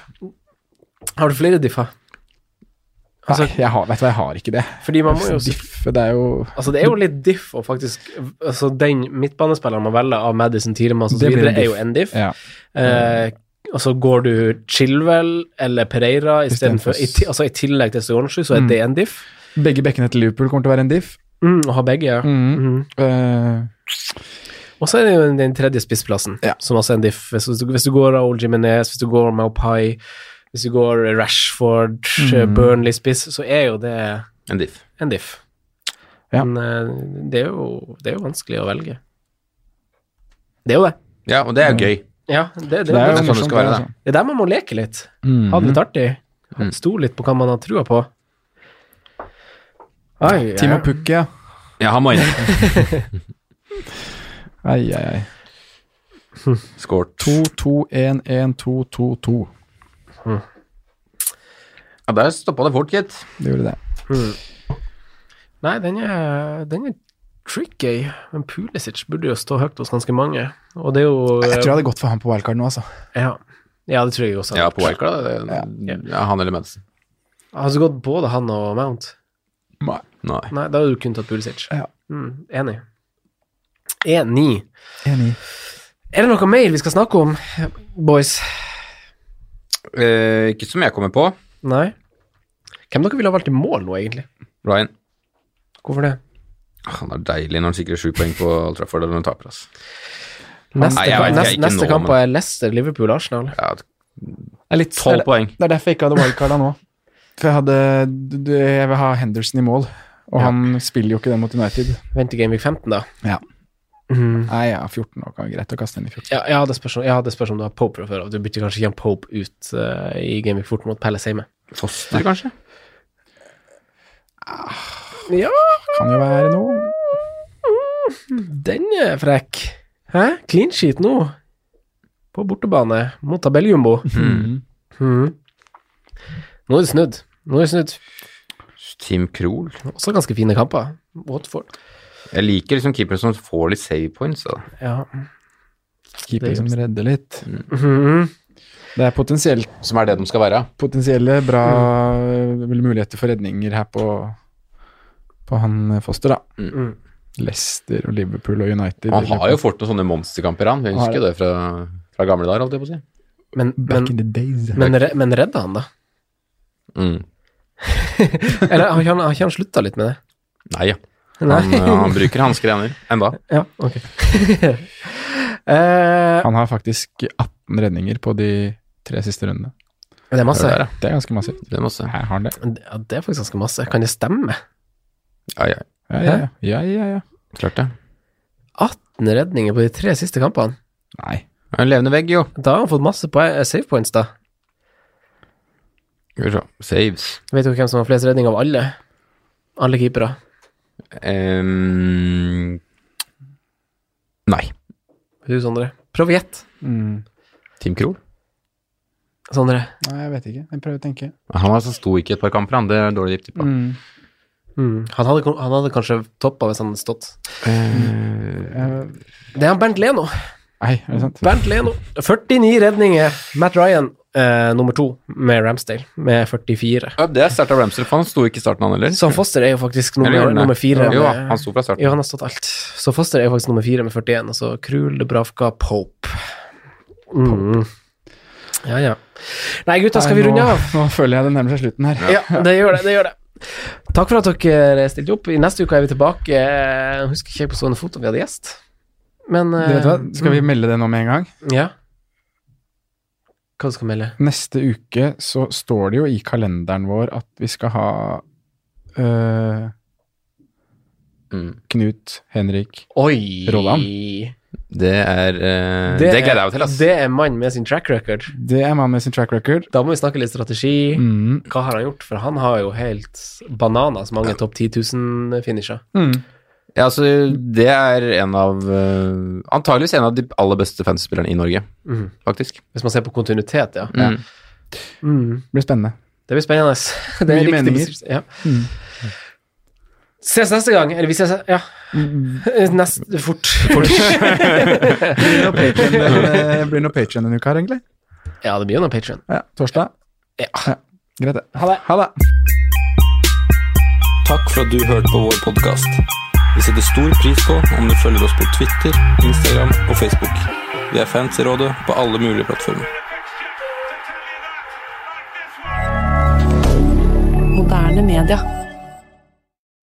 [SPEAKER 2] har du flere differ? Altså-
[SPEAKER 3] Nei, jeg har, vet du hva, jeg har ikke det.
[SPEAKER 2] Fordi man må jo
[SPEAKER 3] Diff, det er jo
[SPEAKER 2] Altså, det er jo litt diff å faktisk Altså, den midtbanespilleren man velger av Madison Tiremann og så
[SPEAKER 3] Det blir
[SPEAKER 2] videre,
[SPEAKER 3] en
[SPEAKER 2] er
[SPEAKER 3] diff.
[SPEAKER 2] jo en diff.
[SPEAKER 3] Ja.
[SPEAKER 2] Eh, og så går du Chilwell eller Pereira istedenfor
[SPEAKER 3] Istedenfor-
[SPEAKER 2] i, ti- Altså, i tillegg til Stojansju,
[SPEAKER 3] Mm.
[SPEAKER 2] så er det en diff.
[SPEAKER 3] Begge bekkene til Liverpool kommer til å være en diff.
[SPEAKER 2] Mm, å ha begge, ja.
[SPEAKER 3] Mm.
[SPEAKER 2] Mhm.
[SPEAKER 3] Eh,
[SPEAKER 2] Og så er det jo den tredje spissplassen,
[SPEAKER 3] Ja.
[SPEAKER 2] som også er en diff. Hvis du, hvis du går Raúl Jimenez, hvis du går Maupai, hvis du går Rashford,
[SPEAKER 3] Mm.
[SPEAKER 2] Burnley-spiss, så er jo det
[SPEAKER 1] En diff.
[SPEAKER 2] en diff.
[SPEAKER 3] Ja.
[SPEAKER 2] Men eh, det er, jo, det er jo vanskelig å velge. Det er jo det.
[SPEAKER 1] Ja, og det
[SPEAKER 3] Mm.
[SPEAKER 1] er jo gøy.
[SPEAKER 2] Ja, det, det,
[SPEAKER 3] det er jo
[SPEAKER 1] sånn det
[SPEAKER 3] morsomt.
[SPEAKER 1] skal være,
[SPEAKER 3] altså.
[SPEAKER 2] det er der man må leke litt.
[SPEAKER 3] Mm.
[SPEAKER 2] Ha det litt artig.
[SPEAKER 1] Mm.
[SPEAKER 2] Stå litt på hva man har trua på. Ai,
[SPEAKER 3] Timo
[SPEAKER 2] ja.
[SPEAKER 3] Pukki, ja.
[SPEAKER 1] Ja, han må inn.
[SPEAKER 3] Ai, ai, ai.
[SPEAKER 1] Scoret.
[SPEAKER 3] 2-2-1-1-2-2-2.
[SPEAKER 1] Ja, der stoppa det fort, gitt.
[SPEAKER 3] Det gjorde det.
[SPEAKER 2] Nei, den er, den er tricky. Men Pulisic burde jo stå høyt hos ganske mange. Og det er jo
[SPEAKER 3] Jeg tror jeg hadde gått for han på wildcard nå, altså.
[SPEAKER 2] ja. ja, det tror jeg også.
[SPEAKER 1] Ja, på Wildcard, da. Det- Ja, han eller Madison.
[SPEAKER 2] Hadde du gått både han og Mount?
[SPEAKER 3] Nei.
[SPEAKER 1] Nei.
[SPEAKER 2] Nei, da hadde du kun tatt Pulisic.
[SPEAKER 3] Ja.
[SPEAKER 2] Mm, enig. Enig.
[SPEAKER 3] Enig.
[SPEAKER 2] Er det noe mer vi skal snakke om, boys?
[SPEAKER 1] Eh, ikke som jeg kommer på.
[SPEAKER 2] Nei? Hvem dere ville ha valgt i mål nå, egentlig?
[SPEAKER 1] Ryan.
[SPEAKER 2] Hvorfor det?
[SPEAKER 1] Han er deilig når han sikrer sju poeng på Old Trafford eller når han taper. ass.
[SPEAKER 2] Neste,
[SPEAKER 1] Nei, jeg vet ikke,
[SPEAKER 2] neste,
[SPEAKER 1] ikke
[SPEAKER 2] neste
[SPEAKER 1] nå,
[SPEAKER 2] kamp
[SPEAKER 1] men-
[SPEAKER 2] er Leicester, Liverpool, Arsenal.
[SPEAKER 1] Ja,
[SPEAKER 3] Det er litt
[SPEAKER 1] Tolv poeng.
[SPEAKER 3] Det er derfor jeg ikke hadde wildcarda nå. For jeg hadde du- du- Jeg vil ha Henderson i mål, og
[SPEAKER 2] Ja.
[SPEAKER 3] han spiller jo ikke den mot United.
[SPEAKER 2] Vent til Gameweek 15, da.
[SPEAKER 3] Ja.
[SPEAKER 2] Mm.
[SPEAKER 3] Nei, ja, 14 nå kan vi greit å kaste inn i 14.
[SPEAKER 2] Ja, ja, det spørs om, ja, det spørs om du har Pope fra før av. Du bytter kanskje ikke en Pope ut eh, i Gameweek 14 mot Palace hjemme.
[SPEAKER 1] Foster, kanskje?
[SPEAKER 2] Ja,
[SPEAKER 3] Kan jo være noe.
[SPEAKER 2] den er frekk. Hæ? Clean sheet nå. På bortebane mot Tabelljumbo.
[SPEAKER 3] Mm.
[SPEAKER 2] Mm. Nå er det snudd. Nå er det snudd.
[SPEAKER 1] Tim Krohl.
[SPEAKER 2] Også ganske fine kamper. Watford.
[SPEAKER 1] Jeg liker liksom keepere som får litt save points. Da.
[SPEAKER 2] Ja.
[SPEAKER 3] Keeper som redder litt.
[SPEAKER 2] Mhm.
[SPEAKER 3] Det er potensielt,
[SPEAKER 1] Som er det de skal være.
[SPEAKER 3] potensielle bra øh, muligheter for redninger her på, på han Foster, da.
[SPEAKER 2] Mm.
[SPEAKER 3] Leicester og Liverpool og United.
[SPEAKER 1] Han har jo fort noen sånne monsterkamper, han. Vi husker jo det fra, fra gamle dager, holdt jeg på å si.
[SPEAKER 2] Men,
[SPEAKER 3] Back
[SPEAKER 2] men,
[SPEAKER 3] in the days.
[SPEAKER 2] men, re- men redda han, da?
[SPEAKER 1] Mm.
[SPEAKER 2] Eller har ikke han, har ikke han slutta litt med det?
[SPEAKER 1] Nei, ja.
[SPEAKER 2] Nei.
[SPEAKER 1] Han, eh, han bruker hansker ennå. Enda.
[SPEAKER 2] Ja, ok. Eh,
[SPEAKER 3] Han har faktisk 18 redninger på de tre siste rundene.
[SPEAKER 2] det er masse.
[SPEAKER 1] Hør der,
[SPEAKER 3] Det er ganske massivt.
[SPEAKER 1] Det er masse.
[SPEAKER 3] Her har han det.
[SPEAKER 2] Ja, det er faktisk ganske masse. Kan det stemme?
[SPEAKER 1] Ja, ja.
[SPEAKER 3] Ja, ja, ja. ja, ja, ja.
[SPEAKER 1] Klart det.
[SPEAKER 2] 18 redninger på de tre siste kampene.
[SPEAKER 3] Nei.
[SPEAKER 1] Det er En levende vegg, jo.
[SPEAKER 2] Da har han fått masse poe- eh, save points, da.
[SPEAKER 1] Skal vi se. Saves.
[SPEAKER 2] Vet du hvem som har flest redninger av alle? Alle keepere.
[SPEAKER 1] Ehm, nei.
[SPEAKER 2] Du, Sondre. Prøv å gjette,
[SPEAKER 3] Mm.
[SPEAKER 1] Tim Krohl.
[SPEAKER 2] Sondre.
[SPEAKER 3] Nei, jeg vet ikke. Jeg prøver å tenke.
[SPEAKER 1] Han altså sto ikke et par kamper, han. Det er dårlig tipp på.
[SPEAKER 3] Mm.
[SPEAKER 2] Mm. Han, hadde, kon- han hadde kanskje toppa hvis han hadde stått.
[SPEAKER 1] Eh,
[SPEAKER 3] Jeg,
[SPEAKER 2] Det er han Bernt Leno.
[SPEAKER 3] Nei, er det sant?
[SPEAKER 2] Bernt Leno, 49 redninger. Matt Ryan, eh, nummer to med Ramsdale, med 44.
[SPEAKER 1] Ja, det er sterkt av Ramsdale, for han sto ikke i starten, han heller.
[SPEAKER 2] Sam Foster er jo faktisk
[SPEAKER 1] Eller gjorde
[SPEAKER 2] nummer,
[SPEAKER 1] han det?
[SPEAKER 2] nummer fire.
[SPEAKER 1] Jo,
[SPEAKER 2] med-
[SPEAKER 1] han sto fra starten.
[SPEAKER 2] Ja, han har stått alt. Så Foster er jo faktisk nummer fire med 41, og så Krul, Debravka, Pope. Mm. Ja, ja. Nei, gutta, skal vi
[SPEAKER 3] Nei, nå-
[SPEAKER 2] runde av?
[SPEAKER 3] Nå føler jeg det nærmer seg slutten her.
[SPEAKER 2] Ja, det gjør det. det gjør det. Takk for at dere eh, stilte opp. I neste uke er vi tilbake. Jeg husker ikke på stående fot om vi hadde gjest, men
[SPEAKER 3] Du vet hva?
[SPEAKER 2] eh,
[SPEAKER 3] Skal vi melde det nå med en gang?
[SPEAKER 2] Ja. Hva du skal melde?
[SPEAKER 3] Neste uke så står det jo i kalenderen vår at vi skal ha øh,
[SPEAKER 1] Mm.
[SPEAKER 3] Knut, Henrik
[SPEAKER 2] Oi!
[SPEAKER 3] Roland.
[SPEAKER 1] Det er eh, Det, gleder jeg meg til, ass.
[SPEAKER 2] Det er mann med sin track record.
[SPEAKER 3] Det er mannen med sin track record.
[SPEAKER 2] Da må vi snakke litt strategi.
[SPEAKER 3] Mm.
[SPEAKER 2] Hva har han gjort? For han har jo helt bananas mange topp 10 000-finisher.
[SPEAKER 3] Mm.
[SPEAKER 1] Ja, altså, det er en av eh, Antageligvis en av de aller beste fanspillerne i Norge,
[SPEAKER 2] Mhm.
[SPEAKER 1] faktisk.
[SPEAKER 2] Hvis man ser på kontinuitet, ja.
[SPEAKER 1] Mm.
[SPEAKER 2] Mm.
[SPEAKER 3] Blir spennende.
[SPEAKER 2] Det blir spennende. Det er
[SPEAKER 3] Mye
[SPEAKER 2] riktig
[SPEAKER 3] meninger.
[SPEAKER 2] beskrivelse, Ja.
[SPEAKER 3] Mm.
[SPEAKER 2] Ses neste gang. Eller vi ses Ja.
[SPEAKER 3] Mm.
[SPEAKER 2] Nest, fort.
[SPEAKER 3] Det blir noe Patreon denne uka her, egentlig.
[SPEAKER 2] ja, det blir jo noe Patreon.
[SPEAKER 3] Ja, torsdag. Ja. Greit, det.
[SPEAKER 2] Ha det.
[SPEAKER 3] Ha det.
[SPEAKER 4] Takk for at du hørte på vår podkast. Vi setter stor pris på om du følger oss på Twitter, Instagram og Facebook. Vi er fans i rådet på alle mulige plattformer.
[SPEAKER 5] Moderne media.